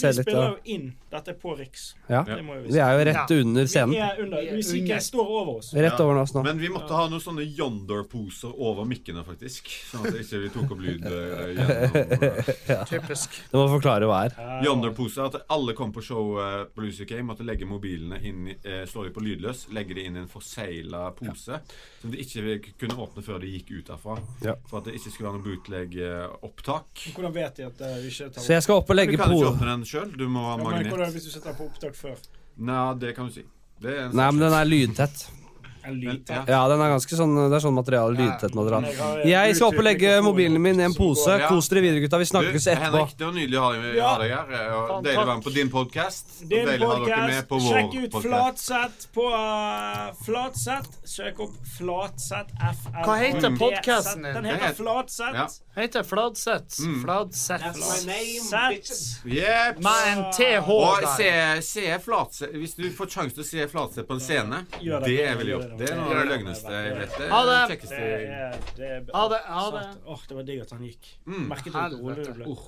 Speaker 1: se
Speaker 2: Vi
Speaker 1: litt.
Speaker 2: spiller
Speaker 1: av-
Speaker 2: jo inn. Dette er på Riks.
Speaker 1: Ja.
Speaker 2: Det må jo
Speaker 1: Vi er jo rett
Speaker 4: Ja.
Speaker 1: under
Speaker 2: Vi
Speaker 1: scenen.
Speaker 2: er under.
Speaker 4: Vi er
Speaker 2: Musikken
Speaker 4: under.
Speaker 2: står over oss.
Speaker 1: Rett over oss nå.
Speaker 3: Men vi måtte ha noen sånne Yonder-poser over mikkene, faktisk. Sånn at ikke vi tok opp lyd eh, gjennom eh,
Speaker 4: Typisk.
Speaker 1: Du må forklare hva er.
Speaker 2: Ja.
Speaker 3: Yonder-poser. At alle kom på show eh, på Lucy K, måtte legge mobilene inn i- eh, Slå dem på lydløs, legge dem inn i en forsegla pose som de ikke kunne åpne før de gikk ut derfra.
Speaker 1: Ja.
Speaker 3: For at det ikke skulle være noe bootleg-opptak.
Speaker 2: Hvordan vet de at eh, vi ikke tar
Speaker 1: Så jeg skal opp og
Speaker 3: Du
Speaker 1: legge
Speaker 3: kan
Speaker 1: på
Speaker 3: ikke åpne den sjøl. Du må ha
Speaker 2: Ja, men hvordan
Speaker 3: magnet.
Speaker 2: hvis du setter på opptak før?
Speaker 3: Nei, det kan du si. Det er en
Speaker 1: Nei, men den er lydtett.
Speaker 2: En liten.
Speaker 3: Ja.
Speaker 1: Ja, den er ganske sånn Det er sånn materiale. Lydtett materiale.
Speaker 2: Jeg har, eh,
Speaker 1: Jeg skal opp og legge
Speaker 2: Bluetooth-mikrofonen.
Speaker 1: mobilen min i en pose.
Speaker 3: går, ja.
Speaker 1: Kos dere videre, gutta. Vi
Speaker 3: Du,
Speaker 1: snakkes etterpå.
Speaker 3: Henrik, det var nydelig å ha deg, ha deg her. Eh, og
Speaker 4: Faen,
Speaker 3: Deilig å
Speaker 4: takk.
Speaker 3: være med på din podkast.
Speaker 2: Det er en
Speaker 3: Deilig å ha dere med
Speaker 2: podcast.
Speaker 3: på vår
Speaker 2: Sjekk ut
Speaker 3: podcast.
Speaker 2: Flatsett på eh, Flatsett. Søk opp Flatsett FL.
Speaker 4: Hva heter podcasten din?
Speaker 2: Den
Speaker 3: Det
Speaker 2: heter
Speaker 3: heter- Ja.
Speaker 2: Flatsett.
Speaker 4: Heter Fladseth. Fladseth.
Speaker 2: Flatsett.
Speaker 3: Yep.
Speaker 4: Med en TH
Speaker 3: Og se,
Speaker 4: der.
Speaker 3: se Flatse Hvis du får sjanse til å se Flatse på en scene,
Speaker 2: Gjør det.
Speaker 3: det er vel jobb. Det er noe av det
Speaker 2: Gjør det.
Speaker 3: løgneste jeg vet. Det er
Speaker 4: Ha
Speaker 3: det
Speaker 4: det.
Speaker 3: kjekkeste
Speaker 2: Det er- det er-
Speaker 4: Ha det, ha det. Oh,
Speaker 2: Satan. Åh, det var digg at han gikk. Merket du hvor rolig det ble?
Speaker 3: Mm. Uff.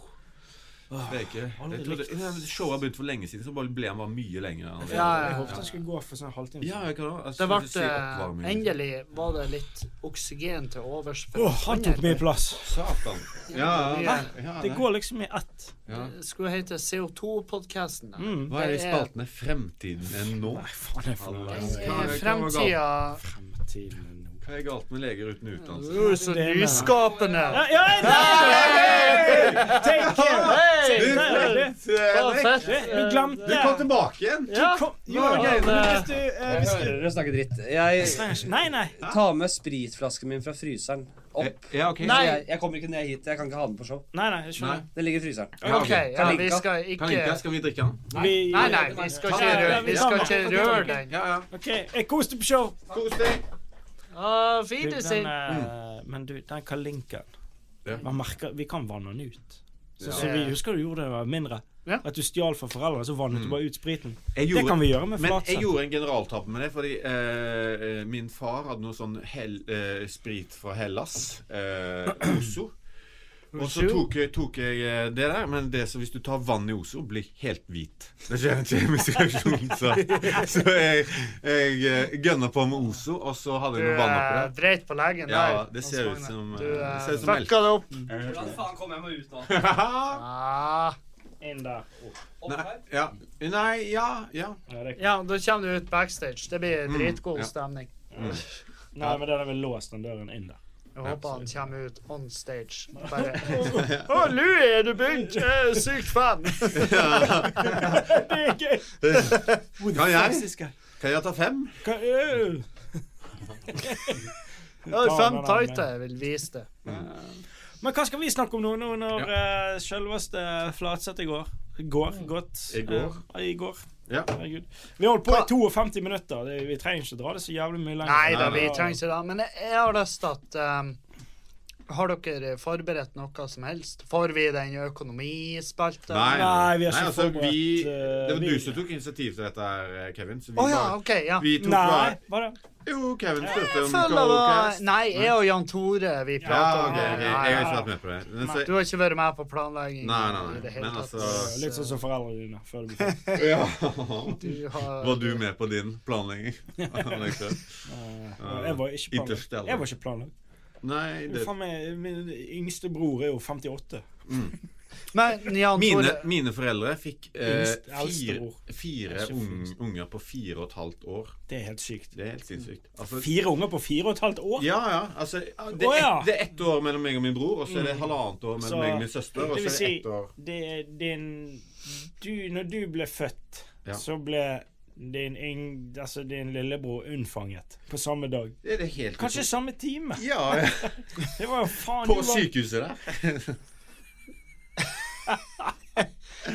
Speaker 3: Det er ikke jeg trodde,
Speaker 2: likt.
Speaker 3: Nei, men Showet har begynt for lenge siden, så bare ble han bare mye lenger. enn han
Speaker 4: Ja,
Speaker 3: var.
Speaker 4: ja,
Speaker 2: Jeg
Speaker 4: ja.
Speaker 2: håpet han skulle gå for sånn halvtime.
Speaker 3: Ja, jeg kan også. altså,
Speaker 4: Det
Speaker 3: Jeg
Speaker 4: ble eh,
Speaker 3: skulle si oppvarming.
Speaker 4: Endelig var det litt oksygen til overs. for
Speaker 2: Åh, han tok mye plass.
Speaker 3: Satan. Ja, ja. ja,
Speaker 2: Det går liksom i ett.
Speaker 3: ja.
Speaker 4: Det Eh, Skulle hete CO2-podkasten.
Speaker 2: Mm.
Speaker 3: Hva er det i spalten? Er Fremtiden er nå?
Speaker 2: Faen, det er for noe.
Speaker 3: Hva er- hva er galt-
Speaker 4: Fremtida
Speaker 2: Fremtiden.
Speaker 3: Hva er galt med leger uten utdannelse?
Speaker 4: Du er så nyskapende.
Speaker 2: Ja, ja, nei! Take care!
Speaker 4: Hei!
Speaker 2: Det er det.
Speaker 4: Så fett.
Speaker 2: Det- Du glemte
Speaker 3: Du kom tilbake igjen!
Speaker 4: Ja.
Speaker 2: Kom, jo, men hvis du, eh, hvis du
Speaker 1: Dere snakker dritt. Jeg
Speaker 2: Nei, nei.
Speaker 1: tar med spritflasken min fra fryseren opp.
Speaker 3: Eh, Ja, ok.
Speaker 4: Nei.
Speaker 1: Jeg, jeg kommer ikke ned hit. Jeg kan ikke ha den på show.
Speaker 2: Nei, nei, jeg
Speaker 3: Nei.
Speaker 2: skjønner.
Speaker 1: Den ligger i fryseren.
Speaker 3: Ja,
Speaker 4: OK, ja, vi skal
Speaker 3: Kan ikke,
Speaker 4: ikke
Speaker 3: skal vi drikke den?
Speaker 2: Vi-
Speaker 4: Nei, nei, vi skal ikke røre, vi skal ikke røre den.
Speaker 3: Ja, ja.
Speaker 2: OK, jeg koste på show.
Speaker 3: Kos deg!
Speaker 4: Ah,
Speaker 2: Du,
Speaker 4: Fint,
Speaker 2: den, eh, men du, den kalinken
Speaker 3: Mm. Ja.
Speaker 2: Man merker Vi kan vanne den ut. Sånn som vi husker du gjorde da vi var mindre.
Speaker 4: Ja.
Speaker 2: At du stjal fra foreldrene, så vannet du bare ut spriten.
Speaker 3: Mm. Jeg
Speaker 2: Det
Speaker 3: gjorde-
Speaker 2: kan vi gjøre med
Speaker 3: Men jeg
Speaker 2: Flatseth.
Speaker 3: gjorde en generaltabbe med det, fordi eh, eh, min far hadde noe sånn hell, eh, sprit fra Hellas, eh, Ozo. Og så
Speaker 4: Ozo?
Speaker 3: tok, jeg- tok jeg eh, det der, men det som hvis du tar vann i Ozo, blir helt hvit. Det skjer en kjemisk reaksjon, så, så jeg, jeg eh, gønna på med Ozo, og så hadde
Speaker 4: Du
Speaker 3: jeg noe vann oppi
Speaker 4: eh,
Speaker 3: der.
Speaker 4: dreit på legen der.
Speaker 3: Ja, det
Speaker 4: Hans
Speaker 3: ser ut
Speaker 4: Magne.
Speaker 3: som, eh,
Speaker 4: Du
Speaker 3: det ser
Speaker 4: eh,
Speaker 3: ut som melk.
Speaker 4: fucka det opp.
Speaker 1: Hvordan faen kom jeg meg ut nå?
Speaker 4: Ah.
Speaker 2: Inn der. opp.
Speaker 1: Opp
Speaker 3: Nei,
Speaker 1: her?
Speaker 3: ja. Nei, ja, ja.
Speaker 2: Ja, det,
Speaker 4: Ja, da kommer du ut backstage. Det blir
Speaker 3: Mm,
Speaker 4: dritgod
Speaker 3: ja.
Speaker 4: stemning.
Speaker 2: nei, men den har vi låst, den døren inn der.
Speaker 4: Jeg håper han kommer ut on stage. Bare Å, Louie, er du begynt? Jeg er sykt fan.
Speaker 2: Det er gøy!
Speaker 3: Kan jeg? Kan jeg ta fem?
Speaker 2: Hva, øh.
Speaker 4: Jeg har
Speaker 2: Ta
Speaker 4: fem
Speaker 2: den,
Speaker 4: tighter. Jeg vil vise det.
Speaker 3: Mm.
Speaker 2: Eh, Men hva skal vi snakke om nå, nå når eh, selveste Flatseth i går Går
Speaker 4: Mm.
Speaker 2: gått.
Speaker 3: I går.
Speaker 2: Eh, I går.
Speaker 3: Ja.
Speaker 2: Herregud. Vi har holdt på
Speaker 4: Hva-
Speaker 2: i 52 minutter. Det, vi trenger ikke dra det så jævlig mye lenger.
Speaker 4: Nei da, vi trenger ikke det. Men jeg- jeg har lyst til at ehm, Har dere forberedt noe som helst? Får vi den økonomispalten?
Speaker 3: Nei,
Speaker 2: Nei, vi har ikke
Speaker 3: nei, altså,
Speaker 2: forberedt,
Speaker 3: vi,
Speaker 2: eh,
Speaker 3: Det var
Speaker 2: vi-
Speaker 3: du som tok initiativ til dette, her, eh, Kevin. Så vi,
Speaker 4: Å ja,
Speaker 3: bare,
Speaker 4: OK. Ja.
Speaker 3: vi tok
Speaker 2: Nei,
Speaker 3: bare
Speaker 2: bare
Speaker 3: Jo, Kevin spurte
Speaker 4: Jeg
Speaker 3: om
Speaker 4: føler
Speaker 3: Corecast.
Speaker 4: det Nei, jeg og Jan Tore, vi
Speaker 3: Ja,
Speaker 4: prater om
Speaker 3: ok, ok,
Speaker 4: det.
Speaker 3: Jeg
Speaker 4: Nei,
Speaker 3: har
Speaker 4: nei,
Speaker 3: ikke
Speaker 4: nei.
Speaker 3: vært med på det. Men så,
Speaker 4: Du har ikke vært med på planlegging
Speaker 3: Nei, nei, nei,
Speaker 4: i det hele
Speaker 3: men
Speaker 4: tatt.
Speaker 3: altså-
Speaker 2: litt sånn som foreldrene dine. Før du blir født.
Speaker 3: ja.
Speaker 4: Du har-
Speaker 3: Var du med på din planlegging?
Speaker 2: Eh, Jeg var ikke planlagt.
Speaker 3: Interstellar.
Speaker 2: Jeg var ikke planlagt.
Speaker 3: Nei,
Speaker 2: Jo,
Speaker 3: det,
Speaker 2: faen meg, min yngste bror er jo 58.
Speaker 4: Men Jan
Speaker 3: mine,
Speaker 4: Tore
Speaker 3: mine foreldre fikk eh,
Speaker 2: Yngst- eldste
Speaker 3: fire,
Speaker 2: bror. Det
Speaker 3: fire
Speaker 2: er ikke
Speaker 3: ung-
Speaker 2: fint.
Speaker 3: unger på fire og et halvt år.
Speaker 2: Det er helt sykt.
Speaker 3: Det er helt sinnssykt. Altså,
Speaker 2: Fire unger på fire og et halvt år?
Speaker 3: ja, ja. Altså, det,
Speaker 2: Å,
Speaker 3: er
Speaker 2: ja. Mm.
Speaker 3: ett, det er ett år mellom meg og min bror, og så er det halvannet år mellom
Speaker 2: Så-
Speaker 3: meg og min søster. Og så
Speaker 2: Det vil
Speaker 3: er det
Speaker 2: si,
Speaker 3: ett år
Speaker 2: det er din du, Når du ble født,
Speaker 3: Ja.
Speaker 2: så ble din, yng, altså din lillebror unnfanget på samme dag.
Speaker 3: Det er det helt
Speaker 2: Kanskje samme time!
Speaker 3: Ja, ja.
Speaker 2: Det var jo faen
Speaker 3: På
Speaker 2: det var-
Speaker 3: sykehuset der.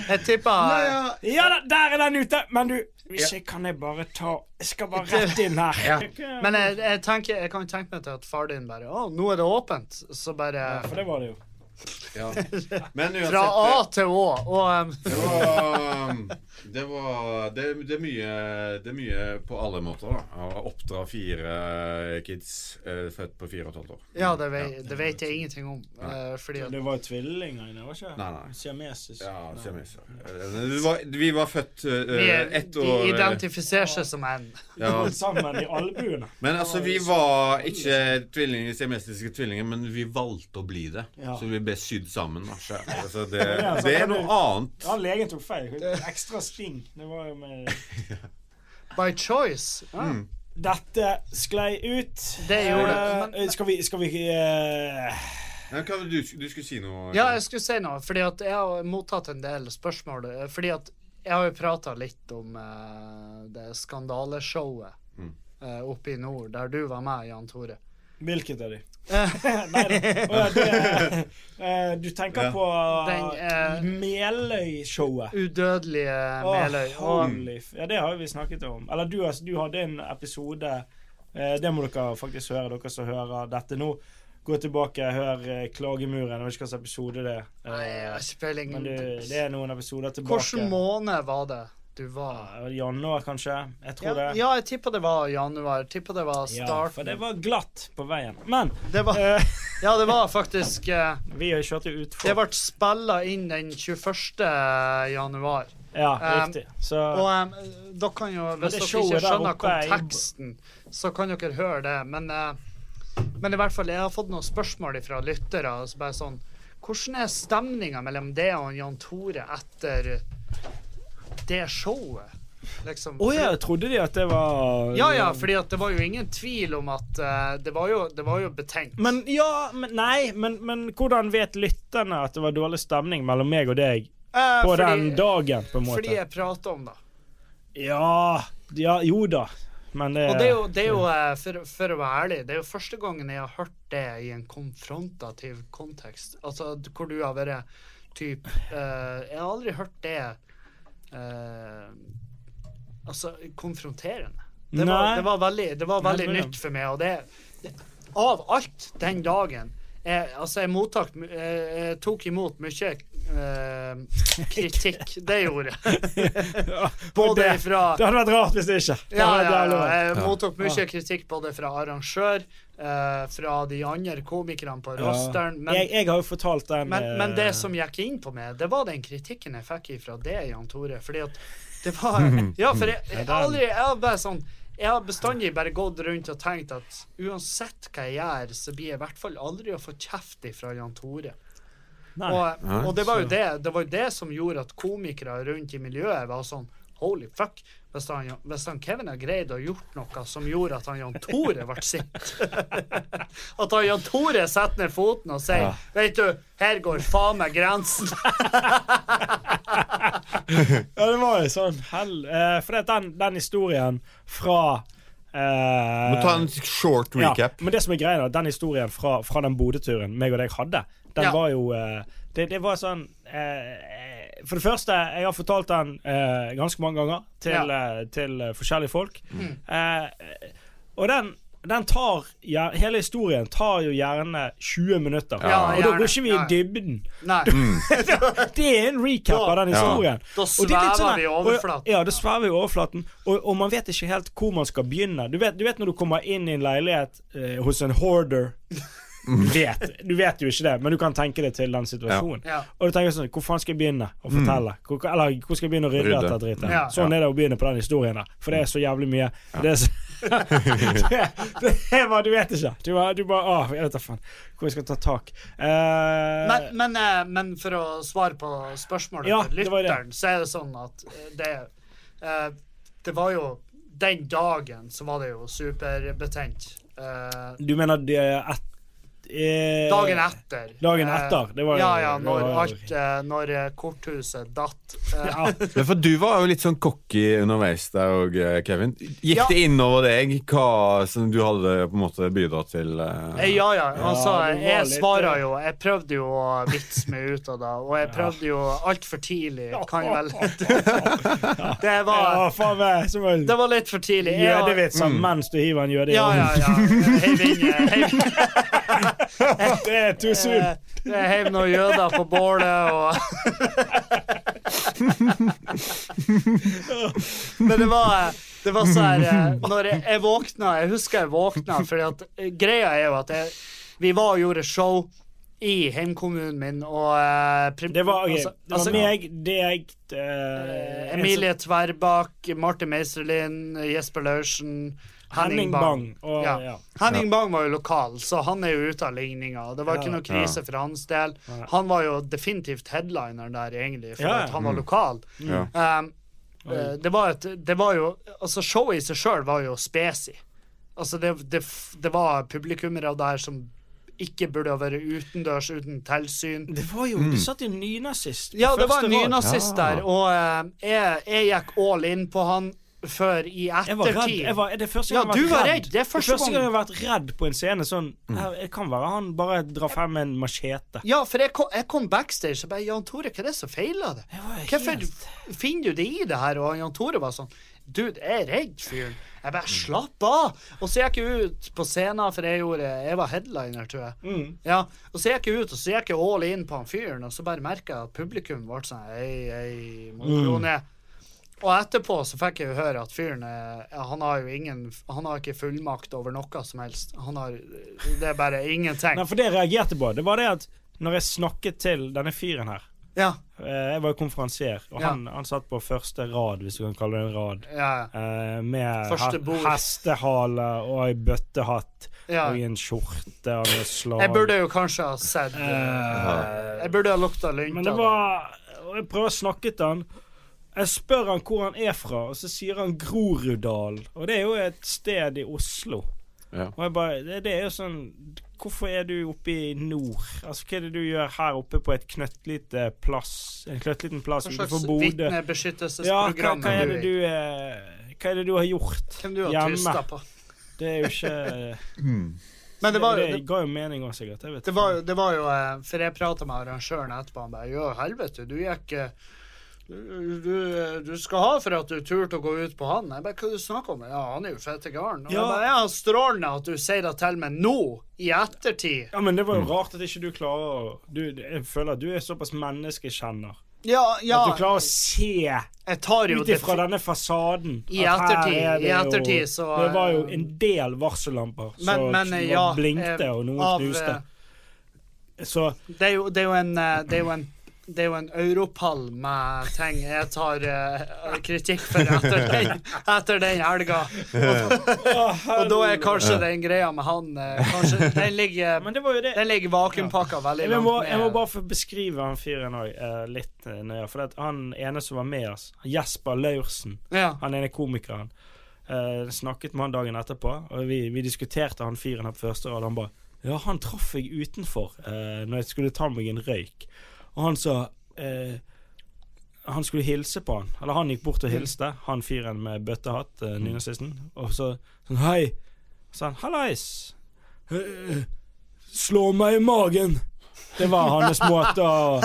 Speaker 4: Jeg tipper
Speaker 2: Ja da, der er den ute! Men du, hvis
Speaker 3: Ja.
Speaker 2: jeg kan jeg bare ta Jeg skal bare rett inn her.
Speaker 3: Ja.
Speaker 4: Men jeg, jeg, tenker, jeg kan tenke meg til at far din bare Å, nå er det åpent. Så bare
Speaker 2: For det var det jo.
Speaker 3: Ja. Men uansett
Speaker 4: Fra A til Å. Og um,
Speaker 3: Det var, um, det, var det, det, er mye, det er mye på alle måter, da. Å oppdra fire kids eh, født på fire og et halvt år.
Speaker 4: Ja, det vet, det vet jeg ingenting om. eh, fordi at
Speaker 2: Det var jo tvillinger inne, var ikke det?
Speaker 3: Nei, nei.
Speaker 2: Siamesisk.
Speaker 3: Ja, siameser. Eh, det var- Vi var født
Speaker 4: vi,
Speaker 3: eh,
Speaker 4: er-
Speaker 3: ett
Speaker 4: de
Speaker 3: år eh,
Speaker 4: identifiserer seg som en.
Speaker 3: ja.
Speaker 2: Sammen i albuene.
Speaker 3: Men altså, vi var ikke tvillinger, siamesiske tvillinger, men vi valgte å bli det.
Speaker 2: Ja.
Speaker 3: Så vi ble sydd sammen. da. Så, Altså, det,
Speaker 2: Ja, så
Speaker 3: det
Speaker 2: kan
Speaker 3: er
Speaker 2: du-
Speaker 3: noe annet.
Speaker 2: Ja, legen tok feil. Ekstra sting. Det var jo med
Speaker 4: By choice. Ja.
Speaker 2: Dette sklei ut.
Speaker 4: Det gjorde det.
Speaker 2: Eh,
Speaker 4: Men-
Speaker 2: skal vi, skal vi eh,
Speaker 3: Men hva var det du, du skulle si noe?
Speaker 4: Ja, jeg skulle si noe, fordi at jeg har mottatt en del spørsmål. eh, Fordi at jeg har jo prata litt om eh, det skandaleshowet eh, oppe i nord, der du var med, Jan Tore.
Speaker 2: Hvilket av de?
Speaker 4: Eh,
Speaker 2: Nei da. Å, ja, det, eh, du tenker
Speaker 3: Ja.
Speaker 2: på
Speaker 4: Den, eh,
Speaker 2: Meløy-showet.
Speaker 4: udødelige
Speaker 2: Å,
Speaker 4: Meløy. Og
Speaker 2: holy f- Ja, det har jo vi snakket om. Eller du, har- du hadde en episode eh, Det må dere faktisk høre, dere som hører dette nå. Gå tilbake, hør eh, Klagemuren. Jeg vet ikke hvilken episode det er. Eh,
Speaker 4: Nei, jeg har ikke peiling.
Speaker 2: Men du, det er noen episoder tilbake.
Speaker 4: Hvilken måned var det du var?
Speaker 2: Ja, Januar, kanskje? Jeg tror
Speaker 4: Ja,
Speaker 2: det.
Speaker 4: ja, jeg tipper det var januar. Tipper det var
Speaker 2: Ja, for
Speaker 4: starten.
Speaker 2: det var glatt på veien. Men
Speaker 4: det var,
Speaker 2: eh,
Speaker 4: ja, det var faktisk eh,
Speaker 2: vi kjørte jo
Speaker 4: Ah. Det
Speaker 2: utfor.
Speaker 4: ble spilla inn den 21. januar.
Speaker 2: Ja,
Speaker 4: eh,
Speaker 2: riktig. Så
Speaker 4: Og em, dere kan jo,
Speaker 2: Men
Speaker 4: hvis
Speaker 2: det
Speaker 4: dere
Speaker 2: showet
Speaker 4: ikke
Speaker 2: der
Speaker 4: skjønner
Speaker 2: oppe er i-
Speaker 4: konteksten, så kan dere høre det. Men, eh, men i hvert fall, jeg har fått noen spørsmål fra lyttere. og så bare sånn, Hvordan er stemninga mellom det og Jan Tore etter det showet? Liksom,
Speaker 2: Å ja, trodde de at det var
Speaker 4: Ja, ja, fordi at det var jo ingen tvil om at eh, det, var jo, det var jo betenkt.
Speaker 2: Men ja, men nei, men, men hvordan vet lytterne at det var dårlig stemning mellom meg og deg
Speaker 4: Eh,
Speaker 2: på
Speaker 4: fordi-
Speaker 2: den dagen, på en måte?
Speaker 4: Fordi jeg prater om det.
Speaker 2: Ja, ja Jo da, men det
Speaker 4: Og det er jo, det er jo eh, for, for å være ærlig, det er jo første gangen jeg har hørt det i en konfrontativ kontekst. Altså d- hvor du har vært typ eh, Jeg har aldri hørt det eh, Altså konfronterende. Det var,
Speaker 2: Nei.
Speaker 4: det var veldig, det var
Speaker 2: Nei,
Speaker 4: veldig
Speaker 2: det var det.
Speaker 4: nytt for meg, og det, det Av alt den dagen jeg, Altså, jeg mottok m- eh, Jeg tok imot mye eh, kritikk. Det gjorde jeg.
Speaker 2: det,
Speaker 4: Både
Speaker 2: det
Speaker 4: fra
Speaker 2: hadde vært rart hvis det ikke. Det
Speaker 4: ja,
Speaker 2: hadde vært
Speaker 4: ja, ja,
Speaker 2: jævlig rart.
Speaker 4: jeg mottok
Speaker 2: Ja.
Speaker 4: mye kritikk både fra arrangør, eh, fra de andre komikerne på rosteren.
Speaker 2: jeg,
Speaker 4: Men,
Speaker 2: jeg har jo fortalt den
Speaker 4: men,
Speaker 2: eh,
Speaker 4: men det som gikk inn på meg, det var den kritikken jeg fikk ifra det, Jan Tore. Fordi at det var Ja, for jeg, jeg, har aldri, jeg har bare sånn jeg har bestandig bare gått rundt og tenkt at uansett hva jeg gjør, så blir jeg i hvert fall aldri å få kjeft ifra Jan Tore.
Speaker 2: Nei.
Speaker 4: Og,
Speaker 3: Nei,
Speaker 4: og det var jo det, det var jo det som gjorde at komikere rundt i miljøet var sånn Holy fuck. Hvis han, hvis han Kevin har greid å gjort noe som gjorde at han Jan Tore ble sint At han Jan Tore setter ned foten og sier
Speaker 3: Ja.
Speaker 4: Vet du, her går faen meg grensen.
Speaker 2: Ja, det var jo sånn hell... eh, for det, at den, den historien fra eh,
Speaker 5: Må ta en short recap.
Speaker 2: Ja, men det som er greia, da, den historien fra, fra den Bodø-turen meg og deg hadde, den
Speaker 4: Ja.
Speaker 2: var jo eh, det, det var sånn eh, For det første, jeg har fortalt den eh, ganske mange ganger til, eh, til eh, forskjellige folk.
Speaker 4: Mm.
Speaker 2: Eh, og den den tar, ja, Hele historien tar jo gjerne 20 minutter.
Speaker 4: Ja,
Speaker 2: og da går
Speaker 4: gjerne.
Speaker 2: ikke vi
Speaker 4: Ja.
Speaker 2: i dybden.
Speaker 4: Nei,
Speaker 3: Mm.
Speaker 2: Det er en recap av den
Speaker 5: Ja.
Speaker 2: historien.
Speaker 4: da
Speaker 2: Og det er litt
Speaker 4: svever
Speaker 2: sånn
Speaker 4: vi i
Speaker 2: der- og-
Speaker 4: overflaten.
Speaker 2: Ja, det svever vi i overflaten. Og, og man vet ikke helt hvor man skal begynne. Du vet, du vet når du kommer inn i en leilighet eh, hos en hoarder du vet, du vet jo ikke det, men du kan tenke deg til den situasjonen.
Speaker 4: Ja. Ja.
Speaker 2: Og du tenker sånn Hvor faen skal jeg begynne å fortelle? Hvor, eller hvor skal jeg begynne å rydde
Speaker 5: Rydde.
Speaker 2: etter dritten?
Speaker 4: Ja.
Speaker 2: Sånn er det å begynne på den historien der. For det er så jævlig mye. Det er så det, det er bare, Du vet ikke. Du bare, du bare Å, jeg vet da faen hvor jeg skal ta tak. Eh,
Speaker 4: Men, men, eh, men for å svare på spørsmålet
Speaker 2: Ja,
Speaker 4: til
Speaker 2: det var det.
Speaker 4: lytteren, så er det sånn at eh, det eh, Det var jo Den dagen så var det jo superbetent. Eh,
Speaker 2: Du mener det er et, eh,
Speaker 4: Dagen etter.
Speaker 2: Dagen
Speaker 4: Eh,
Speaker 2: etter, det var jo-
Speaker 4: ja, ja,
Speaker 2: det
Speaker 4: når,
Speaker 2: var jo-
Speaker 4: alt, eh, når eh, korthuset datt. Eh,
Speaker 2: Ja.
Speaker 5: Men for du var jo litt sånn cocky underveis der òg, Kevin. Gikk
Speaker 4: Ja.
Speaker 5: det innover deg hva som du hadde på en måte bidratt til? eh?
Speaker 4: Eh, Ja, ja. Altså,
Speaker 2: Ja, det var
Speaker 4: jeg
Speaker 2: litt,
Speaker 4: svarer
Speaker 2: eh,
Speaker 4: jo Jeg prøvde jo å vitse meg ut av det, og jeg prøvde jo altfor tidlig, kan jeg vel Det
Speaker 2: Ja,
Speaker 4: var,
Speaker 2: faen meg. Som en
Speaker 4: det var litt for tidlig. Jeg-
Speaker 2: jødevits sånn, mens du hiver en jøde i
Speaker 4: Ja, ja,
Speaker 2: ovnen.
Speaker 4: ja. Heiv inn, eh, heiv inn
Speaker 2: Det er too soon.
Speaker 4: eh, jeg heiv noen jøder på bålet og Men det var eh, det var så her eh, Når jeg, jeg våkna Jeg husker jeg våkna, fordi at eh, greia er jo at jeg, vi var og gjorde show i hjemkommunen min, og eh, prim-
Speaker 2: Det var, ok,
Speaker 4: altså-
Speaker 2: det var
Speaker 4: altså-
Speaker 2: meg, deg eh,
Speaker 4: Eh,
Speaker 2: en sånn
Speaker 4: Emilie Tverbakk, Marte Meisterlin, Jesper Laursen,
Speaker 2: som- Henning Bang. Og,
Speaker 4: Ja.
Speaker 2: ja.
Speaker 4: Henning Bang var jo lokal, så han er jo ute av ligninga. og Det var
Speaker 2: Ja.
Speaker 4: ikke noe krise for hans del.
Speaker 2: Nei.
Speaker 4: Han var jo definitivt headlineren der, egentlig, for
Speaker 2: Ja, ja.
Speaker 4: at han var lokal.
Speaker 5: Ja.
Speaker 4: Um, eh, det, var et, det var jo Altså, showet i seg sjøl var jo spesi. Altså, det, det, f- det var publikummere der som ikke burde ha vært utendørs uten tilsyn.
Speaker 2: Det var jo Du satt jo nynazist. på
Speaker 4: Ja, det var
Speaker 2: første
Speaker 4: en
Speaker 2: rad.
Speaker 4: nynazist
Speaker 5: Ja.
Speaker 4: der, og eh, jeg, jeg gikk all in på han før i
Speaker 2: Jeg var redd.
Speaker 4: ettertid.
Speaker 2: Jeg var, er det første
Speaker 4: Ja,
Speaker 2: gang
Speaker 4: du
Speaker 2: jeg har
Speaker 4: var
Speaker 2: vært
Speaker 4: redd. Det er første
Speaker 2: første
Speaker 4: gang.
Speaker 2: gang jeg har vært redd på en scene. Sånn her, Det kan være han bare drar frem en machete.
Speaker 4: Ja, for jeg kom, jeg kom backstage og bare Jan Tore, hva er det som feiler det?
Speaker 2: var helt-
Speaker 4: Hvorfor finner du det i det her? Og Jan Tore var sånn Dude, jeg er redd fyren.
Speaker 2: Mm.
Speaker 4: Jeg bare slapp av. Og så gikk jeg ut på scenen, for jeg gjorde Jeg var headliner, tror jeg.
Speaker 2: Mm.
Speaker 4: Ja, og så gikk jeg ut, og så gikk jeg all in på han fyren, og så bare merka jeg at publikum ble sånn Ei, ei, må du ro
Speaker 2: Mm.
Speaker 4: ned. Og etterpå så fikk jeg jo høre at fyren eh, ja, Han har jo ingen Han har ikke fullmakt over noe som helst. Han har Det er bare ingenting.
Speaker 2: Nei, for det jeg reagerte på, det var det at når jeg snakket til denne fyren her
Speaker 4: Ja,
Speaker 2: eh, Jeg var jo konferansier, og
Speaker 4: Ja.
Speaker 2: han, han satt på første rad, hvis du kan kalle det en rad.
Speaker 4: ja, ja.
Speaker 2: eh, med
Speaker 4: Første
Speaker 2: he-
Speaker 4: bord.
Speaker 2: hestehale og ei bøttehatt
Speaker 4: Ja.
Speaker 2: og i en skjorte og noe slag.
Speaker 4: Jeg burde jo kanskje ha sett eh, Jeg burde ha lukta lynta.
Speaker 2: Men det var og Jeg prøver å snakke til han. Jeg spør han hvor han er fra, og så sier han Groruddalen. Og det er jo et sted i Oslo.
Speaker 5: Ja.
Speaker 2: Og jeg bare det, det er jo sånn Hvorfor er du oppe i nord? Altså, hva er det du gjør her oppe på et knøttlite plass? En knøttliten plass utenfor
Speaker 4: Hva slags
Speaker 2: Bodø? Ja, hva,
Speaker 4: vitnebeskyttelsesprogram
Speaker 2: hva
Speaker 4: er
Speaker 2: er det
Speaker 4: du i?
Speaker 2: du eh, Hva er det du har gjort
Speaker 4: Hvem du har tysta på?
Speaker 2: Det er jo ikke Mm.
Speaker 4: Men det var,
Speaker 2: det,
Speaker 4: jo- det,
Speaker 2: ga jo mening òg, sikkert. Jeg vet
Speaker 4: det, var, jo- det var jo eh, For jeg prata med arrangøren etterpå, han bare Ja, helvete, du gikk eh, du, du, du skal ha for at du turte å gå ut på han. Jeg bare, hva er det du snakker om? Ja, han er jo fette gæren. Og jeg
Speaker 2: Ja.
Speaker 4: bare, Ja, strålende at du sier det til meg nå, i ettertid.
Speaker 2: Ja, men det var jo rart at ikke du klarer å du, Jeg føler at du er såpass menneskekjenner.
Speaker 4: Ja, ja.
Speaker 2: At du klarer å se
Speaker 4: Jeg tar jo
Speaker 2: ut
Speaker 4: det.
Speaker 2: ifra denne fasaden
Speaker 4: I
Speaker 2: at her
Speaker 4: ettertid-
Speaker 2: er det
Speaker 4: i
Speaker 2: jo-
Speaker 4: ettertid så,
Speaker 2: Det var jo
Speaker 4: eh,
Speaker 2: en del varsellamper som
Speaker 4: Men- men,
Speaker 2: som
Speaker 4: ja,
Speaker 2: blinkte,
Speaker 4: eh,
Speaker 2: og noen
Speaker 4: av,
Speaker 2: knuste. Så
Speaker 4: Det er jo, det er jo en eh, Det er jo en det er jo en europall med ting jeg tar eh, kritikk for etter den, etter den helga. Og da er kanskje den greia med han eh, kanskje, Den ligger,
Speaker 2: Men det var jo det.
Speaker 4: den ligger vakuumpakka veldig
Speaker 2: Jeg
Speaker 4: langt
Speaker 2: må, jeg må
Speaker 4: ned.
Speaker 2: bare få beskrive han fyren òg eh, litt eh, nøye. For at han ene som var med oss, Jesper Laursen,
Speaker 4: Ja.
Speaker 2: han ene komikeren, eh, snakket med han dagen etterpå, og vi, vi diskuterte han fyren her på første rad. Han bare Ja, han traff jeg utenfor eh, når jeg skulle ta meg en røyk. Og han sa eh, Han skulle hilse på han. Eller han gikk
Speaker 4: Mm.
Speaker 2: bort og hilste, han fyren med bøttehatt, eh, nynazisten. Og så sånn Hei. Så han Hallais. Eh, Slå meg i magen. Det var hans måte å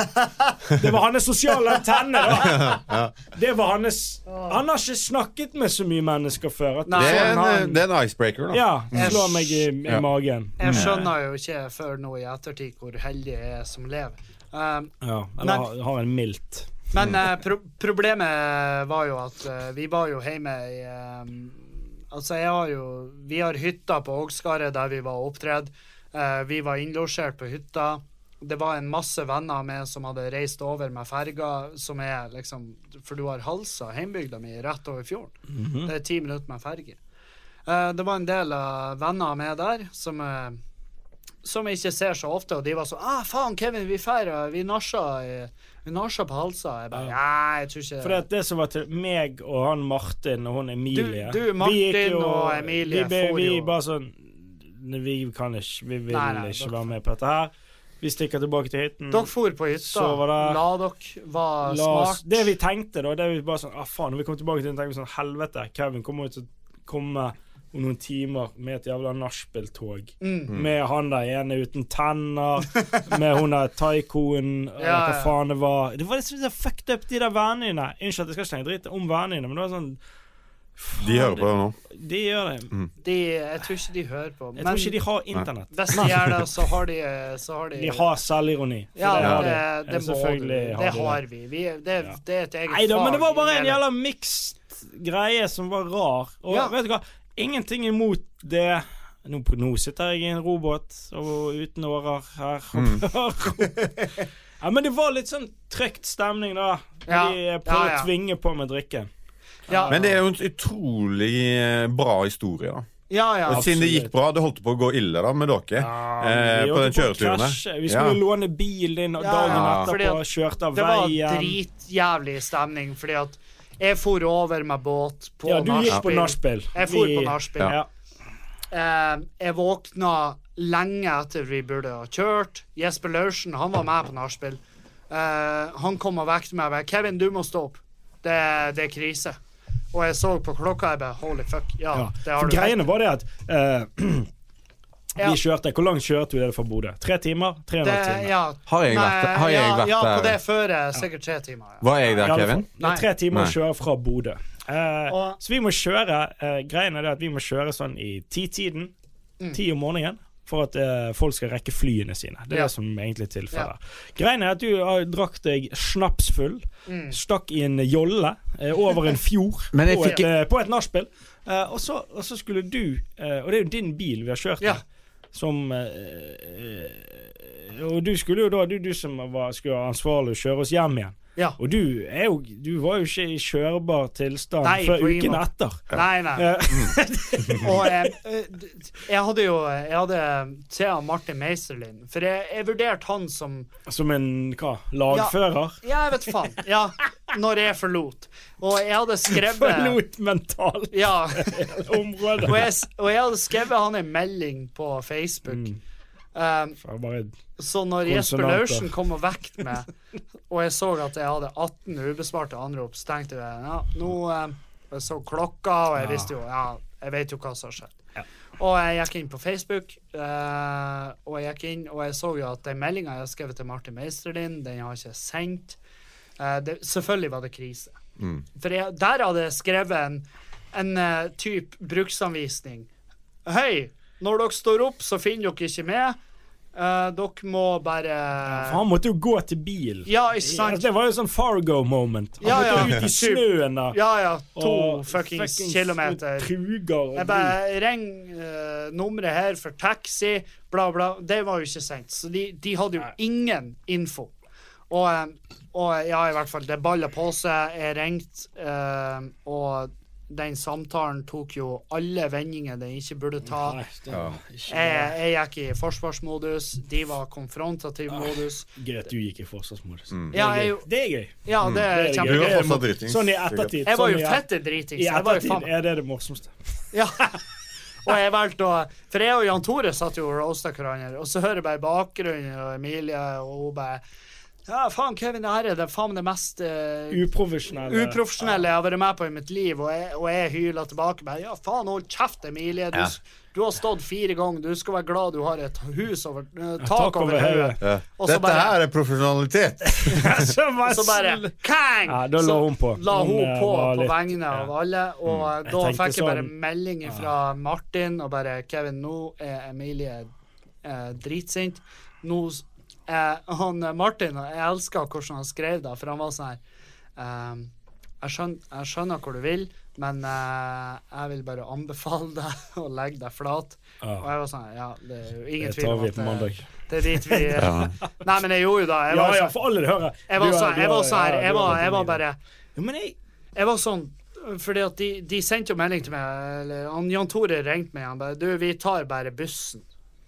Speaker 2: Det var hans sosiale antenne, da. Det var hans Han har ikke snakket med så mye mennesker før. At
Speaker 4: Nei.
Speaker 5: Det er
Speaker 2: sånn
Speaker 5: en, eh,
Speaker 2: han-
Speaker 5: det er en icebreaker, da.
Speaker 2: ja, slå meg i, i
Speaker 5: Ja.
Speaker 2: magen.
Speaker 4: Jeg skjønner jo ikke før nå i ettertid hvor heldig jeg er som lever. Um,
Speaker 2: Ja,
Speaker 4: Men-
Speaker 2: eller har- har en mildt.
Speaker 4: Men eh, pro problemet var jo at eh, vi var jo hjemme i eh, Altså, jeg har jo Vi har hytta på Ågskaret der vi var opptredd. Eh, vi var innlosjert på hytta. Det var en masse venner av meg som hadde reist over med ferga, som er liksom For du har Halsa, heimbygda mi, rett over fjorden.
Speaker 2: Mhm.
Speaker 4: Det er ti minutter med ferge. Eh, det var en del eh, venner av meg der som eh, som jeg ikke ser så ofte, og de var sånn ah, 'Faen, Kevin, vi feirer, vi nasja, i- vi nasja på halsa.' Jeg bare
Speaker 2: Ja.
Speaker 4: Nei, jeg tror ikke
Speaker 2: For det, at det som var til meg og han Martin og hun Emilie
Speaker 4: Du-
Speaker 2: vi
Speaker 4: du,
Speaker 2: gikk
Speaker 4: Martin og
Speaker 2: Vi,
Speaker 4: Emilie
Speaker 2: ble-
Speaker 4: får
Speaker 2: vi
Speaker 4: jo-
Speaker 2: bare sånn Vi kan ikke Vi vil
Speaker 4: Nei, nei,
Speaker 2: ikke
Speaker 4: dere-
Speaker 2: være med på dette her. Vi stikker tilbake til hytten.
Speaker 4: Dere for på hytta.
Speaker 2: Så var det-
Speaker 4: La dere var
Speaker 2: La oss,
Speaker 4: smart.
Speaker 2: det vi tenkte, da, det vi bare sånn ah, faen, Når vi kom tilbake til den, tenkte vi sånn Helvete, Kevin kommer jo til å komme om noen timer med et jævla nachspiel-tog.
Speaker 4: Mm.
Speaker 2: Med han der ene uten tenner, med hun der taikoen, eller
Speaker 4: Ja,
Speaker 2: hva
Speaker 4: ja.
Speaker 2: faen det var. Det var liksom så fucked up, de der vennene dine. Unnskyld, jeg skal ikke snakke dritt om vennene dine, men det var sånn
Speaker 5: De hører på det nå.
Speaker 2: De gjør det.
Speaker 4: De, jeg tror ikke de hører på.
Speaker 2: Jeg tror ikke de har internett.
Speaker 4: hvis de gjør det, så har de eh, Så har de,
Speaker 2: De har selvironi. Så
Speaker 4: Ja,
Speaker 2: det har
Speaker 4: det,
Speaker 2: de.
Speaker 4: det, må du.
Speaker 2: Selvfølgelig
Speaker 4: Det
Speaker 2: har de det.
Speaker 4: har vi. vi er- det,
Speaker 2: Ja.
Speaker 4: det er et eget
Speaker 2: Nei da, men det var
Speaker 4: i
Speaker 2: bare en
Speaker 4: hele-
Speaker 2: jævla mixed greie som var rar. Og
Speaker 4: Ja.
Speaker 2: vet du hva, ingenting imot det. Nå, nå sitter jeg i en robåt og uten årer her.
Speaker 5: Mm.
Speaker 2: ja, men det var litt sånn trygt stemning, da.
Speaker 4: Ja.
Speaker 2: De prøvde
Speaker 4: Ja, ja.
Speaker 2: å tvinge på med drikke.
Speaker 4: ja,
Speaker 5: Men det er jo en utrolig eh, bra historie, da.
Speaker 4: ja, ja.
Speaker 5: Og siden det gikk
Speaker 2: absolutt.
Speaker 5: bra, det holdt på å gå ille da med dere eh, på
Speaker 2: vi
Speaker 5: den
Speaker 2: holdt på å
Speaker 5: kjøreturen der.
Speaker 3: eh,
Speaker 2: krasje. Vi skulle låne bilen din, og
Speaker 4: Ja,
Speaker 2: dagen
Speaker 5: ja.
Speaker 4: Fordi
Speaker 2: etterpå
Speaker 4: at
Speaker 2: kjørte av
Speaker 4: Det var
Speaker 2: veien.
Speaker 4: dritjævlig stemning, fordi at jeg for over med båt på
Speaker 2: Ja, du gikk på nachspiel.
Speaker 4: nachspiel. Jeg for på
Speaker 2: Vi-
Speaker 4: nachspiel.
Speaker 5: Ja.
Speaker 2: Ja.
Speaker 4: Eh, jeg våkna lenge etter vi burde ha kjørt. Jesper Laursen han var med på nachspiel. Eh, han kom og vekket meg. og bare, 'Kevin, du må stå opp. Det, det er krise.' Og jeg så på klokka og bare 'Holy fuck'. Ja,
Speaker 2: Ja.
Speaker 4: det har
Speaker 2: For
Speaker 4: du
Speaker 2: greiene
Speaker 4: rett i.
Speaker 2: var det at eh,
Speaker 4: Ja.
Speaker 2: vi kjørte Hvor langt kjørte vi det fra Bodø? Tre timer? Tre og en
Speaker 4: det,
Speaker 2: halv time?
Speaker 4: ja.
Speaker 5: Har jeg vært der? Har jeg
Speaker 4: ja,
Speaker 5: vært
Speaker 4: ja, på
Speaker 5: der?
Speaker 4: det føret. Sikkert tre timer. Ja.
Speaker 5: Var jeg
Speaker 2: Ja,
Speaker 5: der,
Speaker 2: det er
Speaker 5: Kevin?
Speaker 2: for- Det er tre timer
Speaker 5: Nei.
Speaker 2: å kjøre fra Bodø. Eh,
Speaker 4: Og-
Speaker 2: så vi må kjøre eh, Greien er det at vi må kjøre sånn i titiden.
Speaker 4: Mm.
Speaker 2: Ti om morgenen. For at eh, folk skal rekke flyene sine. Det er
Speaker 4: Ja.
Speaker 2: det som egentlig er tilfellet. Greien er at du har drakk deg snapsfull,
Speaker 4: Mm.
Speaker 2: stakk i en jolle eh, over en fjord
Speaker 5: Men jeg
Speaker 2: på,
Speaker 5: fikk-
Speaker 2: et, eh, på et nachspiel. Eh, og, så, og så skulle du eh, Og det er jo din bil vi har kjørt i,
Speaker 4: Ja.
Speaker 2: som eh, eh, Og du skulle jo da Du, du som var, skulle være ansvarlig, kjøre oss hjem igjen.
Speaker 4: Ja.
Speaker 2: Og du, er jo, du var jo ikke i kjørbar tilstand
Speaker 4: Nei,
Speaker 2: før
Speaker 4: på ingen
Speaker 2: uken
Speaker 4: måte.
Speaker 2: etter.
Speaker 4: Nei, nei.
Speaker 2: Eh,
Speaker 4: Og jeg, jeg hadde jo Jeg hadde eh, Thea Martin Meisterlin, for jeg, jeg vurderte han som
Speaker 2: som en hva, lagfører.
Speaker 4: Ja, jeg vet faen. Ja, når jeg forlot. Og jeg hadde skrevet
Speaker 2: Forlot mentalt
Speaker 4: Ja.
Speaker 2: område.
Speaker 4: Og jeg, s- og jeg hadde skrevet han en melding på Facebook. Um,
Speaker 2: Faen, bare
Speaker 4: så når Jesper
Speaker 2: Mm. Konsonanter.
Speaker 4: Laursen kom og vekket meg, og jeg så at jeg hadde 18 ubesvarte anrop, så tenkte jeg ja, nå eh, Jeg så klokka, og jeg
Speaker 2: Ja.
Speaker 4: visste jo ja, jeg vet jo hva som har skjedd.
Speaker 2: Ja.
Speaker 4: Og jeg gikk inn på Facebook, eh, og jeg gikk inn, og jeg så jo at den meldinga jeg har skrevet til Martin Meisterlin, den har ikke jeg sendt. Eh, det, selvfølgelig var det krise. For jeg, der hadde jeg skrevet en, en eh, typ bruksanvisning. Hei, når dere står opp, så finner dere ikke med. Eh, dere må bare
Speaker 2: For han måtte jo gå til bil.
Speaker 4: Ja, ikke sant?
Speaker 2: Det var jo sånn Fargo-moment. Han
Speaker 4: Ja,
Speaker 2: måtte ut
Speaker 4: ja.
Speaker 2: i
Speaker 4: Typ.
Speaker 2: snøen da.
Speaker 4: Ja, ja. To
Speaker 2: og
Speaker 4: fuckings
Speaker 2: fuckings
Speaker 4: kilometer.
Speaker 2: Truger og
Speaker 4: Jeg bare ring eh, nummeret her for taxi, bla, bla. Det var jo ikke sendt. Så de, de hadde jo
Speaker 2: Nei.
Speaker 4: ingen info. Og, eh, og ja, i hvert fall, det balla på seg. Jeg ringte, eh, og den samtalen tok jo alle vendinger den ikke burde ta.
Speaker 2: Nei, det var ikke
Speaker 4: Jeg, jeg gikk i forsvarsmodus, de var konfrontativ modus.
Speaker 2: bra. Gøy at du gikk i forsvarsmodus. Det,
Speaker 4: Ja,
Speaker 2: er
Speaker 4: jeg,
Speaker 2: gøy. det er gøy.
Speaker 4: ja, det er
Speaker 2: Mm. Det er
Speaker 3: Du
Speaker 2: gøy.
Speaker 3: var
Speaker 4: kjempegøy.
Speaker 3: fortsatt dritings.
Speaker 2: Eh, Sånn i
Speaker 3: sikkert.
Speaker 2: ettertid.
Speaker 4: Jeg var
Speaker 2: sånn
Speaker 4: jo
Speaker 2: i-
Speaker 4: fette dritings.
Speaker 2: I
Speaker 4: Jeg var jo faen
Speaker 2: ettertid er det det morsomste.
Speaker 4: Ja. Og jeg valgte å For jeg og Jan Tore satt jo og roasta hverandre, og så hører jeg bare i bakgrunnen og Emilie, og hun bare Ja, faen, Kevin, det her er det faen meg det mest eh,
Speaker 2: Uprofesjonelle.
Speaker 4: uprofesjonelle jeg har vært med på i mitt liv, og jeg, og jeg hyler tilbake bare Ja, faen, hold kjeft, Emilie. Du,
Speaker 3: Ja.
Speaker 4: s- du har stått fire ganger. Du skal være glad du har et hus over eh, tak,
Speaker 2: tak
Speaker 4: over
Speaker 2: over
Speaker 4: hodet.
Speaker 2: hodet.
Speaker 3: Ja.
Speaker 4: Og så
Speaker 3: Dette
Speaker 4: bare-
Speaker 3: her er profesjonalitet.
Speaker 2: Så bare-
Speaker 4: Og så bare Kang!
Speaker 2: Ja, da la
Speaker 4: Så
Speaker 2: hun på.
Speaker 4: La hun
Speaker 2: Hun, eh,
Speaker 4: på
Speaker 2: var
Speaker 4: på
Speaker 2: litt- Mm.
Speaker 4: vegne av alle, og eh,
Speaker 2: Jeg
Speaker 4: da
Speaker 2: tenkte
Speaker 4: fikk jeg bare
Speaker 2: sånn-
Speaker 4: melding fra Martin og bare Kevin, nå er Emilie eh, dritsint. Nå s- eh, han eh, Martin, og jeg elsker hvordan han skrev det, for han var sånn her ehm, jeg, skjønner, jeg skjønner hvor du vil, men eh, jeg vil bare anbefale deg å legge deg flat.
Speaker 2: Ja.
Speaker 4: Og jeg var sånn Ja, det er jo ingen
Speaker 2: Det
Speaker 4: tvil
Speaker 2: tar
Speaker 4: om
Speaker 2: vi
Speaker 4: at
Speaker 2: på
Speaker 4: det,
Speaker 2: mandag.
Speaker 4: det er dit vi Nei, men jeg gjorde jo det. Jeg
Speaker 2: Ja,
Speaker 4: var
Speaker 2: ja,
Speaker 4: sånn-
Speaker 2: for alle det hører.
Speaker 4: jeg
Speaker 2: Du
Speaker 4: var
Speaker 2: er-
Speaker 4: sånn,
Speaker 2: du
Speaker 4: jeg
Speaker 2: er-
Speaker 4: var sånn her,
Speaker 2: ja, du
Speaker 4: jeg
Speaker 2: er
Speaker 4: var, jeg
Speaker 2: veldig
Speaker 4: var
Speaker 2: mye.
Speaker 4: bare
Speaker 2: Jo, men jeg
Speaker 4: Jeg var sånn fordi at de, de sendte jo melding til meg, eller han, Jan Tore ringte meg, han bare Du, vi tar bare bussen.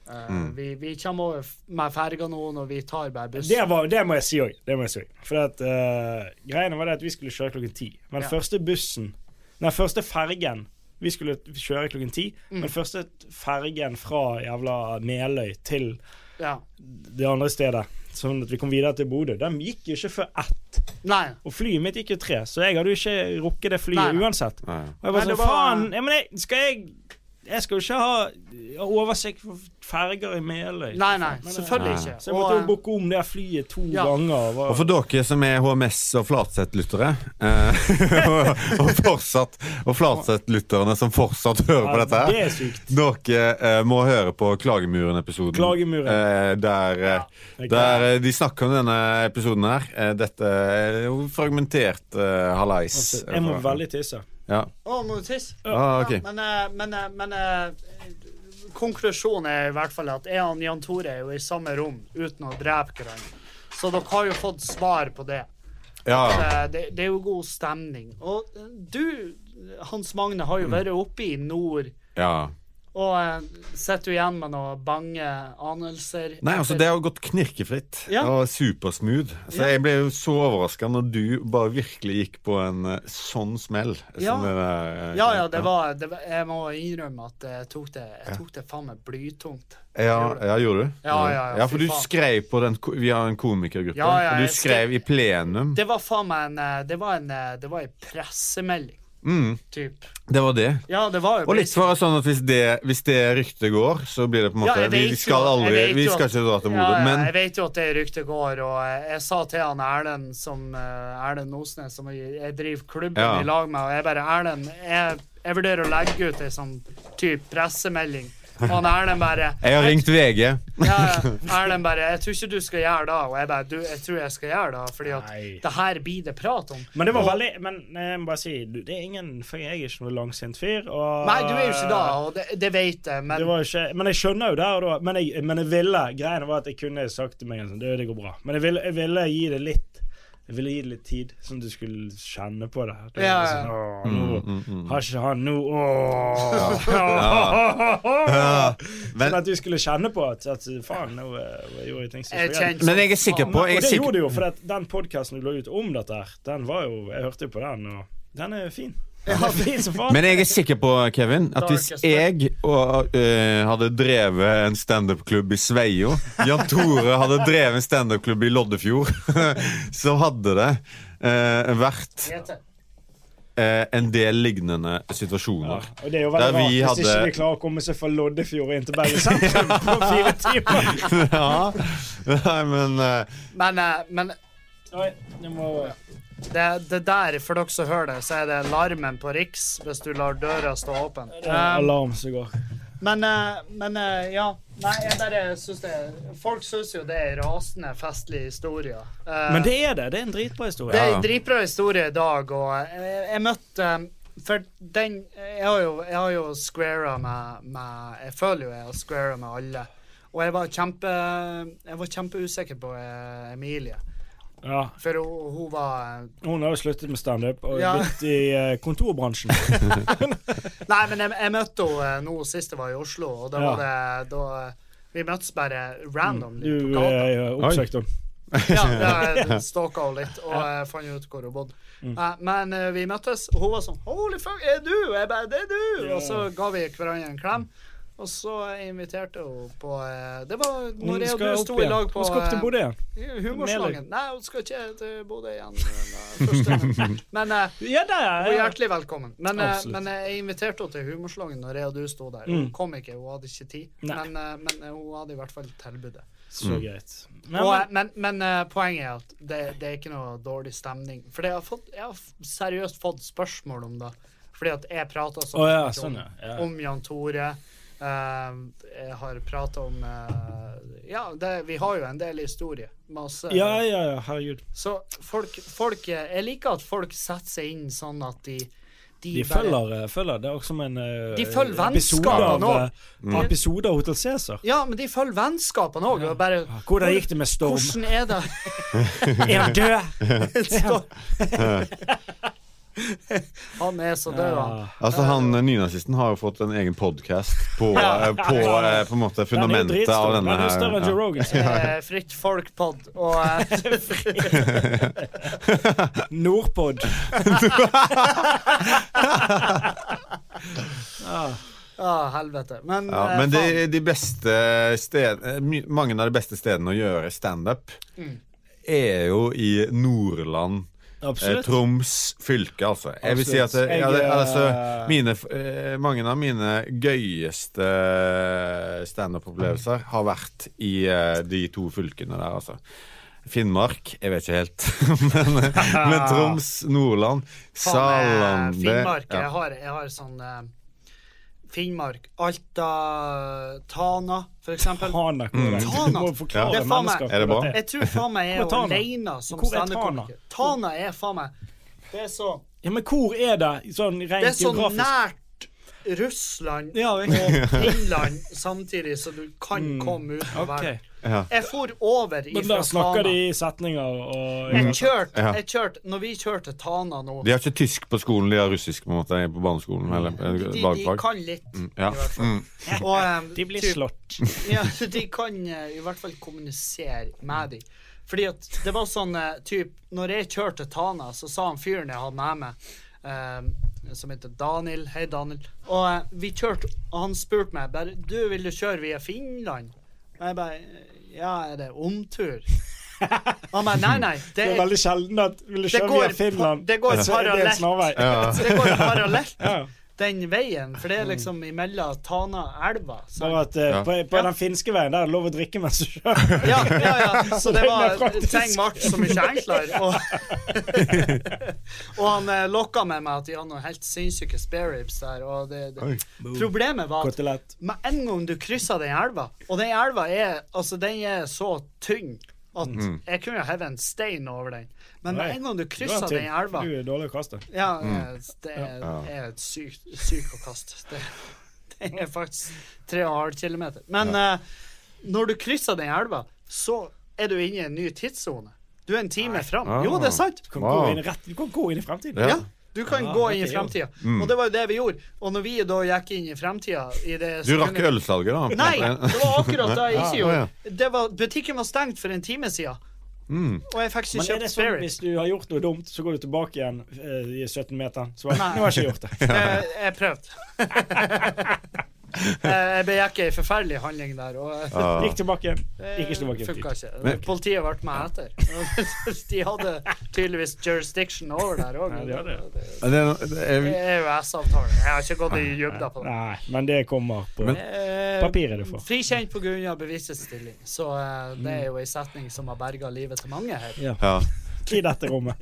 Speaker 4: Eh,
Speaker 3: Mm.
Speaker 4: vi, vi kommer over f- med ferga nå, og vi tar bare bussen.
Speaker 2: Det, var, det må jeg si òg. Det må jeg si. For at, eh, greiene var det at vi skulle kjøre klokken ti. Men
Speaker 4: Ja.
Speaker 2: første bussen Den første fergen Vi skulle kjøre klokken ti,
Speaker 4: Mm.
Speaker 2: men første fergen fra jævla Meløy til
Speaker 4: Ja.
Speaker 2: det andre stedet, sånn at vi kom videre til Bodø, den gikk jo ikke før ett.
Speaker 4: Nei.
Speaker 2: Og flyet mitt gikk jo tre, så jeg hadde jo ikke rukket det flyet
Speaker 4: Nei, nei.
Speaker 2: uansett.
Speaker 3: Nei.
Speaker 2: Og jeg
Speaker 4: Nei,
Speaker 2: var
Speaker 4: det
Speaker 2: sånn,
Speaker 4: var-
Speaker 2: faen ja, men jeg, Skal jeg Jeg skal jo ikke ha ha oversikt for ferger i Meløy.
Speaker 4: Nei, nei,
Speaker 2: Men, eh,
Speaker 4: selvfølgelig
Speaker 3: Nei.
Speaker 4: ikke.
Speaker 2: Så jeg måtte jo
Speaker 4: eh,
Speaker 2: booke om det flyet to
Speaker 4: ja.
Speaker 2: ganger. Var,
Speaker 3: Og for dere som er HMS- og Flatseth-lyttere, eh, og, og, fortsatt- og Flatseth-lytterne som fortsatt hører på
Speaker 2: Ja,
Speaker 3: dette
Speaker 2: Det
Speaker 3: her
Speaker 2: er sykt.
Speaker 3: Dere eh, må høre på Klagemuren-episoden.
Speaker 2: Klagemuren.
Speaker 3: Eh, der eh,
Speaker 2: Det er
Speaker 3: der eh, de snakker om denne episoden her. Eh, dette er jo fragmentert eh, halais.
Speaker 2: Altså, jeg må veldig tisse.
Speaker 3: Ja.
Speaker 4: eh, Å, må du tisse?
Speaker 3: Ah, ok.
Speaker 4: Ja, men eh, men, eh, men eh, konklusjonen er i hvert fall at jeg og Jan Tore er jo i samme rom uten å drepe hverandre. Så dere har jo fått svar på det.
Speaker 3: ja.
Speaker 4: Eh, det, det er jo god stemning. Og eh, du, Hans Magne, har
Speaker 3: Mm.
Speaker 4: jo vært oppe i nord.
Speaker 3: ja.
Speaker 4: Og eh, sitter du igjen med noen bange anelser?
Speaker 3: Nei, altså, det har jo gått knirkefritt
Speaker 4: Ja.
Speaker 3: og supersmooth. Så jeg ble jo så overraska når du bare virkelig gikk på en eh, sånn smell. som
Speaker 4: Ja.
Speaker 3: den der, eh,
Speaker 4: Ja, ja, det var, det var Jeg må innrømme at jeg tok det, jeg tok det faen meg blytungt.
Speaker 3: Ja, ja, gjorde du?
Speaker 4: Ja, ja, ja,
Speaker 3: ja for
Speaker 4: fy
Speaker 3: du
Speaker 4: faen.
Speaker 3: skrev på den ko- Vi har en komikergruppe.
Speaker 4: Ja, ja,
Speaker 3: og du
Speaker 4: jeg
Speaker 3: skrev i plenum. Det,
Speaker 4: Det var faen meg en eh, Det var en, eh, det var en pressemelding,
Speaker 3: mm,
Speaker 4: typ.
Speaker 3: det var det.
Speaker 4: Ja, det var jo
Speaker 3: Og litt for å være sånn at hvis det, hvis det ryktet går, så blir det på en
Speaker 4: Ja,
Speaker 3: måte
Speaker 4: jeg
Speaker 3: vi,
Speaker 4: vet
Speaker 3: vi skal
Speaker 4: jo- jeg
Speaker 3: aldri
Speaker 4: vet
Speaker 3: Vi
Speaker 4: jo
Speaker 3: skal
Speaker 4: at-
Speaker 3: ikke dra til
Speaker 4: ja,
Speaker 3: Bodø,
Speaker 4: ja,
Speaker 3: men
Speaker 4: Jeg vet jo at det ryktet går, og jeg, jeg sa til han Erlend som eh, Erlend Osnes, som jeg, jeg driver klubben
Speaker 3: Ja.
Speaker 4: i lag med, og jeg bare Erlend, jeg, jeg vurderer å legge ut ei sånn type pressemelding. Og han Erlend bare
Speaker 3: jeg har ringt VG.
Speaker 4: Ja, ja, Erlend bare 'Jeg tror ikke du skal gjøre det.' Og jeg bare du, 'Jeg tror jeg skal gjøre det', fordi at
Speaker 2: Nei.
Speaker 4: det her blir det prat om.
Speaker 2: Men det var veldig Men jeg må bare si du, det er ingen, for jeg er ikke noe langsint fyr. Og,
Speaker 4: Nei, du er jo ikke det, og det, det vet jeg, men
Speaker 2: Det var jo ikke, men jeg skjønner jo der og da. Men jeg, men jeg ville Greien var at jeg kunne sagt til meg en sånn Det, det går bra. Men jeg ville, jeg ville gi det litt Jeg ville gi det litt tid, sånn at du skulle kjenne på det. det var
Speaker 4: Ja, ja.
Speaker 2: sånn, åh, nå
Speaker 3: Mm, mm.
Speaker 2: har ikke han nå Åh!
Speaker 3: Ja,
Speaker 2: Sånn
Speaker 3: men,
Speaker 2: at du skulle kjenne på at, at faen, nå eh, gjorde jeg ting som
Speaker 4: jeg
Speaker 2: ikke var greit.
Speaker 4: kjenner
Speaker 3: men jeg er sikker på
Speaker 2: Men-
Speaker 3: jeg
Speaker 2: og
Speaker 3: er
Speaker 2: det
Speaker 3: sikker,
Speaker 2: gjorde det jo, for at den podkasten du la ut om dette her, den var jo Jeg hørte jo på den, og den er fin. Den er fin som faen.
Speaker 3: Men jeg er sikker på, Kevin, at hvis
Speaker 4: Darkest
Speaker 3: jeg og, eh, hadde drevet en standup-klubb i Sveio Jan Tore hadde drevet en standup-klubb i Loddefjord, så hadde det eh, vært eh, en del lignende
Speaker 2: Ja,
Speaker 3: situasjoner.
Speaker 2: og det er jo veldig
Speaker 3: Der
Speaker 2: rart
Speaker 3: vi
Speaker 2: hvis ikke
Speaker 3: hadde-
Speaker 2: vi klarer å komme seg fra Loddefjord inn til Bergen sentrum på fire timer.
Speaker 3: Ja, Nei, men eh,
Speaker 4: Men, eh, men
Speaker 2: Oi, det må eh,
Speaker 4: Det, det der, for dere som hører det, så er det alarmen på Riks hvis du lar døra stå åpen. Eh,
Speaker 2: Det er en alarm som går.
Speaker 4: Men, eh, men eh, ja. Nei, jeg bare synes det Folk syns jo det er rasende festlige historier. Eh,
Speaker 2: Men det er det. Det er en dritbra
Speaker 4: Det
Speaker 2: historie.
Speaker 4: er
Speaker 5: Ja.
Speaker 4: en dritbra historie i dag, og eh, jeg, jeg møtte um, For den Jeg har jo, jeg har jo squara med, med Jeg føler jo jeg har squara med alle. Og jeg var kjempe Jeg var kjempeusikker på eh, Emilie,
Speaker 2: Ja.
Speaker 4: for hun, hun var
Speaker 2: Hun har jo sluttet med standup og
Speaker 4: Ja.
Speaker 2: blitt i eh, kontorbransjen.
Speaker 4: Nei, men jeg, jeg møtte henne eh, nå sist jeg var i Oslo, og da
Speaker 2: Ja.
Speaker 4: var det da Vi møttes bare randomly
Speaker 2: Du
Speaker 4: på gata.
Speaker 2: eh, oppsøkte henne.
Speaker 4: Ja, jeg stalka henne litt, og jeg fant ut hvor hun bodde.
Speaker 2: Mm.
Speaker 4: Eh, men eh, vi møttes, og hun var sånn 'Holy fuck, er du?' Og jeg bare 'Det er du!'
Speaker 2: Ja.
Speaker 4: Og så ga vi hverandre en klem. Og så inviterte hun på eh, Det var
Speaker 2: Hun
Speaker 4: når jeg og
Speaker 2: skal
Speaker 4: du
Speaker 2: opp
Speaker 4: sto i
Speaker 2: igjen.
Speaker 4: lag på
Speaker 2: Hun skal opp til
Speaker 4: eh,
Speaker 2: Bodø igjen.
Speaker 4: Humorslangen. Nei, hun skal ikke til Bodø igjen. men, eh, første gang. Men eh,
Speaker 2: Ja, der
Speaker 4: hun
Speaker 2: er
Speaker 4: er
Speaker 2: jeg.
Speaker 4: hjertelig velkommen. Men, eh,
Speaker 2: Absolutt. Mm.
Speaker 4: men eh, jeg inviterte henne til Humorslangen når jeg og du sto der. Hun kom ikke, hun hadde ikke tid.
Speaker 2: Nei.
Speaker 4: Men, eh, men eh, hun hadde i hvert fall tilbudet.
Speaker 3: Mm.
Speaker 2: Så greit. Nei,
Speaker 4: Og, eh,
Speaker 2: men,
Speaker 4: men men eh, poenget er at det, det er ikke noe dårlig stemning. For jeg har, fått, jeg har f- seriøst fått spørsmål om det. Fordi at jeg prater sånn,
Speaker 2: Å ja,
Speaker 4: om-
Speaker 2: sånn, ja. Ja.
Speaker 4: om Jan Tore. Eh, jeg har prata om eh, Ja, det, vi har jo en del historie. Masse
Speaker 2: ja, ja, ja, herregud.
Speaker 4: Så folk, folk eh, Jeg liker at folk setter seg inn sånn at de De,
Speaker 2: De følger, eh, følger. Det er også som en eh,
Speaker 4: De følger
Speaker 2: episode
Speaker 4: vennskapene
Speaker 2: av,
Speaker 4: også.
Speaker 2: eh,
Speaker 3: Mm.
Speaker 2: episode av Hotel Cæsar.
Speaker 4: Ja, men de følger vennskapene òg. Bare
Speaker 2: Hvordan gikk det med Storm?
Speaker 4: Hvordan er det?
Speaker 2: Er han død?
Speaker 4: Han er så død, han.
Speaker 5: Altså, han eh, nynazisten har jo fått en egen podkast på, eh, på, eh, på en måte
Speaker 2: Den er jo
Speaker 5: fundamentet
Speaker 2: dritstor.
Speaker 5: av
Speaker 2: Den
Speaker 5: denne
Speaker 2: er jo større enn
Speaker 5: her.
Speaker 2: Joe Rogan.
Speaker 4: Eh, fritt folk-pod. Og eh,
Speaker 2: Nordpod.
Speaker 4: Ja, helvete. Men,
Speaker 5: Ja,
Speaker 4: eh,
Speaker 5: men de,
Speaker 4: faen.
Speaker 5: de beste sted, eh, my- mange av de beste stedene å gjøre standup er jo i Nordland. Eh,
Speaker 2: Absolutt.
Speaker 5: Troms fylke, altså. Jeg vil si at det,
Speaker 2: Absolutt.
Speaker 5: ja, det,
Speaker 2: Jeg,
Speaker 5: altså,
Speaker 2: eh,
Speaker 5: mine, f- eh, mange av mine gøyeste eh, standup-opplevelser har vært i eh, de to fylkene der, altså. Finnmark Jeg vet ikke helt. men, eh, men Troms, Nordland,
Speaker 4: Faen, eh,
Speaker 5: Salan det-
Speaker 4: Finnmark.
Speaker 5: ja.
Speaker 4: Jeg, har, jeg har sånn eh, Finnmark, Alta, Tana, for eksempel.
Speaker 2: Tana. Kåre.
Speaker 4: Tana.
Speaker 2: Du må forklare
Speaker 4: Det er faen meg-
Speaker 2: mennesker
Speaker 5: Mm. Er det bra?
Speaker 2: hva
Speaker 4: Jeg tror faen meg jeg
Speaker 2: Hvor er
Speaker 4: er
Speaker 2: Tana?
Speaker 4: alene som
Speaker 2: Hvor er Tana?
Speaker 4: standup-komiker. Tana er faen meg Det er så,
Speaker 2: Ja, men hvor er det, sånn
Speaker 4: det
Speaker 2: rent
Speaker 4: er så
Speaker 2: geografisk?
Speaker 4: nært Russland
Speaker 2: Ja,
Speaker 4: og
Speaker 2: riktig.
Speaker 4: Finland samtidig, så du kan komme ut av verden.
Speaker 2: Ok.
Speaker 5: Ja.
Speaker 4: Jeg for over ifra
Speaker 2: Men
Speaker 4: Tana.
Speaker 2: da snakker de i setninger og
Speaker 4: Jeg kjørte,
Speaker 5: Mm. Ja.
Speaker 4: jeg kjørte Når vi kjørte Tana nå
Speaker 5: De har ikke tysk på skolen, de har russisk på en måte på barneskolen. Eller eh,
Speaker 4: Mm. De, de
Speaker 5: lagfag.
Speaker 4: kan litt.
Speaker 5: Ja.
Speaker 4: i hvert fall.
Speaker 5: Mm.
Speaker 4: Og, eh,
Speaker 2: De blir
Speaker 4: typ-
Speaker 2: slått.
Speaker 4: Ja, de kan eh, i hvert fall kommunisere med dem. Fordi at det var sånn eh, typ, Når jeg kjørte til Tana, så sa han fyren jeg hadde med meg, eh, som heter Daniel Hei, Daniel. Og eh, vi kjørte, og han spurte meg bare Du, vil du kjøre via Finland? Og jeg bare Ja, er det omtur? Han bare Nei, nei. Det
Speaker 2: Det er
Speaker 4: er
Speaker 2: veldig sjelden at vil du
Speaker 4: Det
Speaker 2: kjøre
Speaker 4: går
Speaker 2: via Finland.
Speaker 4: på- det går
Speaker 2: så er det en
Speaker 4: parallelt.
Speaker 2: snarvei.
Speaker 5: Ja.
Speaker 4: det går parallelt,
Speaker 2: Ja.
Speaker 4: den veien. For det er liksom imellom Tana-elva. sant?
Speaker 2: Bare at eh,
Speaker 5: Ja.
Speaker 2: på, på den finske veien der er det lov å drikke mens du kjører.
Speaker 4: Ja, ja, ja. Så det
Speaker 2: Den er
Speaker 4: var
Speaker 2: praktisk.
Speaker 4: Teng ble så mye enklere. Og, og han eh, lokka med meg at de hadde noen helt sinnssyke spareribs der. Og det, det. Problemet var at
Speaker 2: Kotelett.
Speaker 4: med en gang du krysser den elva Og den elva er, altså, den er så tynn at
Speaker 2: Mm.
Speaker 4: jeg kunne heve en stein over den. Men
Speaker 2: Nei.
Speaker 4: med en gang du
Speaker 2: Du er en
Speaker 4: krysser
Speaker 2: tynn.
Speaker 4: den elva
Speaker 2: Du er dårlig å kaste.
Speaker 4: Ja,
Speaker 5: Mm.
Speaker 4: eh, det er, er et sykt syk å kaste. Det, det er faktisk 3,5 km. Men eh, når du krysser den elva, så er du inne i en ny tidssone. Du er en time fram.
Speaker 5: Ah.
Speaker 4: Jo, det er sant!
Speaker 2: Du kan,
Speaker 5: Wow.
Speaker 2: gå inn i rett, du kan gå inn i fremtiden.
Speaker 5: Ja. Mm.
Speaker 4: Ja. Du kan
Speaker 2: Ja,
Speaker 4: gå
Speaker 2: dette
Speaker 4: inn i
Speaker 2: er jo-
Speaker 4: fremtida. Og det var jo det vi gjorde. Og når vi da gikk inn i fremtida i det
Speaker 5: Du rakk
Speaker 4: sekundet-
Speaker 5: ølsalget, da?
Speaker 4: Nei! Det var akkurat det jeg
Speaker 5: Ja,
Speaker 4: ikke
Speaker 5: ja.
Speaker 4: gjorde. Det var, butikken var stengt for en time siden.
Speaker 3: Mm.
Speaker 4: Og jeg fikk
Speaker 2: Men
Speaker 4: ikke
Speaker 2: er det sånn
Speaker 4: kjøpt spirit.
Speaker 2: hvis du har gjort noe dumt, så går du tilbake igjen eh, i 17 meter? Så bare,
Speaker 4: Nei.
Speaker 2: nå har jeg ikke gjort det.
Speaker 4: Eh, jeg prøvde. Eh, jeg begikk ei forferdelig handling der, og eh,
Speaker 3: Ah.
Speaker 5: Ja.
Speaker 2: Gikk tilbake igjen. Gikk ikke tilbake
Speaker 4: funka
Speaker 2: igjen.
Speaker 4: ikke.
Speaker 5: Men-
Speaker 4: Politiet ble meg etter. De hadde tydeligvis jurisdiction over der òg.
Speaker 2: Nei, de hadde
Speaker 4: Det
Speaker 5: Ja, Det, er- det er,
Speaker 4: er EØS-avtalen. Jeg har ikke gått i dybden på det.
Speaker 2: Nei, men det kommer på
Speaker 4: Eh,
Speaker 2: papiret du får.
Speaker 4: Frikjent på grunn av bevisets stilling. Så eh, det er jo ei setning som har berga livet til mange her.
Speaker 5: ja.
Speaker 2: Ikke i dette rommet.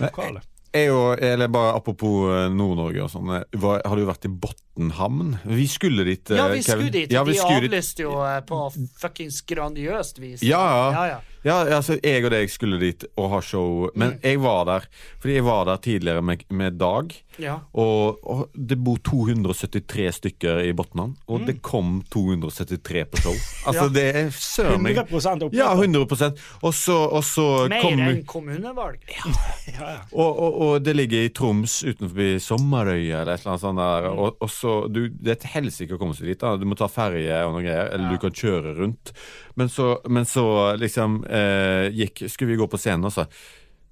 Speaker 2: Lokale.
Speaker 3: Jeg og, eller bare Apropos eh, Nord-Norge og sånn. eh, hva- Har du vært i Botnhamn? Vi skulle dit, eh,
Speaker 4: Ja, vi
Speaker 3: Kevin.
Speaker 4: skulle dit.
Speaker 3: Ja, vi
Speaker 4: de
Speaker 3: skulle dit.
Speaker 4: avlyste jo eh, på fuckings grandiøst vis.
Speaker 3: Ja,
Speaker 4: ja,
Speaker 3: ja.
Speaker 4: ja.
Speaker 3: ja, altså jeg og deg skulle dit og ha show,
Speaker 4: Mm.
Speaker 3: men jeg var der Fordi jeg var der tidligere med, med Dag.
Speaker 4: Ja.
Speaker 3: Og, og det bor 273 stykker i Botnhamn, og det kom 273 på show. Altså,
Speaker 4: Ja.
Speaker 3: det er søren meg
Speaker 2: 100 opp.
Speaker 3: Ja, 100 Og så, og så
Speaker 4: Mer
Speaker 3: kom
Speaker 4: enn kommunevalg.
Speaker 3: Og, og, og det ligger i Troms utenfor Sommerøya eller et eller annet sånt der. Og, og så, du, det er et helsike å komme seg dit. da Du må ta ferje og noe greier, eller du kan kjøre rundt. Men så, men så liksom eh, gikk Skulle vi gå på scenen og sa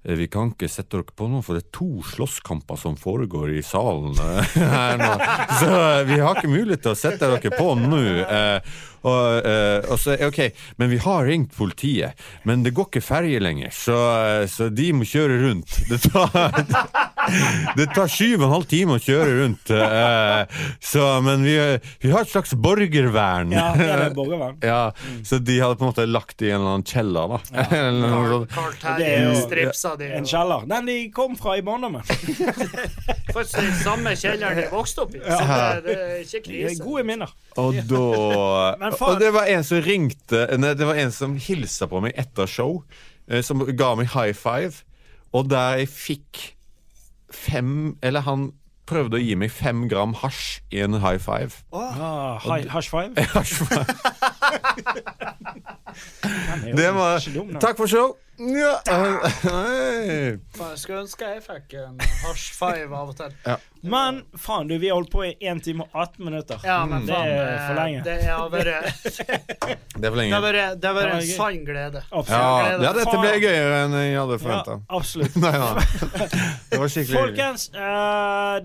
Speaker 3: «Eh, vi kan ikke sette dere på nå, for det er to slåsskamper som foregår i salen eh, her nå. Så eh, vi har ikke mulighet til å sette dere på nå. Eh, og, eh, og så, ok, men vi har ringt politiet, men det går ikke ferje lenger, så, eh, så de må kjøre rundt. Det tar, det tar syv og en halv time å kjøre rundt. eh, så, men vi, vi har et slags borgervern.
Speaker 2: Ja, det er det borgervern.
Speaker 3: Ja, Så de hadde på en måte lagt det i en eller annen kjeller, da. Eller noe
Speaker 4: Carl
Speaker 3: sånt.
Speaker 4: Carl
Speaker 2: Det er
Speaker 4: Terje
Speaker 2: jo-
Speaker 4: stripsa de.
Speaker 2: En kjeller. Den de kom fra i barndommen.
Speaker 4: Faktisk den samme kjelleren de vokste opp i. Så det, det er ikke
Speaker 2: Det er
Speaker 4: krise.
Speaker 2: Gode minner.
Speaker 3: Og da
Speaker 2: Men faen-
Speaker 3: Og det var en som ringte Nei, det var en som hilsa på meg etter show. eh, Som ga meg high five. Og der jeg fikk fem Eller han prøvde å gi meg fem gram hasj i en high five.
Speaker 2: Ah, hi- Hush five.
Speaker 3: Hasj var-
Speaker 2: Den er jo
Speaker 3: Det var
Speaker 2: ikke dum, den.
Speaker 3: Takk for show! Ja. Hei.
Speaker 4: Faen, Jeg skulle ønske jeg fikk en hasj five av og til.
Speaker 2: Men faen, du, vi har holdt på i 1 time og 18 minutter.
Speaker 4: Ja, men
Speaker 2: Mm. Det
Speaker 4: faen,
Speaker 2: er
Speaker 4: eh,
Speaker 2: for lenge.
Speaker 4: Det har vært det
Speaker 3: Det er for
Speaker 4: har
Speaker 3: lenge.
Speaker 4: vært- det har vært
Speaker 2: Det var
Speaker 4: en
Speaker 2: gøy.
Speaker 4: sann glede.
Speaker 2: Absolutt.
Speaker 3: Ja, ja, dette ble gøyere enn jeg hadde forventa.
Speaker 2: Ja, absolutt.
Speaker 3: Nei da. Det var skikkelig
Speaker 2: Folkens, eh,